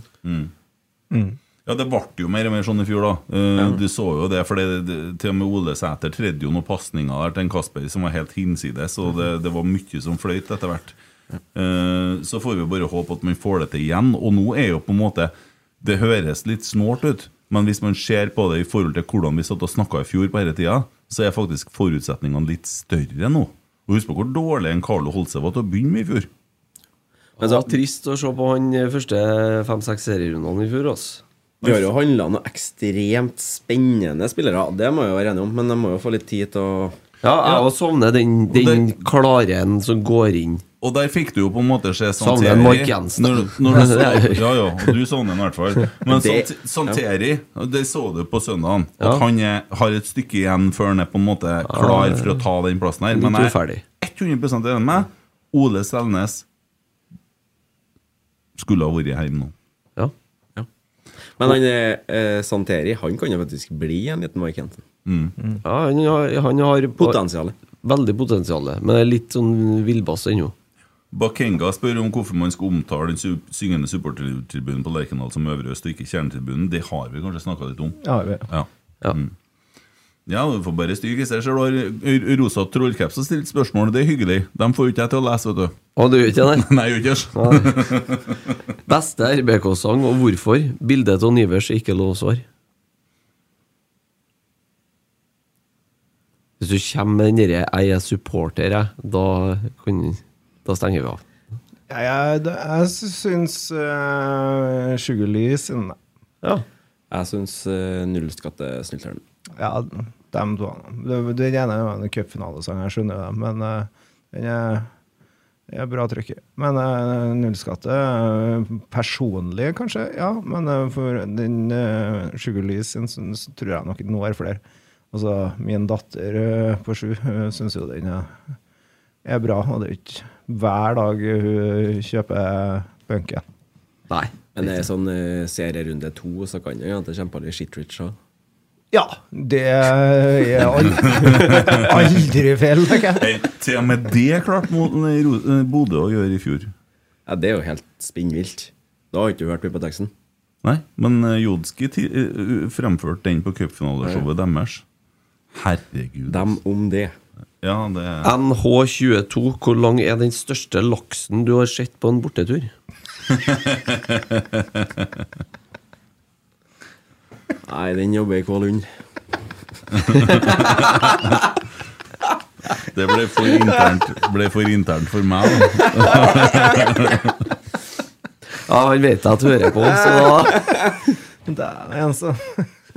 Speaker 2: Ja, det ble jo mer og mer sånn i fjor, da. Eh, Du så jo det, for det, det, til og med Ole Sæter tredde jo noen pasninger der til en Kasper som var helt hinsides, og det, det var mye som fløyt etter hvert. Eh, Så får vi bare håpe at man får det til igjen. Og nå er jo på en måte Det høres litt snålt ut, men hvis man ser på det i forhold til hvordan vi satt og snakka i fjor på denne tida, så er faktisk forutsetningene litt større nå. Og husk på hvor dårlig en Carlo Holse var til å begynne med i fjor.
Speaker 3: Men så, trist å se på han eh, første fem-seks serierundene i fjor. Altså.
Speaker 5: Vi har jo handla noen ekstremt spennende spillere, det må jeg jo være enig om, men de må jo få litt tid til å
Speaker 3: Ja, jeg òg savner den, den klare en som går inn.
Speaker 2: Og der fikk du jo på en måte se
Speaker 3: Savner
Speaker 2: Santeri.
Speaker 3: en Mark Jensen.
Speaker 2: Når, når du så, ja, ja, du savner ham i hvert fall. Men
Speaker 5: Det-
Speaker 2: Sant- Santeri, det så du på søndagen.
Speaker 3: Ja.
Speaker 2: At han er, har et stykke igjen før han er på en måte klar for å ta den plassen her. Men jeg er
Speaker 3: uferdig.
Speaker 2: 100 enig med meg. Ole Selnes skulle ha vært hjemme nå.
Speaker 3: Ja.
Speaker 5: Men han, eh, eh, Santeri han kan jo faktisk bli en liten Mark Jensen.
Speaker 2: Mm.
Speaker 3: Ja, han har, han har
Speaker 5: Potensialet.
Speaker 3: veldig potensial, men er litt sånn villbass ennå.
Speaker 2: Bakenga spør om hvorfor man skal omtale den su- syngende supportertribunen på Lerkendal som øverøst, og ikke kjernetribunen. Det har vi kanskje snakka litt om.
Speaker 4: Ja, vi-
Speaker 2: Ja.
Speaker 3: Ja.
Speaker 2: Mm. ja, du får bare styre selv. Du har r- rosa trollcaps og stilt spørsmål, og det er hyggelig. De får jo ikke jeg til å lese, vet du.
Speaker 3: Å, du gjør ikke det?
Speaker 2: Nei, jeg gjør ikke det.
Speaker 3: Beste RBK-sang og hvorfor? Bildet av Nivers er ikke lov å svare. Hvis du kommer med den derre 'jeg er supporter', jeg, da, kan, da stenger vi av.
Speaker 4: Ja, jeg jeg syns uh, Sjuguli sine
Speaker 3: Ja.
Speaker 5: Jeg syns uh, Nullskattesnylteren
Speaker 4: Ja, dem to. Det- Den ene er en cupfinalesang, jeg skjønner det, men eh, den er, den er bra trykk i. Men eh, nullskatte eh, personlig, kanskje, ja. Men eh, for den uh, Sjuguli sin syns, tror jeg nok når flere. Altså, min datter eh, på sju uh, syns jo den er, er bra, og det er jo ikke hver dag hun kjøper bunken.
Speaker 3: Nei.
Speaker 5: Men det er sånn eh, serierunde to, så kan det jo hende det kommer litt shitrich òg.
Speaker 4: Ja, det er aldri, aldri feil, tenker jeg.
Speaker 2: Nei, Til og med det klarte Mo- nei, Ro- eh, Bodø å gjøre i fjor.
Speaker 5: Ja, det er jo helt spinnvilt. Da har ikke du hørt mye på teksten.
Speaker 2: Nei, men eh, Jodski ti- eh, eh, fremførte den på cupfinaleshowet deres. Herregud.
Speaker 5: Dem om det.
Speaker 2: Ja, det er
Speaker 3: NH22, hvor lang er den største laksen du har sett på en bortetur?
Speaker 5: Nei, den jobber i Kvalund.
Speaker 2: Det ble for internt, ble for, internt for meg. da.
Speaker 3: Ja, han vet jeg at hører på, så da
Speaker 4: Dæven, en som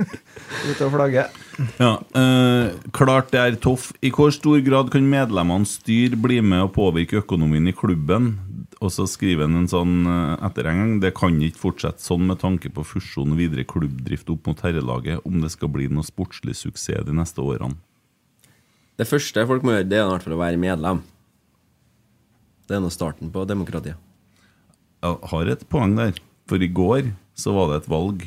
Speaker 4: ute og flagger.
Speaker 2: Ja, eh, klart det er toff. I hvor stor grad kan medlemmene styre, bli med og påvirke økonomien i klubben? Og så skriver han en sånn eh, etterhenging. Det kan ikke fortsette sånn med tanke på fusjon og videre klubbdrift opp mot herrelaget, om det skal bli noe sportslig suksess de neste årene.
Speaker 5: Det første folk må gjøre, det er i hvert fall å være medlem. Det er nå starten på demokratiet.
Speaker 2: Jeg har et poeng der. For i går så var det et valg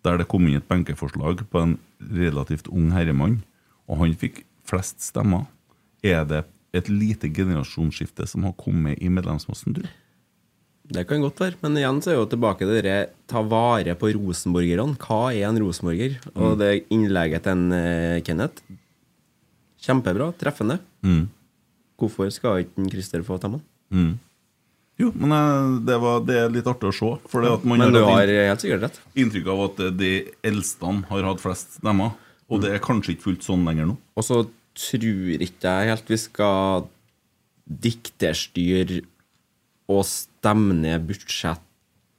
Speaker 2: der det kom inn et benkeforslag på en relativt ung herremann, og han fikk flest stemmer. Er det et lite generasjonsskifte som har kommet i medlemsmassen, du?
Speaker 5: Det kan godt være, men igjen så er jo tilbake til det der, ta vare på rosenborgerne. Hva er en rosenborger? Og det innlegget til en, eh, Kenneth Kjempebra, treffende. Hvorfor skal ikke en Christer få temmen?
Speaker 2: Jo, men eh, det, var, det er litt artig å se. For det at man
Speaker 5: Men du
Speaker 2: har
Speaker 5: har
Speaker 2: et
Speaker 5: helt sikkert rett.
Speaker 2: inn- inntrykk av at eh, de eldste har hatt flest stemmer. Og det er kanskje ikke fullt sånn lenger nå.
Speaker 5: Og så tror ikke jeg helt vi skal dikterstyre og stemme ned budsjett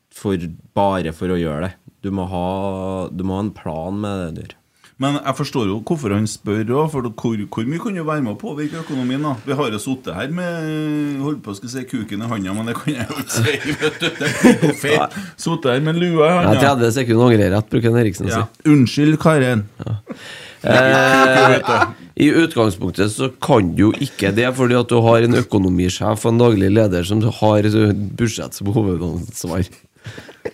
Speaker 5: for, bare for å gjøre det. Du må ha, du må ha en plan med det du gjør.
Speaker 2: Men jeg forstår jo hvorfor han spør òg, for hvor, hvor mye kan du være med å påvirke økonomien? da? Vi har jo sittet her med holdt på å skulle si kuken i handa, men det kan jeg jo ikke si. vet du. Det er jo feil. Sittet her med lua i
Speaker 3: Jeg er
Speaker 2: handa.
Speaker 3: 30 sekunder angrer rett, bruker han Eriksen altså. å si. Eh,
Speaker 2: Ja. Unnskyld, Karen.
Speaker 3: I utgangspunktet så kan du jo ikke det, fordi at du har en økonomisjef og en daglig leder som har budsjett som hovedansvar.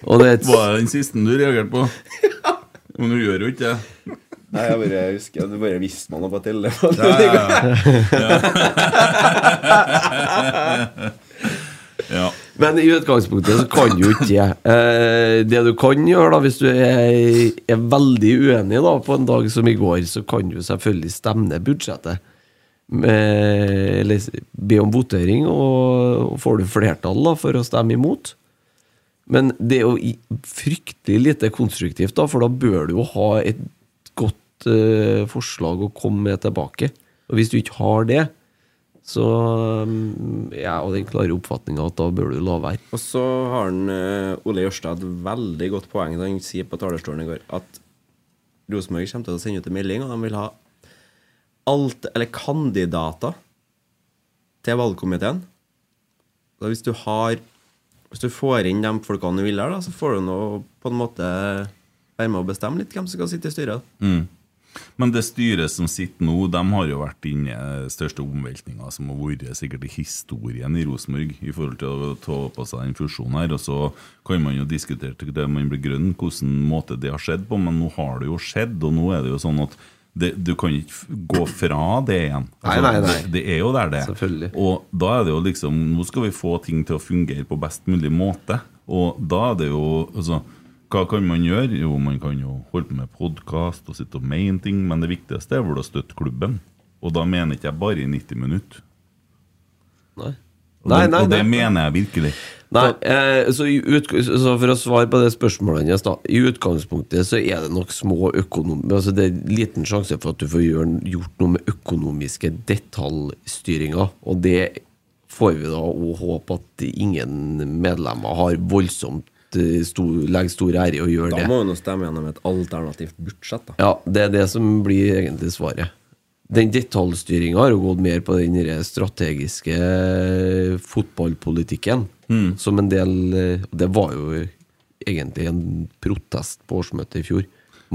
Speaker 3: Og det er et,
Speaker 2: Var det den siste du reagerte på? Men du gjør jo ikke det.
Speaker 5: Nei, jeg bare husker at du bare visste man på telefonen.
Speaker 2: Ja, ja, ja. ja.
Speaker 3: men i utgangspunktet så kan du jo ikke det. Eh, Det du kan gjøre, da, hvis du er, er veldig uenig da, på en dag som i går, så kan du selvfølgelig stemme ned budsjettet. Eh, Eller s- be om votering, og og får du flertall da, for å stemme imot. Men det er jo i- fryktelig lite konstruktivt, da, for da bør du jo ha et godt eh, forslag å komme med tilbake. Og hvis du ikke har det, så mm, Jeg ja, og den klare oppfatninga at da bør du la være.
Speaker 5: Og så har han, eh, Ole Jørstad et veldig godt poeng da han sier på talerstolen i går at Rosenborg kommer til å sende ut en melding, og de vil ha alt, eller kandidater til valgkomiteen da hvis du har Hvis du får inn de folkene du vil her, da, så får du nå på en måte være med å bestemme litt hvem som skal sitte i styret.
Speaker 2: Mm. Men det styret som sitter nå, de har jo vært inne i den største omveltninga som har vært sikkert i historien i Rosenborg, i forhold til å ta på seg den fusjonen her. Og så kan man jo diskutere til det man blir grønn, hvordan måte det har skjedd på, men nå har det jo skjedd, og nå er det jo sånn at det, du kan ikke f- gå fra det igjen.
Speaker 3: Nei,
Speaker 2: Altså,
Speaker 3: nei, nei.
Speaker 2: Det, det er jo der, det.
Speaker 3: Selvfølgelig.
Speaker 2: Og da er det jo liksom Nå skal vi få ting til å fungere på best mulig måte. Og da er det jo altså, Hva kan man gjøre? Jo, man kan jo holde på med podkast og sitte og mene ting, men det viktigste er vel å støtte klubben. Og da mener ikke jeg bare i 90 minutter.
Speaker 3: Nei.
Speaker 2: Og, det- og det mener jeg virkelig.
Speaker 3: Nei, eh, så, i utg- så For å svare på det spørsmålet hans, da. I utgangspunktet så er det nok små økonom... Altså det er liten sjanse for at du får gjøre, gjort noe med økonomiske detaljstyringer. Og det får vi da å håpe at ingen medlemmer har voldsomt eh, stor, legger stor ære i å gjøre
Speaker 5: Da
Speaker 3: det.
Speaker 5: må du nå stemme gjennom et alternativt budsjett. da
Speaker 3: Ja, det er det som blir egentlig svaret. Den detaljstyringa har jo gått mer på den der strategiske eh, fotballpolitikken. Som en del eh, Det var jo egentlig en protest på årsmøtet i fjor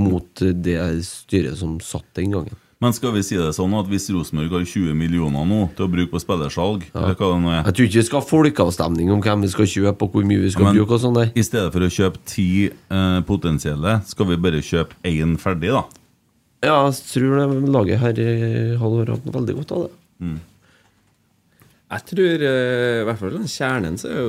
Speaker 3: mot eh, det styret som satt den gangen.
Speaker 2: Men skal vi si det sånn at hvis Rosenborg har 20 millioner nå til å bruke på spillersalg, eller hva det nå er
Speaker 3: Jeg tror ikke vi skal ha folkeavstemning om hvem vi skal kjøpe og hvor mye vi skal
Speaker 2: Men-
Speaker 3: bruke og sånn der.
Speaker 2: I stedet for å kjøpe ti eh, potensielle, skal vi bare kjøpe én ferdig, da.
Speaker 3: Ja, jeg tror det laget her eh, hadde hatt veldig godt av det.
Speaker 2: Mm.
Speaker 5: Jeg tror, eh, i hvert fall sånn kjernen, så er jo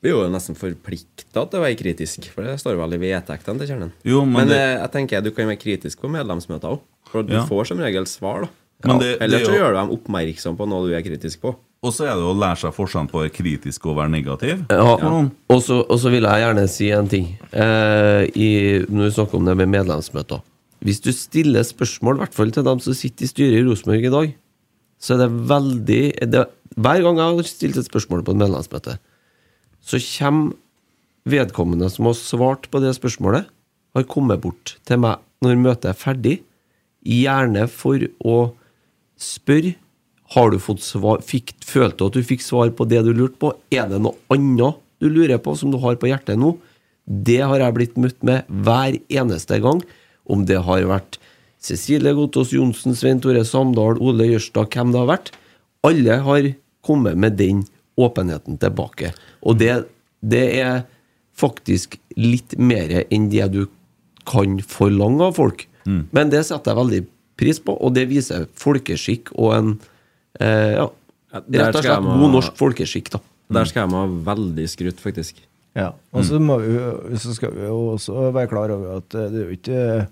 Speaker 5: vi er jo nesten forplikta til å være kritisk, for det står vel i vedtektene til kjernen.
Speaker 2: Jo, men
Speaker 5: men
Speaker 2: det-
Speaker 5: eh, jeg tenker du kan være kritisk på medlemsmøter òg, for du
Speaker 2: Ja.
Speaker 5: får som regel svar, da.
Speaker 2: Men det- det
Speaker 5: Ellers
Speaker 2: er
Speaker 5: så
Speaker 2: jo-
Speaker 5: gjør du dem oppmerksom på noe du er kritisk på.
Speaker 2: Og så er det å lære seg forskjellen på å være kritisk og å være negativ.
Speaker 3: Ja,
Speaker 2: For noen.
Speaker 3: og så og så vil jeg gjerne si en ting. Eh, i, når vi snakker om det med medlemsmøter. Hvis du stiller spørsmål, i hvert fall til dem som sitter i styret i Rosenborg i dag, så er det veldig det, Hver gang jeg har stilt et spørsmål på et medlemsmøte, så kommer vedkommende som har svart på det spørsmålet, har kommet bort til meg når møtet er ferdig, gjerne for å spørre har du fått svar, fikk, Følte du at du fikk svar på det du lurte på? Er det noe annet du lurer på, som du har på hjertet nå? Det har jeg blitt møtt med hver eneste gang. Om det har vært Cecilie Gotaas Johnsen, Svein Tore Samdal, Ole Jørstad, hvem det har vært. Alle har kommet med den åpenheten tilbake. Og det, det er faktisk litt mer enn det du kan forlange av folk.
Speaker 5: Mm.
Speaker 3: Men det setter jeg veldig pris på, og det viser folkeskikk og en eh, ja,
Speaker 5: Ja, der
Speaker 3: rett og
Speaker 5: skal jeg
Speaker 3: slett
Speaker 5: må-
Speaker 3: god norsk folkeskikk, da. Mm.
Speaker 5: Der skal jeg meg veldig skrutt, faktisk.
Speaker 4: Ja, og så, må vi, jo- så skal vi jo også være klar over at eh, det er jo ikke eh,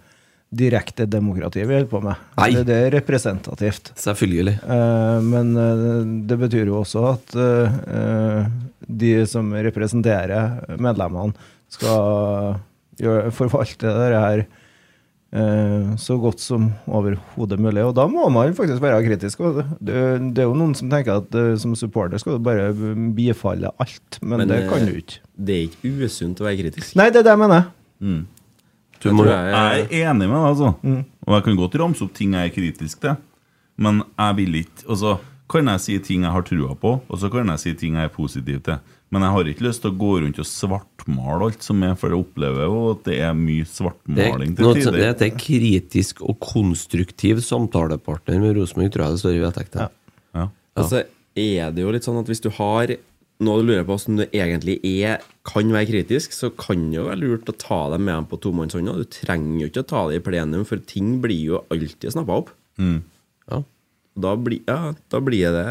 Speaker 4: direkte demokrati vi holder på med.
Speaker 3: Nei.
Speaker 4: Det, det er representativt.
Speaker 3: Selvfølgelig.
Speaker 4: Eh, Men eh, det betyr jo også at eh, eh, de som representerer medlemmene, skal gjøre, forvalte det her eh, så godt som overhodet mulig. Og da må man faktisk være kritisk. og Det, det er jo noen som tenker at eh, som supporter skal du bare bifalle alt, men, det
Speaker 5: eh,
Speaker 4: kan du ikke.
Speaker 5: Det er ikke usunt å være kritisk.
Speaker 4: Nei, det er det jeg mener.
Speaker 3: Du
Speaker 5: Jeg
Speaker 3: må,
Speaker 5: tror jeg-
Speaker 2: Jeg er enig med deg, altså.
Speaker 3: Mm.
Speaker 2: Og jeg kan godt ramse opp ting jeg er kritisk til, men jeg vil ikke Og så kan jeg si ting jeg har trua på, og så kan jeg si ting jeg er positiv til. Men jeg har ikke lyst til å gå rundt og svartmale alt som er, for jeg opplever jo at det er mye
Speaker 3: det,
Speaker 2: svartmaling til
Speaker 3: noe som
Speaker 2: tider.
Speaker 3: heter kritisk og konstruktiv samtalepartner med Rosenborg, tror jeg det står i vedtekten.
Speaker 2: Ja.
Speaker 5: Altså er det jo litt sånn at hvis du har noe du lurer på som du egentlig er, kan være kritisk, så kan det jo være lurt å ta deg med dem på tomannshånda. Du trenger jo ikke å ta det i plenum, for ting blir jo alltid snappa opp.
Speaker 3: Mm. Ja.
Speaker 5: Da, blir- ja, da blir det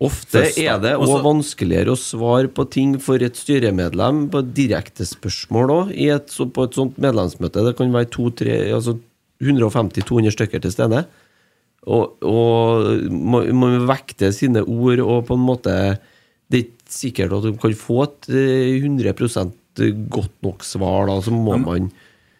Speaker 3: Ofte
Speaker 5: Først, da.
Speaker 3: er det
Speaker 5: Og
Speaker 3: også
Speaker 5: så-
Speaker 3: vanskeligere å svare på ting for et styremedlem på direktespørsmål òg, på et sånt medlemsmøte. Det kan være to, tre, altså 150-200 stykker til stede. Og, og må- man vekte sine ord, og på en måte Det er ikke sikkert at du kan få et eh, 100 godt nok svar, da. Så må man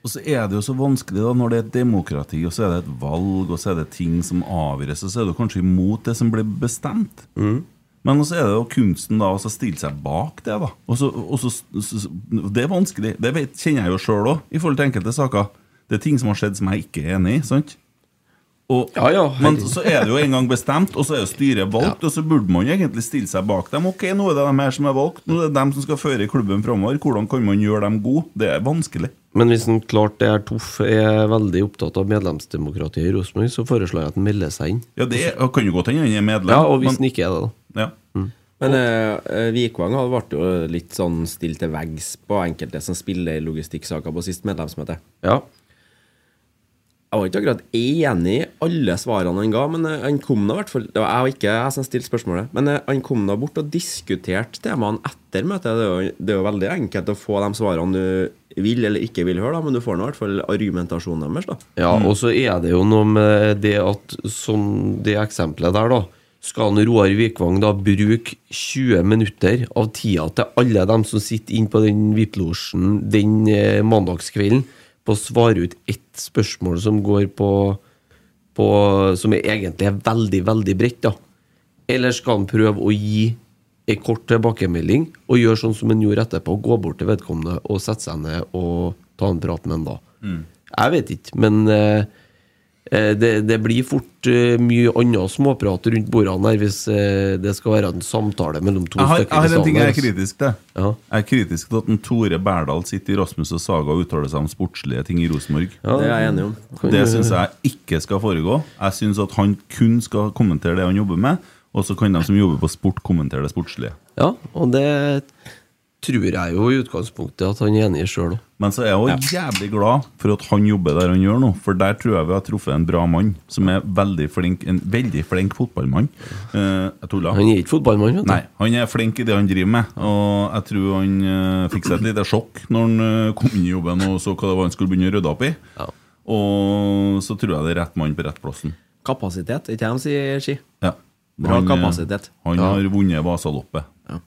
Speaker 2: Og så er det jo så vanskelig da når det er et demokrati, og så er det et valg, og så er det ting som avgjøres, og så er du kanskje imot det som ble bestemt.
Speaker 3: Mm.
Speaker 2: Men så er det jo kunsten da å så stille seg bak det. da og så, og så, s- s- Det er vanskelig. Det vet, kjenner jeg jo sjøl òg, i forhold til enkelte saker. Det er ting som har skjedd som jeg ikke er enig i. sant? Og,
Speaker 3: Ja, ja,
Speaker 2: men
Speaker 3: herregud.
Speaker 2: så er det jo en gang bestemt, og så er jo styret valgt, og så burde man jo egentlig stille seg bak dem. Ok, nå er det de her som er valgt, nå er det dem som skal føre klubben framover. Hvordan kan man gjøre dem gode? Det er vanskelig.
Speaker 3: Men hvis han klart det er Toff er veldig opptatt av medlemsdemokratiet i Rosenborg, så foreslår jeg at han melder seg inn.
Speaker 2: Ja, det er, kan jo godt hende han er medlem.
Speaker 3: Ja, og hvis han
Speaker 2: men,
Speaker 3: ikke er det, da.
Speaker 2: ja.
Speaker 5: Men eh, Vikvang har vært jo litt sånn stilt til veggs på enkelte som spiller i logistikksaker på sist medlemsmøte.
Speaker 3: Ja.
Speaker 5: Jeg var ikke akkurat enig i alle svarene han ga, men eh, han kom da i hvert fall Det var jeg og ikke jeg som stilte spørsmålet, men eh, han kom da bort og diskuterte temaene etter møtet. Det er, jo, det er jo veldig enkelt å få de svarene du vil eller ikke vil høre, da, men du får nå i hvert fall argumentasjonen deres, da.
Speaker 3: Ja, og så er det jo noe med det at som det eksempelet der, da. Skal han Roar Vikvang da bruke 20 minutter av tida til alle dem som sitter inne på den VIP-losjen den eh, mandagskvelden, på å svare ut ett spørsmål som går på, på Som er egentlig er veldig, veldig bredt, da? Eller skal han prøve å gi ei kort tilbakemelding og gjøre sånn som han gjorde etterpå? Gå bort til vedkommende og sette seg ned og ta en prat med han da?
Speaker 2: Mm.
Speaker 3: Jeg vet ikke, men eh, eh, det, det blir fort eh, mye annet småprat rundt bordene her hvis eh, det skal være en samtale mellom to
Speaker 2: Jeg har, jeg
Speaker 3: stykker
Speaker 2: har en ting jeg er
Speaker 3: altså.
Speaker 2: kritisk til.
Speaker 3: Ja.
Speaker 2: Jeg er kritisk til at en Tore Berdal sitter i Rasmus og Saga og uttaler seg om sportslige ting i Rosenborg.
Speaker 5: Det er jeg enig om.
Speaker 2: Det syns jeg ikke skal foregå. Jeg syns at han kun skal kommentere det han jobber med, og så kan de som jobber på sport, kommentere det sportslige.
Speaker 3: Ja, og det tror jeg jo i utgangspunktet at han er enig i sjøl òg.
Speaker 2: Men så er jeg også jævlig glad for at han jobber der han gjør nå, for der tror jeg vi har truffet en bra mann som er veldig flink, en veldig flink fotballmann. Eh, jeg tulla.
Speaker 3: Han er ikke fotballmann, vet du.
Speaker 2: Nei, han er flink i det han driver med, og jeg tror han eh, fikk seg et lite sjokk når han eh, kom inn i jobben og så hva det var han skulle begynne å rydde opp i.
Speaker 3: Ja.
Speaker 2: Og så tror jeg det er rett mann på rett plassen.
Speaker 5: Kapasitet, ikke jeg de sier, Ski?
Speaker 2: Ja.
Speaker 5: Bra
Speaker 2: eh,
Speaker 5: kapasitet.
Speaker 2: Han har vunnet Vasaloppet. Ja.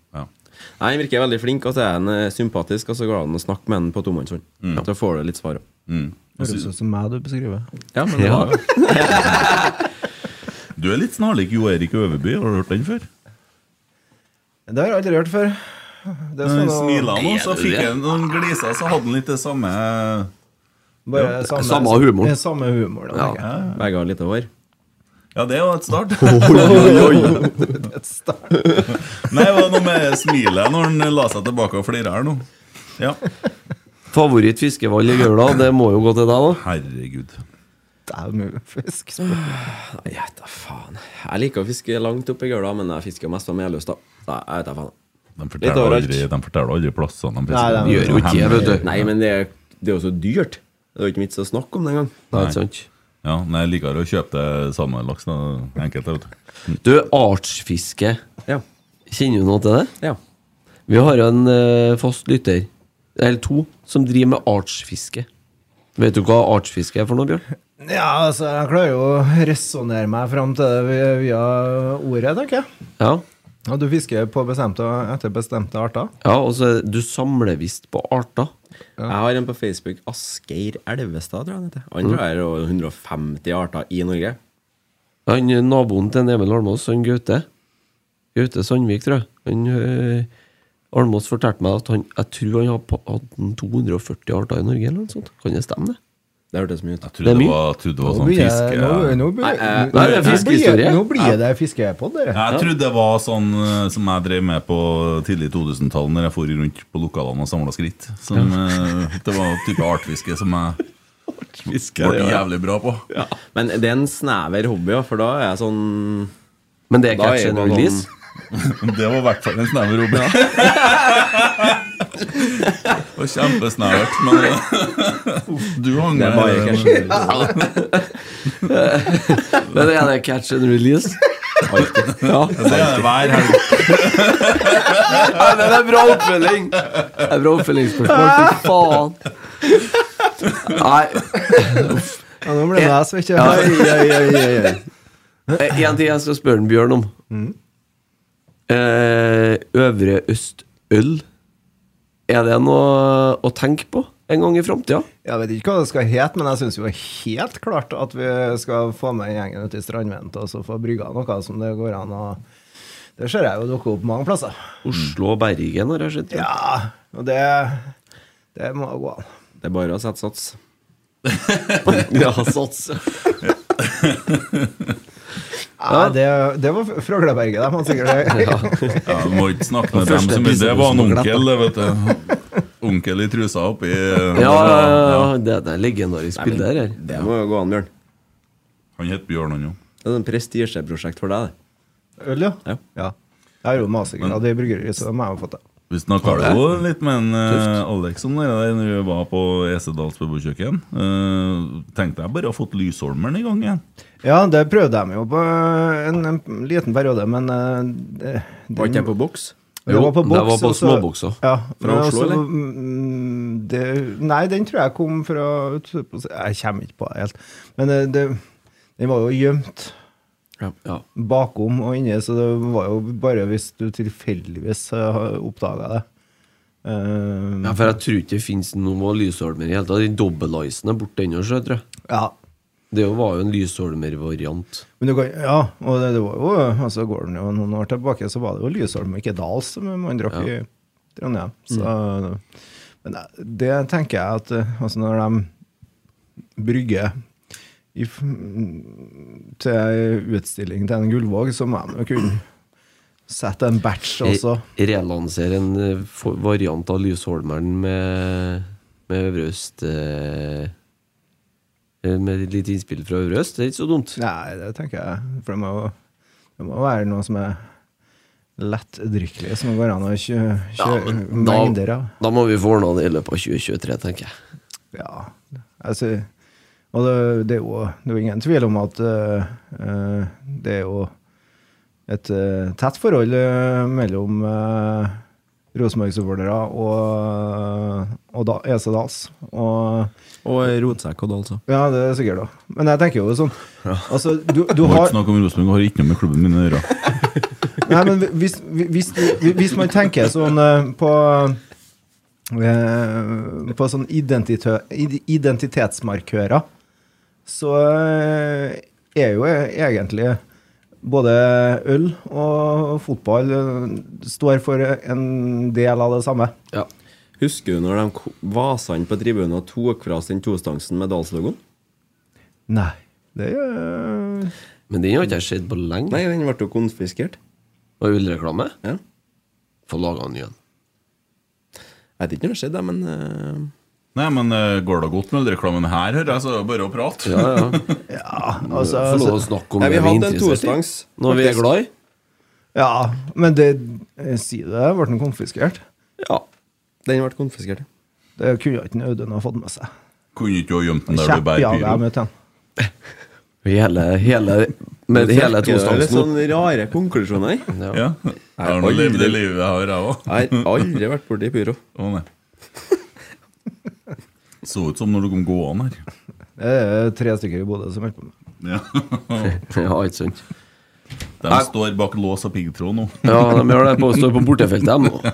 Speaker 5: Nei, Han virker veldig flink, og så er han eh, sympatisk, og så går det an å snakke med han på tomannshånd.
Speaker 2: Mm.
Speaker 5: Så får du litt svar òg.
Speaker 4: Høres ut som meg du beskriver.
Speaker 5: Ja, men det var jo
Speaker 2: Du er litt snarlik Jo Erik Øverby, har du hørt den før?
Speaker 4: Det har jeg aldri hørt før. Det sånn
Speaker 2: Når
Speaker 4: skal
Speaker 2: han
Speaker 4: da-
Speaker 2: smila nå, så
Speaker 3: Er det
Speaker 2: fikk
Speaker 3: det?
Speaker 2: han noen gliser, så hadde han litt det samme
Speaker 4: bare
Speaker 3: det er
Speaker 4: samme,
Speaker 3: samme humor.
Speaker 4: det er Samme humor da, tenker jeg.
Speaker 5: begge har lite hår.
Speaker 2: Ja, det er jo et start.
Speaker 4: Det er et start.
Speaker 2: Nei, det var noe med smilet når han la seg tilbake og flira her nå. Ja,
Speaker 3: Favorittfiskevall i Gaula, det må jo gå til deg, da.
Speaker 2: herregud.
Speaker 4: Dæven mye fisk.
Speaker 5: Nei, jeg vet da faen. Jeg liker å fiske langt opp i gøla, men jeg fisker mest fra Meløs, da. Nei, jeg vet da faen.
Speaker 2: De
Speaker 5: Litt
Speaker 2: forteller
Speaker 5: overalt.
Speaker 2: aldri, de forteller aldri plassene. De
Speaker 4: Nei, de
Speaker 2: fisker.
Speaker 3: Gjør jo ikke det, vet du.
Speaker 5: Nei, men det er det er jo så dyrt. Det er jo ikke vits å snakke om det engang.
Speaker 3: Nei, ikke sant.
Speaker 2: Ja, nei, jeg liker å kjøpe det samme laksen. da. Enkelt, vet du.
Speaker 3: Du, artsfiske.
Speaker 5: Ja.
Speaker 3: Kjenner du noe til det?
Speaker 5: ja.
Speaker 3: Vi har en eh, fast lytter, eller to, som driver med artsfiske. Vet du hva artsfiske er for noe, Bjørn?
Speaker 4: Ja, altså, jeg klarer jo å resonnere meg fram til det via- via ordet, tenker jeg.
Speaker 3: Ja,
Speaker 4: Ja, du fisker på bestemte og etter bestemte arter.
Speaker 3: ja og så du samler visst på arter.
Speaker 5: Jeg har en på Facebook. Asgeir Elvestad, tror jeg han heter.
Speaker 3: Mm.
Speaker 5: Han tror jeg er over 150 arter i Norge.
Speaker 3: Han eh, naboen til en Emil Almås, han Gaute Gaute Sandvik, tror jeg. Han, eh, Almås fortalte meg at han, jeg tror han har pa- hatt en 240 arter i Norge, eller noe sånt. Kan det stemme, det?
Speaker 5: Det hørtes mye ut.
Speaker 2: Jeg trodde
Speaker 3: er
Speaker 2: det
Speaker 3: mye.
Speaker 2: var, trodde det var
Speaker 4: Nå
Speaker 2: sånn
Speaker 4: blir det-
Speaker 2: fiske...
Speaker 4: nå- nå blir-
Speaker 5: Nei, eh,
Speaker 3: nei, det er
Speaker 4: nå blir-
Speaker 3: fiskehistorie.
Speaker 4: Nå blir det fiskepod, dere.
Speaker 2: Jeg trodde det var sånn eh, som jeg drev med på tidlig 2000-tallet, når jeg for rundt på lokalene og samla skritt. Som, eh, Det var type artfiske som jeg ble jævlig bra på.
Speaker 5: Men det er en snever hobby, ja, for da er jeg sånn
Speaker 3: Men det er
Speaker 5: Da er sånn-
Speaker 3: catch
Speaker 5: det
Speaker 3: and
Speaker 5: noen-
Speaker 3: release?
Speaker 2: Det var i hvert fall en snever hobby. Det var kjempesnevert, men eh, du hang
Speaker 5: Det er bare
Speaker 2: med.
Speaker 5: catch and
Speaker 3: Men er det catch and release? ja.
Speaker 2: Det er hver helg.
Speaker 3: Ja, det er bra oppfølging! Det er bra oppfølgingsspørsmål. Fy faen. Nei.
Speaker 4: Ja, nå ble det jeg som ikke
Speaker 3: Eh, En ting jeg skal spørre den Bjørn om. Eh, Øvre Østøl. Er det noe å tenke på en gang i framtida?
Speaker 4: Jeg vet ikke hva det skal hete, men jeg syns jo helt klart at vi skal få med gjengen ut i strandveien og så få brygga noe som det går an å Det ser jeg jo dukke opp mange plasser.
Speaker 3: Oslo og Bergen har jeg sett.
Speaker 4: Ja, og det Det må gå an.
Speaker 5: Det er bare å sette sats.
Speaker 3: ja sats.
Speaker 4: Nei, det, det var Froglaberget, de hadde sikkert det.
Speaker 2: Ja, du må ikke snakke med
Speaker 5: Den
Speaker 2: dem
Speaker 5: første
Speaker 2: så mye. Det var en
Speaker 5: episoden som
Speaker 2: onkel, det, vet du. Onkel i eh, trusa oppi
Speaker 3: Ja, ja, ja, ja. Det, det er legendarisk bilde her. her.
Speaker 5: Det må jo gå an, Bjørn.
Speaker 2: Han het Bjørn, han jo.
Speaker 5: Det er et prestisjeprosjekt for deg. det.
Speaker 4: Øl, ja.
Speaker 5: Ja.
Speaker 4: ja. Jeg har jo masikkert av det i bryggeriet, så det må jeg ha fått. det.
Speaker 2: Vi snakka jo litt med en, eh, Alex om det der når vi var på Esedals beboerkjøkken. Eh, tenkte jeg bare har fått Lysholmeren i gang igjen.
Speaker 4: Ja, det prøvde de jo på eh, en, en liten periode, men eh, det,
Speaker 5: Var ikke jeg på boks?
Speaker 4: det var på boks.
Speaker 3: det var på
Speaker 4: og så-
Speaker 3: småbokser.
Speaker 4: Ja,
Speaker 5: Fra
Speaker 4: men
Speaker 5: Oslo,
Speaker 4: også,
Speaker 5: eller?
Speaker 4: mm, Det, nei, den tror jeg kom fra Jeg kommer ikke på det helt. Men det, det, den var jo gjemt
Speaker 3: Ja, ja.
Speaker 4: bakom og inni, så det var jo bare hvis du tilfeldigvis oppdaga det. Eh,
Speaker 3: Ja, for jeg tror ikke det finnes noe lysholmer i hele tatt. Den dobbelticen er borte ennå, så jeg tror jeg.
Speaker 4: ja.
Speaker 3: Det jo var jo en lysholmer-variant.
Speaker 4: Men du kan, ja, og det, det var jo altså Går den jo noen år tilbake, så var det jo Lysholm og ikke Dals som man drakk i Trondheim.
Speaker 3: Mm.
Speaker 4: Så, Men det, det tenker jeg at eh, altså når de brygger i, f- til ei utstilling til en Gullvåg, så må de jo kunne sette en batch også.
Speaker 3: Jeg relanserer en eh, for- variant av Lysholmeren med, med Øvre Øst eh, eh, Med litt innspill fra Øvre Øst. Det er ikke så dumt.
Speaker 4: Nei, det tenker jeg. For det må, jo- det må være noe som er lettdrikkelig, som går an å kjø-
Speaker 3: Ja,
Speaker 4: kjøre
Speaker 3: men
Speaker 4: mengder
Speaker 3: da,
Speaker 4: av.
Speaker 3: da må vi få ordna det i løpet av 2023, tenker jeg.
Speaker 4: Ja, altså Og det, det, er, jo, det er jo ingen tvil om at eh, eh, det er jo et eh, tett forhold eh, mellom uh, Rosenborg-supportere og, eh, og da, EC Dals. Og
Speaker 5: Og rotsekk og det, altså.
Speaker 4: ja, det er sikkert òg. Men jeg tenker jo sånn Altså, du, du
Speaker 2: Du har
Speaker 4: har
Speaker 2: ikke snakk om Rosenborg, har ikke noe med klubben min å gjøre.
Speaker 4: Nei, men hvis, hvis, hvis man tenker sånn eh, på eh, På sånn identitø, id- identitetsmarkører, så eh, er jo egentlig både øl og fotball eh, står for en del av det samme.
Speaker 3: Ja.
Speaker 5: Husker du når de ko- vasene på tribunen og tok fra oss den tostansen med Dals-logoen?
Speaker 4: Nei. Det eh, er
Speaker 3: Men den har ikke jeg sett på lenge.
Speaker 5: Nei, den ble jo konfiskert.
Speaker 3: Og ullreklame.
Speaker 5: Ja.
Speaker 3: Få laga en ny en.
Speaker 5: Jeg vet ikke når det skjedde, men eh,
Speaker 2: Nei, men eh, går det godt med reklamen her, hører jeg, så er det bare å prate.
Speaker 3: Ja, ja.
Speaker 4: altså,
Speaker 3: Få lov å snakke om
Speaker 5: Nei,
Speaker 3: det
Speaker 5: vi
Speaker 3: vi er
Speaker 5: hadde en
Speaker 3: interessert i.
Speaker 5: tostangs.
Speaker 3: Når vi er glad i.
Speaker 4: Ja, men det eh, Si det, ble den konfiskert?
Speaker 5: Ja. Den ble konfiskert.
Speaker 4: Det kunne jo ikke en Audun ha fått med seg.
Speaker 2: Kunne ikke du ha gjemt den der du
Speaker 4: Kjeppjaga
Speaker 2: bærer
Speaker 4: jeg
Speaker 2: pyro?
Speaker 4: møtte han.
Speaker 3: Hele, hele, med hele
Speaker 5: Det er litt
Speaker 3: tostansen.
Speaker 5: sånn rare konklusjoner.
Speaker 2: Ja. Jeg har nå
Speaker 5: aldri-
Speaker 2: levd det livet jeg har, jeg òg.
Speaker 5: Jeg har aldri vært borti pyro.
Speaker 2: Å, nei. Så ut som når du kom gående her.
Speaker 4: Det er tre stykker i Bodø som holder på med det.
Speaker 2: Ja.
Speaker 3: Ja, ikke sant.
Speaker 2: De står bak lås og piggtråd nå.
Speaker 3: Ja, de gjør det. På, står på bortefeltet, de nå.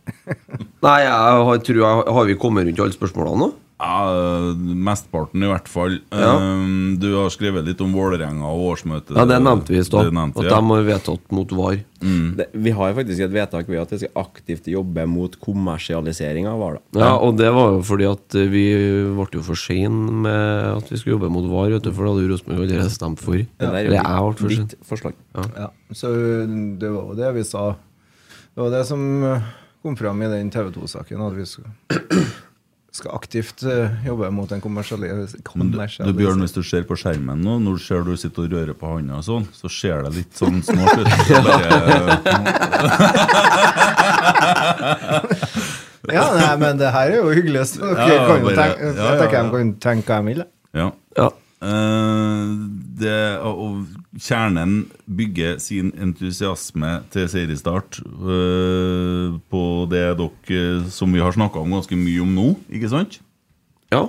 Speaker 3: Nei, jeg har, tror jeg, har vi kommet rundt alle spørsmålene nå?
Speaker 2: Ja, mesteparten i hvert fall.
Speaker 3: Ja.
Speaker 2: Um, du har skrevet litt om Vålerenga og årsmøtet.
Speaker 3: Ja, det nevnte vi i stad.
Speaker 2: Det nevnte
Speaker 3: At
Speaker 2: vi,
Speaker 3: de
Speaker 2: ja.
Speaker 3: har vedtatt mot VAR.
Speaker 5: Mm. Det, vi har faktisk et vedtak ved at vi skal aktivt jobbe mot kommersialisering av hvaler.
Speaker 3: Ja, og det var jo fordi at eh, vi ble jo for sene med at vi skulle jobbe mot VAR, vet du, for det hadde jo Rosenborg allerede stemt for.
Speaker 5: Det der er
Speaker 3: Eller jeg
Speaker 5: jo
Speaker 3: ble for
Speaker 5: ditt-
Speaker 3: sen.
Speaker 5: ditt forslag.
Speaker 4: Ja, så det var jo det vi sa. Det var det som eh, kom fram i den TV 2-saken, at vi skal, skal aktivt eh, jobbe mot en kommersialis-
Speaker 2: Men du, du Bjørn,
Speaker 4: kommersialisering.
Speaker 2: hvis du ser på skjermen nå, når du ser du sitter og rører på handa og sånn, så ser det litt sånn snålt ut. Så bare-
Speaker 4: Ja, nei, men det her er jo hyggelig. Så dere
Speaker 2: Ja,
Speaker 4: kan jo
Speaker 2: bare-
Speaker 4: tenke,
Speaker 2: ja, ja,
Speaker 4: Jeg tenker
Speaker 2: ja.
Speaker 4: de kan tenke hva de vil. da.
Speaker 2: Ja.
Speaker 3: Ja.
Speaker 2: Eh, det, og, og kjernen bygger sin entusiasme til seriestart eh, på det dere som vi har snakka om ganske mye om nå, ikke sant?
Speaker 3: ja.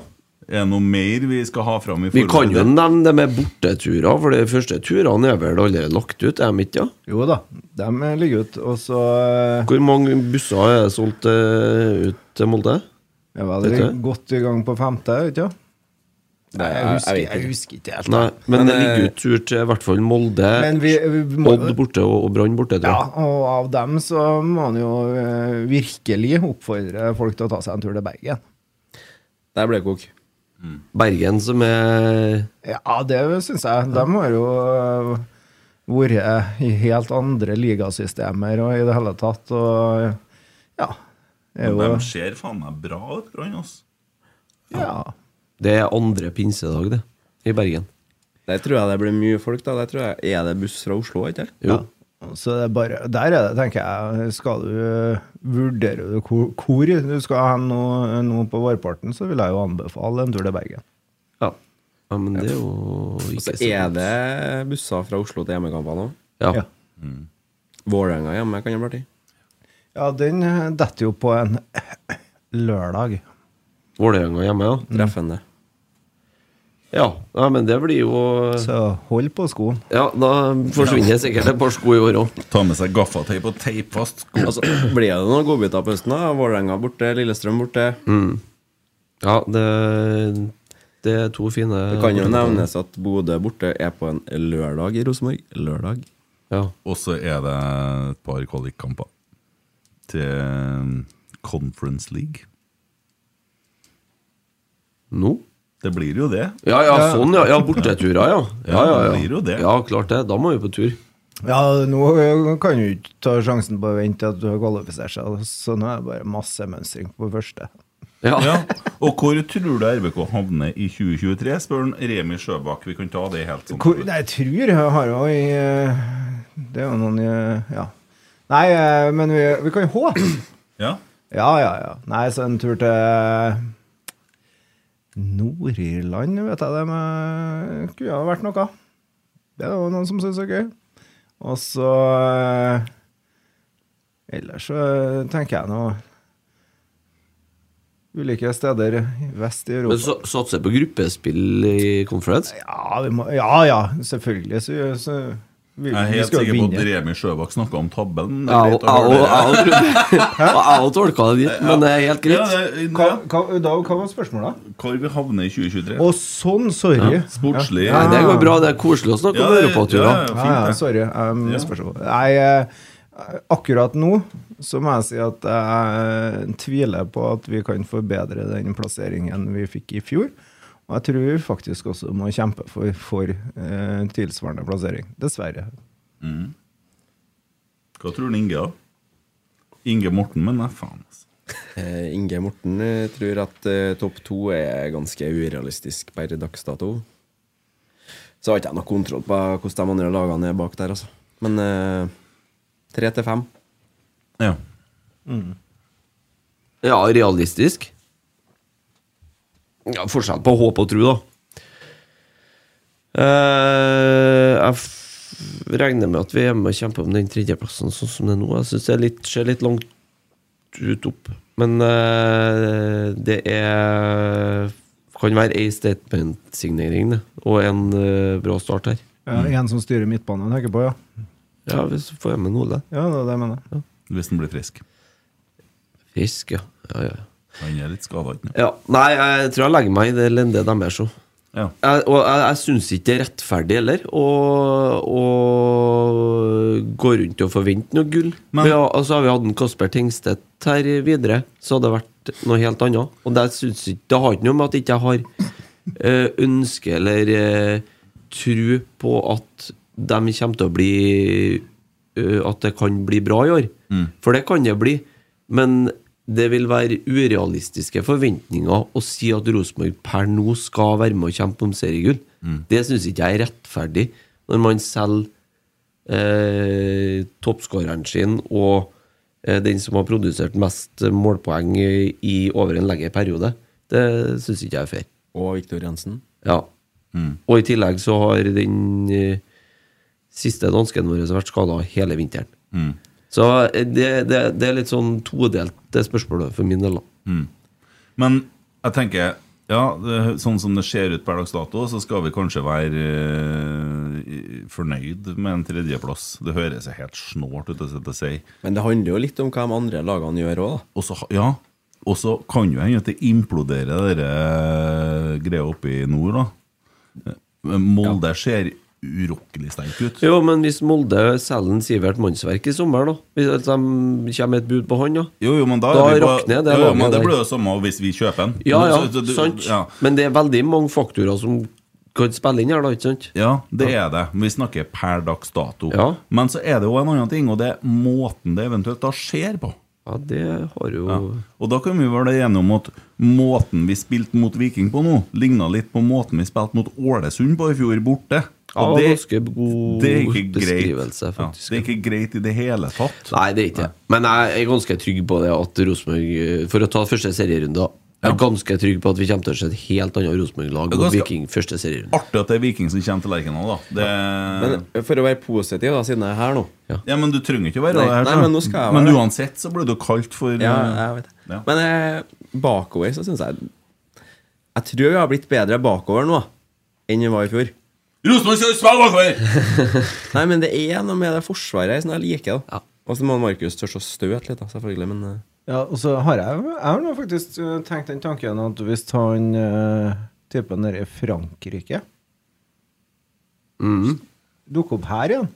Speaker 2: Er det noe mer vi skal ha fram i
Speaker 3: Vi
Speaker 2: forhold
Speaker 3: kan
Speaker 2: til
Speaker 3: jo
Speaker 2: det?
Speaker 3: nevne det med borteturer, for de første turene er vel allerede lagt ut, er de ikke? Ja?
Speaker 4: Jo da, de ligger ute. Og så eh,
Speaker 3: Hvor mange busser er det solgt eh, ut til Molde?
Speaker 4: er vel
Speaker 3: Vet du?
Speaker 4: godt i gang på femte, ikke sant?
Speaker 5: Nei,
Speaker 4: Jeg
Speaker 5: jeg-
Speaker 4: husker,
Speaker 5: jeg vet
Speaker 4: jeg
Speaker 5: ikke.
Speaker 4: husker ikke helt.
Speaker 3: Nei, men,
Speaker 5: Men,
Speaker 3: det ligger jo
Speaker 5: eh,
Speaker 3: tur til i hvert fall Molde,
Speaker 4: Men vi, vi må
Speaker 3: Odd borte og, og Brann borte, tror
Speaker 4: Ja,
Speaker 3: jeg.
Speaker 4: og av dem så må han jo eh, virkelig oppfordre folk til å ta seg en tur til Bergen.
Speaker 5: Der ble det kok.
Speaker 3: Bergen, som er
Speaker 4: Ja, det syns jeg. De har jo øh, vært i helt andre ligasystemer og i det hele tatt, og ja. Er
Speaker 2: Men
Speaker 4: jo,
Speaker 2: de ser faen meg bra ut, Brann. ass.
Speaker 4: ja.
Speaker 3: Det er andre pinsedag, det, i Bergen.
Speaker 5: Der tror jeg det blir mye folk. da Der tror jeg, Er det buss fra Oslo? ikke sant?
Speaker 3: Jo.
Speaker 4: Så det er bare Der er det, tenker jeg. Skal du vurdere du hvor, hvor du skal hen nå, nå på vårparten, så vil jeg jo anbefale en tur til Bergen.
Speaker 3: Ja. ja, men det er jo ikke
Speaker 5: Så
Speaker 3: så
Speaker 5: er
Speaker 3: dumt.
Speaker 5: det busser fra Oslo til hjemmekampene òg.
Speaker 3: ja.
Speaker 4: Ja.
Speaker 5: Vålerenga hjemme kan det bli artig.
Speaker 4: Ja, den detter jo på en lørdag.
Speaker 3: Vålerenga hjemme, ja.
Speaker 5: Treffende.
Speaker 3: ja. Ja, men det blir jo
Speaker 4: Så hold på skoen.
Speaker 3: Ja, da forsvinner sikkert et par sko i år òg.
Speaker 2: Ta med seg gaffateip og teip fast. sko.
Speaker 5: Altså, blir det noen godbiter på høsten? da? Vålerenga borte, Lillestrøm borte.
Speaker 3: Ja, det, det er to fine
Speaker 5: Det kan jo nevnes at Bodø borte er på en lørdag i Rosenborg. Lørdag.
Speaker 3: Ja.
Speaker 2: Og så er det et par kvalikkamper til Conference League.
Speaker 3: Nå?
Speaker 2: Det blir jo det.
Speaker 3: Ja, ja, sånn, ja. ja Borteturer, ja. Ja, ja,
Speaker 2: Ja, det blir jo
Speaker 3: ja.
Speaker 2: det.
Speaker 3: ja, klart det. Da må vi på tur.
Speaker 4: Ja, nå kan du ikke ta sjansen på å vente til at du har kvalifisert seg, så nå er det bare masse mønstring på første.
Speaker 3: Ja.
Speaker 2: Ja. Og hvor tror du RBK havner i 2023, spør han Remi Sjøbakk. Vi kan ta det helt sånn.
Speaker 4: Hvor, nei, jeg tror jeg har jo i eh, Det er jo noen eh, Ja. Nei, eh, men vi, vi kan jo håpe.
Speaker 2: Ja.
Speaker 4: Ja, ja, ja. Nei, så en tur til Nord-Irland, vet jeg det med Kunne ha vært noe. Det er jo noen som syns er gøy. Og så eh, Ellers så tenker jeg nå Ulike steder i vest i
Speaker 3: Men
Speaker 4: Europa.
Speaker 3: så, satser på gruppespill i conference?
Speaker 4: Ja, vi må, ja, ja, selvfølgelig. Så, så vi,
Speaker 2: Jeg er
Speaker 4: vi
Speaker 2: helt
Speaker 4: skal jo
Speaker 2: sikker på at
Speaker 4: vinne.
Speaker 2: Remi Sjøbakk snakka om tabellen. Det
Speaker 3: Ja,
Speaker 2: er
Speaker 3: og-
Speaker 2: greit å
Speaker 3: ja, og-
Speaker 2: høre
Speaker 3: ja,
Speaker 2: det.
Speaker 3: og trodde- ja, Jeg tolka det dit, men det er helt
Speaker 2: Ja,
Speaker 3: greit.
Speaker 2: det-
Speaker 4: Hva,
Speaker 2: ja.
Speaker 4: hva, da, hva var spørsmålet?
Speaker 2: Hvor vi havner i 2023.
Speaker 4: Å, sånn, sorry.
Speaker 2: Sportslig.
Speaker 3: Nei, det går bra. Det er koselig å snakke om
Speaker 2: Ja, det- ja,
Speaker 3: europaturer.
Speaker 2: ja,
Speaker 4: Ja, ja,
Speaker 2: fint, det.
Speaker 4: sorry. Um,
Speaker 2: Ja.
Speaker 4: spørsmål. Nei, eh, akkurat nå så må jeg si at jeg tviler på at vi kan forbedre den plasseringen vi fikk i fjor. Og jeg tror vi faktisk også må kjempe for, for eh, tilsvarende plassering. Dessverre.
Speaker 2: Hva tror du Inge, da? Inge Morten, men nei, faen. altså.
Speaker 5: Eh, Inge Morten eh, tror at eh, topp to er ganske urealistisk per dags dato. Så har ikke jeg noe kontroll på hvordan de andre lagene er bak der, altså. Men eh, tre til fem.
Speaker 2: Ja.
Speaker 3: Ja, realistisk. Ja, Forskjell på håp og tro, da. Eh, jeg f regner med at vi er med og kjemper om den tredjeplassen sånn som det er nå. Jeg syns det er litt, ser litt langt ut opp. Men eh, det er Kan være ei statement-signering det, og en eh, bra start her.
Speaker 4: Ja,
Speaker 2: Mm.
Speaker 4: En som styrer midtbanen, tenker jeg på, ja.
Speaker 3: Ja, hvis vi får med Ole.
Speaker 4: Ja, det er det jeg mener.
Speaker 2: Hvis han blir frisk.
Speaker 3: Frisk, ja. ja, ja.
Speaker 2: Han er litt skada, ikke sant?
Speaker 3: ja. Nei, jeg tror jeg legger meg i det lendet deres òg.
Speaker 2: Ja.
Speaker 3: jeg, og jeg, jeg syns ikke det er rettferdig heller å å gå rundt og forvente noe gull.
Speaker 2: Men-
Speaker 3: Vi har, altså, har vi hatt en Kasper Tengstedt her videre, så hadde det vært noe helt annet. Og det, synes ikke, det har ikke noe med at jeg ikke har eh, ønske eller eh, tro på at de kommer til å bli eh, At det kan bli bra i år. For det kan det bli. Men det vil være urealistiske forventninger å si at Rosenborg per nå skal være med og kjempe om seriegull. Det syns ikke jeg er rettferdig, når man selger eh, toppskåreren sin og eh, den som har produsert mest målpoeng i, i over en lengre periode. Det syns ikke jeg er fair.
Speaker 5: Og Viktor Jensen.
Speaker 3: Ja.
Speaker 2: Mm.
Speaker 3: Og i tillegg så har den eh, siste dansken vår vært skada hele vinteren.
Speaker 2: Mm.
Speaker 3: Så eh, det, det, det er litt sånn todelt, det spørsmålet, for min del. da.
Speaker 2: Men jeg tenker ja, det, sånn som det ser ut per dags dato, så skal vi kanskje være eh, fornøyd med en tredjeplass. Det høres helt snålt ut å sitte og si.
Speaker 5: Men det handler jo litt om hva de andre lagene gjør òg, da.
Speaker 2: Og så, ha- ja, og så kan jo hende at det eh, imploderer dere greia oppe i nord, da. Men Eh, Molde ser urokkelig sterk ut.
Speaker 3: Jo, men hvis Molde selger en Sivert Mannsverk i sommer, da Hvis at de kommer med et bud på han, da
Speaker 2: Jo, jo, men da,
Speaker 3: Da
Speaker 2: er vi på-
Speaker 3: rakner det
Speaker 2: jo, jo,
Speaker 3: laget
Speaker 2: men det
Speaker 3: der.
Speaker 2: blir jo samme hvis vi kjøper den.
Speaker 3: Ja, ja,
Speaker 2: Så- så du-
Speaker 3: sant.
Speaker 2: Ja.
Speaker 3: Men det er veldig mange faktorer som kan spille inn her, da, ikke sant?
Speaker 2: Ja, det er det. Vi snakker per dags dato.
Speaker 3: Ja.
Speaker 2: Men så er det jo en annen ting, og det er måten det eventuelt da skjer på.
Speaker 3: Ja, det har jo
Speaker 2: Ja. Og da kan vi være enige om at måten vi spilte mot Viking på nå, ligna litt på måten vi spilte mot Ålesund på i fjor, borte.
Speaker 3: Ja,
Speaker 2: Og det,
Speaker 3: ganske god
Speaker 2: det er ikke greit.
Speaker 3: beskrivelse,
Speaker 2: Ja,
Speaker 3: faktisk.
Speaker 2: det er ikke greit i det hele tatt.
Speaker 3: Nei, det er ikke det. Men jeg er ganske trygg på det at Rosenborg eh, For å ta første serierunde, da. Jeg er ganske trygg på at vi kommer til å se et helt annet Rosenborg-lag mot
Speaker 2: Ganske-
Speaker 3: Viking første serierunde.
Speaker 2: Artig at det er Viking som kommer til Lerkendal, da. Det...
Speaker 5: Men for å være positiv, da, siden jeg er her nå
Speaker 2: ja, men du trenger ikke å være
Speaker 5: Nei,
Speaker 2: her.
Speaker 5: nei,
Speaker 2: så.
Speaker 5: men nå skal jeg være det.
Speaker 2: men uansett så blir du kalt for
Speaker 5: Ja, jeg vet det.
Speaker 2: Ja.
Speaker 5: Men eh, bakover så syns jeg Jeg tror vi har blitt bedre bakover nå enn vi var i fjor.
Speaker 2: Rosenborg skal spille bakover!
Speaker 5: Nei, men det er noe med det forsvaret her som jeg liker. da
Speaker 3: Ja.
Speaker 5: Og så må Markus tørre å støte litt, da, selvfølgelig. Men eh,
Speaker 4: Ja, og så har jeg, jeg har nå faktisk øh, tenkt den tanken at hvis han øh, typen nede i Frankrike
Speaker 2: Mm.
Speaker 4: dukker opp her igjen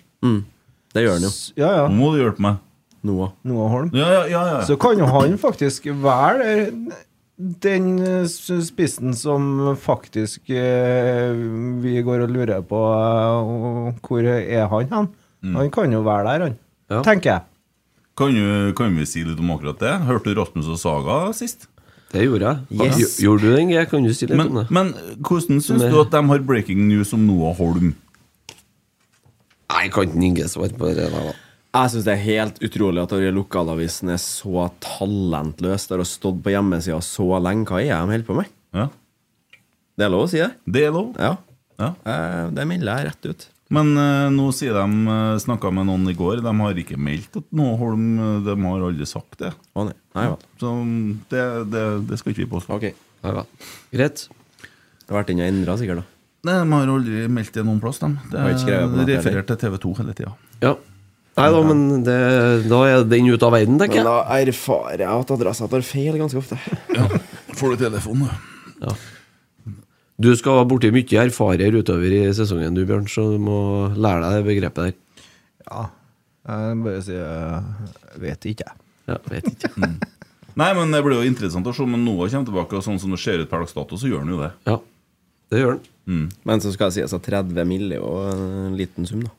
Speaker 5: det gjør han jo.
Speaker 4: s- Ja, ja.
Speaker 2: Nå må du hjelpe meg.
Speaker 5: Noah.
Speaker 4: Noah Holm.
Speaker 2: Ja, ja, ja, ja.
Speaker 4: Så kan jo han faktisk være den øh, s- spissen som faktisk øh, vi går og lurer på øh, hvor er han hen.
Speaker 5: Mm.
Speaker 4: Han kan jo være der, han.
Speaker 3: Ja.
Speaker 4: Tenker jeg.
Speaker 2: Kan, jo- kan vi si litt om akkurat det? Hørte du Rasmus og Saga sist?
Speaker 3: Det gjorde jeg.
Speaker 5: Yes.
Speaker 3: Gj- Gjorde du den? Jeg kan jo si litt
Speaker 2: Men,
Speaker 3: om det.
Speaker 2: men hvordan syns
Speaker 3: Med-
Speaker 2: du at de har breaking news om Noah Holm?
Speaker 3: Nei, jeg kan ikke Inge svare på det der, da.
Speaker 5: Jeg syns det er helt utrolig at denne lokalavisen er så talentløs. Der har stått på hjemmesida så lenge. Hva er det de holder på med?
Speaker 2: Ja,
Speaker 5: Det er lov å si det?
Speaker 2: Det er lov.
Speaker 5: Ja.
Speaker 2: Ja.
Speaker 5: Eh, Det melder jeg rett ut.
Speaker 2: Men eh, nå sier de uh, Snakka med noen i går, de har ikke meldt at Noah Holm eh, De har aldri sagt det.
Speaker 5: Å nei. Nei vel.
Speaker 2: Så mm, det, det, det skal ikke vi påstå.
Speaker 5: Ok. Det
Speaker 3: Ja, vel. Greit.
Speaker 5: har vært inne og endra, sikkert. da
Speaker 2: Nei, De har aldri meldt det noen plass, de. Det
Speaker 5: Har ikke skrevet på
Speaker 2: er
Speaker 5: nettet,
Speaker 2: referert til TV 2 hele tida.
Speaker 3: Ja. Nei da, men det, da er den ute av verden, tenker jeg.
Speaker 5: erfarer jeg at adressa tar feil ganske ofte.
Speaker 2: Får du telefon, du?
Speaker 3: Du skal borti mye erfarer utover i sesongen, du Bjørn, så du må lære deg det begrepet der.
Speaker 4: Ja. Jeg bare sier øh, Vet ikke, jeg.
Speaker 3: Ja, vet ikke.
Speaker 2: Nei, men det blir jo interessant å se om Noah kommer tilbake. Og sånn som det ser ut per dags dato, så gjør han jo det.
Speaker 3: Ja, det gjør den.
Speaker 5: Men så skal det sies at 30 mill. er jo en liten sum, da.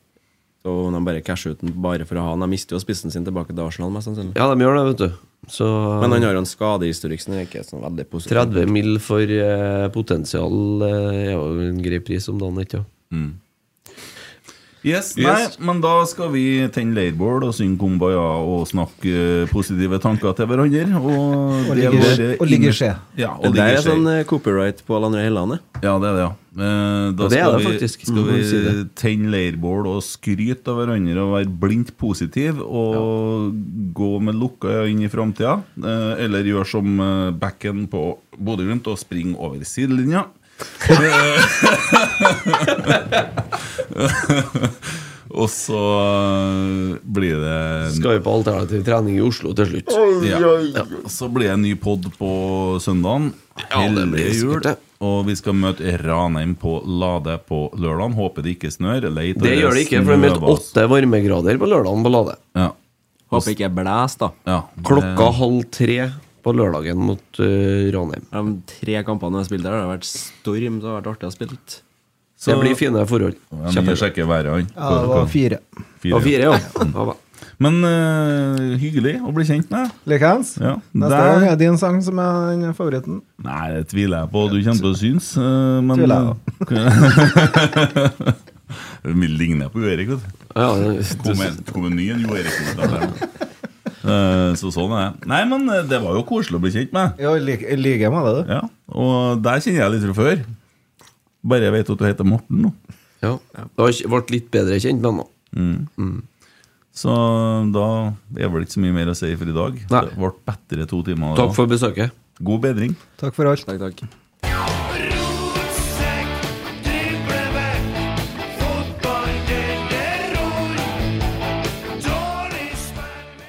Speaker 5: Så om de bare casher ut den bare for å ha den. De mister jo spissen sin tilbake til Arsenal, mest sannsynlig.
Speaker 3: Ja, de gjør det, vet du. Så
Speaker 5: Men han har jo en skadehistorikk som er ikke sånn veldig positiv.
Speaker 3: 30 mill. for eh, potensial eh, er jo en grei pris om dagen, ikke sant?
Speaker 2: Yes,
Speaker 3: Yes.
Speaker 2: Nei, men da skal vi tenne leirbål og synge kumbaya og snakke eh, positive tanker til hverandre. Og,
Speaker 4: Og
Speaker 2: det er
Speaker 4: ligge-
Speaker 2: bare
Speaker 4: og ligge
Speaker 2: inn-
Speaker 4: skje.
Speaker 2: Ja, og
Speaker 5: Det
Speaker 2: ligge
Speaker 5: der er
Speaker 2: skje.
Speaker 5: sånn eh, copyright på alle andre Hellandet.
Speaker 2: Ja, det er det, ja. Eh, Da
Speaker 3: Og det er
Speaker 2: skal
Speaker 3: det
Speaker 2: vi,
Speaker 3: faktisk.
Speaker 2: Skal
Speaker 3: Mm, si
Speaker 2: vi
Speaker 3: det.
Speaker 2: tenne leirbål og skryte av hverandre og være blindt positive og gå med lukka øyne inn i framtida? Eh, Eller gjøre som eh, backen på Bodø-Glimt og springe over sidelinja? og så eh, blir det
Speaker 3: Skal vi på alternativ trening i Oslo til slutt?
Speaker 2: ja. Så blir det en ny pod på søndagen.
Speaker 3: Ja, det blir
Speaker 2: Hellige
Speaker 3: sikkert det.
Speaker 2: Og vi skal møte Ranheim på Lade på lørdag. Håper det ikke snør. Leit og
Speaker 3: Det gjør det ikke, for det er meldt
Speaker 2: snøvas.
Speaker 3: åtte varmegrader på lørdagen på Lade.
Speaker 2: Ja,
Speaker 5: Håper ikke jeg blæser, da.
Speaker 2: ja.
Speaker 3: Klokka halv tre på lørdagen mot eh, Ranheim.
Speaker 5: De tre kampene jeg har spilt der, har det vært storm, så det har vært artig å spille.
Speaker 2: Så-
Speaker 3: Det blir fine forhold.
Speaker 2: Jeg må sjekke været han.
Speaker 4: Ja, det var fire.
Speaker 2: Fire.
Speaker 3: Og fire, ja. ja. vel.
Speaker 2: Men eh, hyggelig å bli kjent med.
Speaker 4: Likeens.
Speaker 2: Ja,
Speaker 4: Neste
Speaker 2: der-
Speaker 4: gang er din sang som er den favoritten.
Speaker 2: Nei, det tviler jeg på. Du kommer til å synes. eh, Men
Speaker 4: Tviler
Speaker 2: Vi ligner på Jo Erik, vet du.
Speaker 3: Ja, det-
Speaker 2: kom en, kom en ny en Jo Erik Eh, Så sånn er det. Nei, men eh, det var jo koselig å bli kjent med.
Speaker 4: Ja, i like, i like med det, du.
Speaker 2: Ja, Og der kjenner jeg litt fra før. Bare jeg vet at du heter Morten nå.
Speaker 3: ja. Da har jeg vært litt bedre kjent med han nå.
Speaker 2: Så da er det vel ikke så mye mer å si for i dag.
Speaker 3: Nei.
Speaker 2: Det ble bedre to timer. da.
Speaker 3: Takk for besøket.
Speaker 2: God bedring.
Speaker 4: Takk for alt.
Speaker 5: Takk, takk.
Speaker 10: Rotsekk, dribleback, fotball den er rund. Dårlig spermen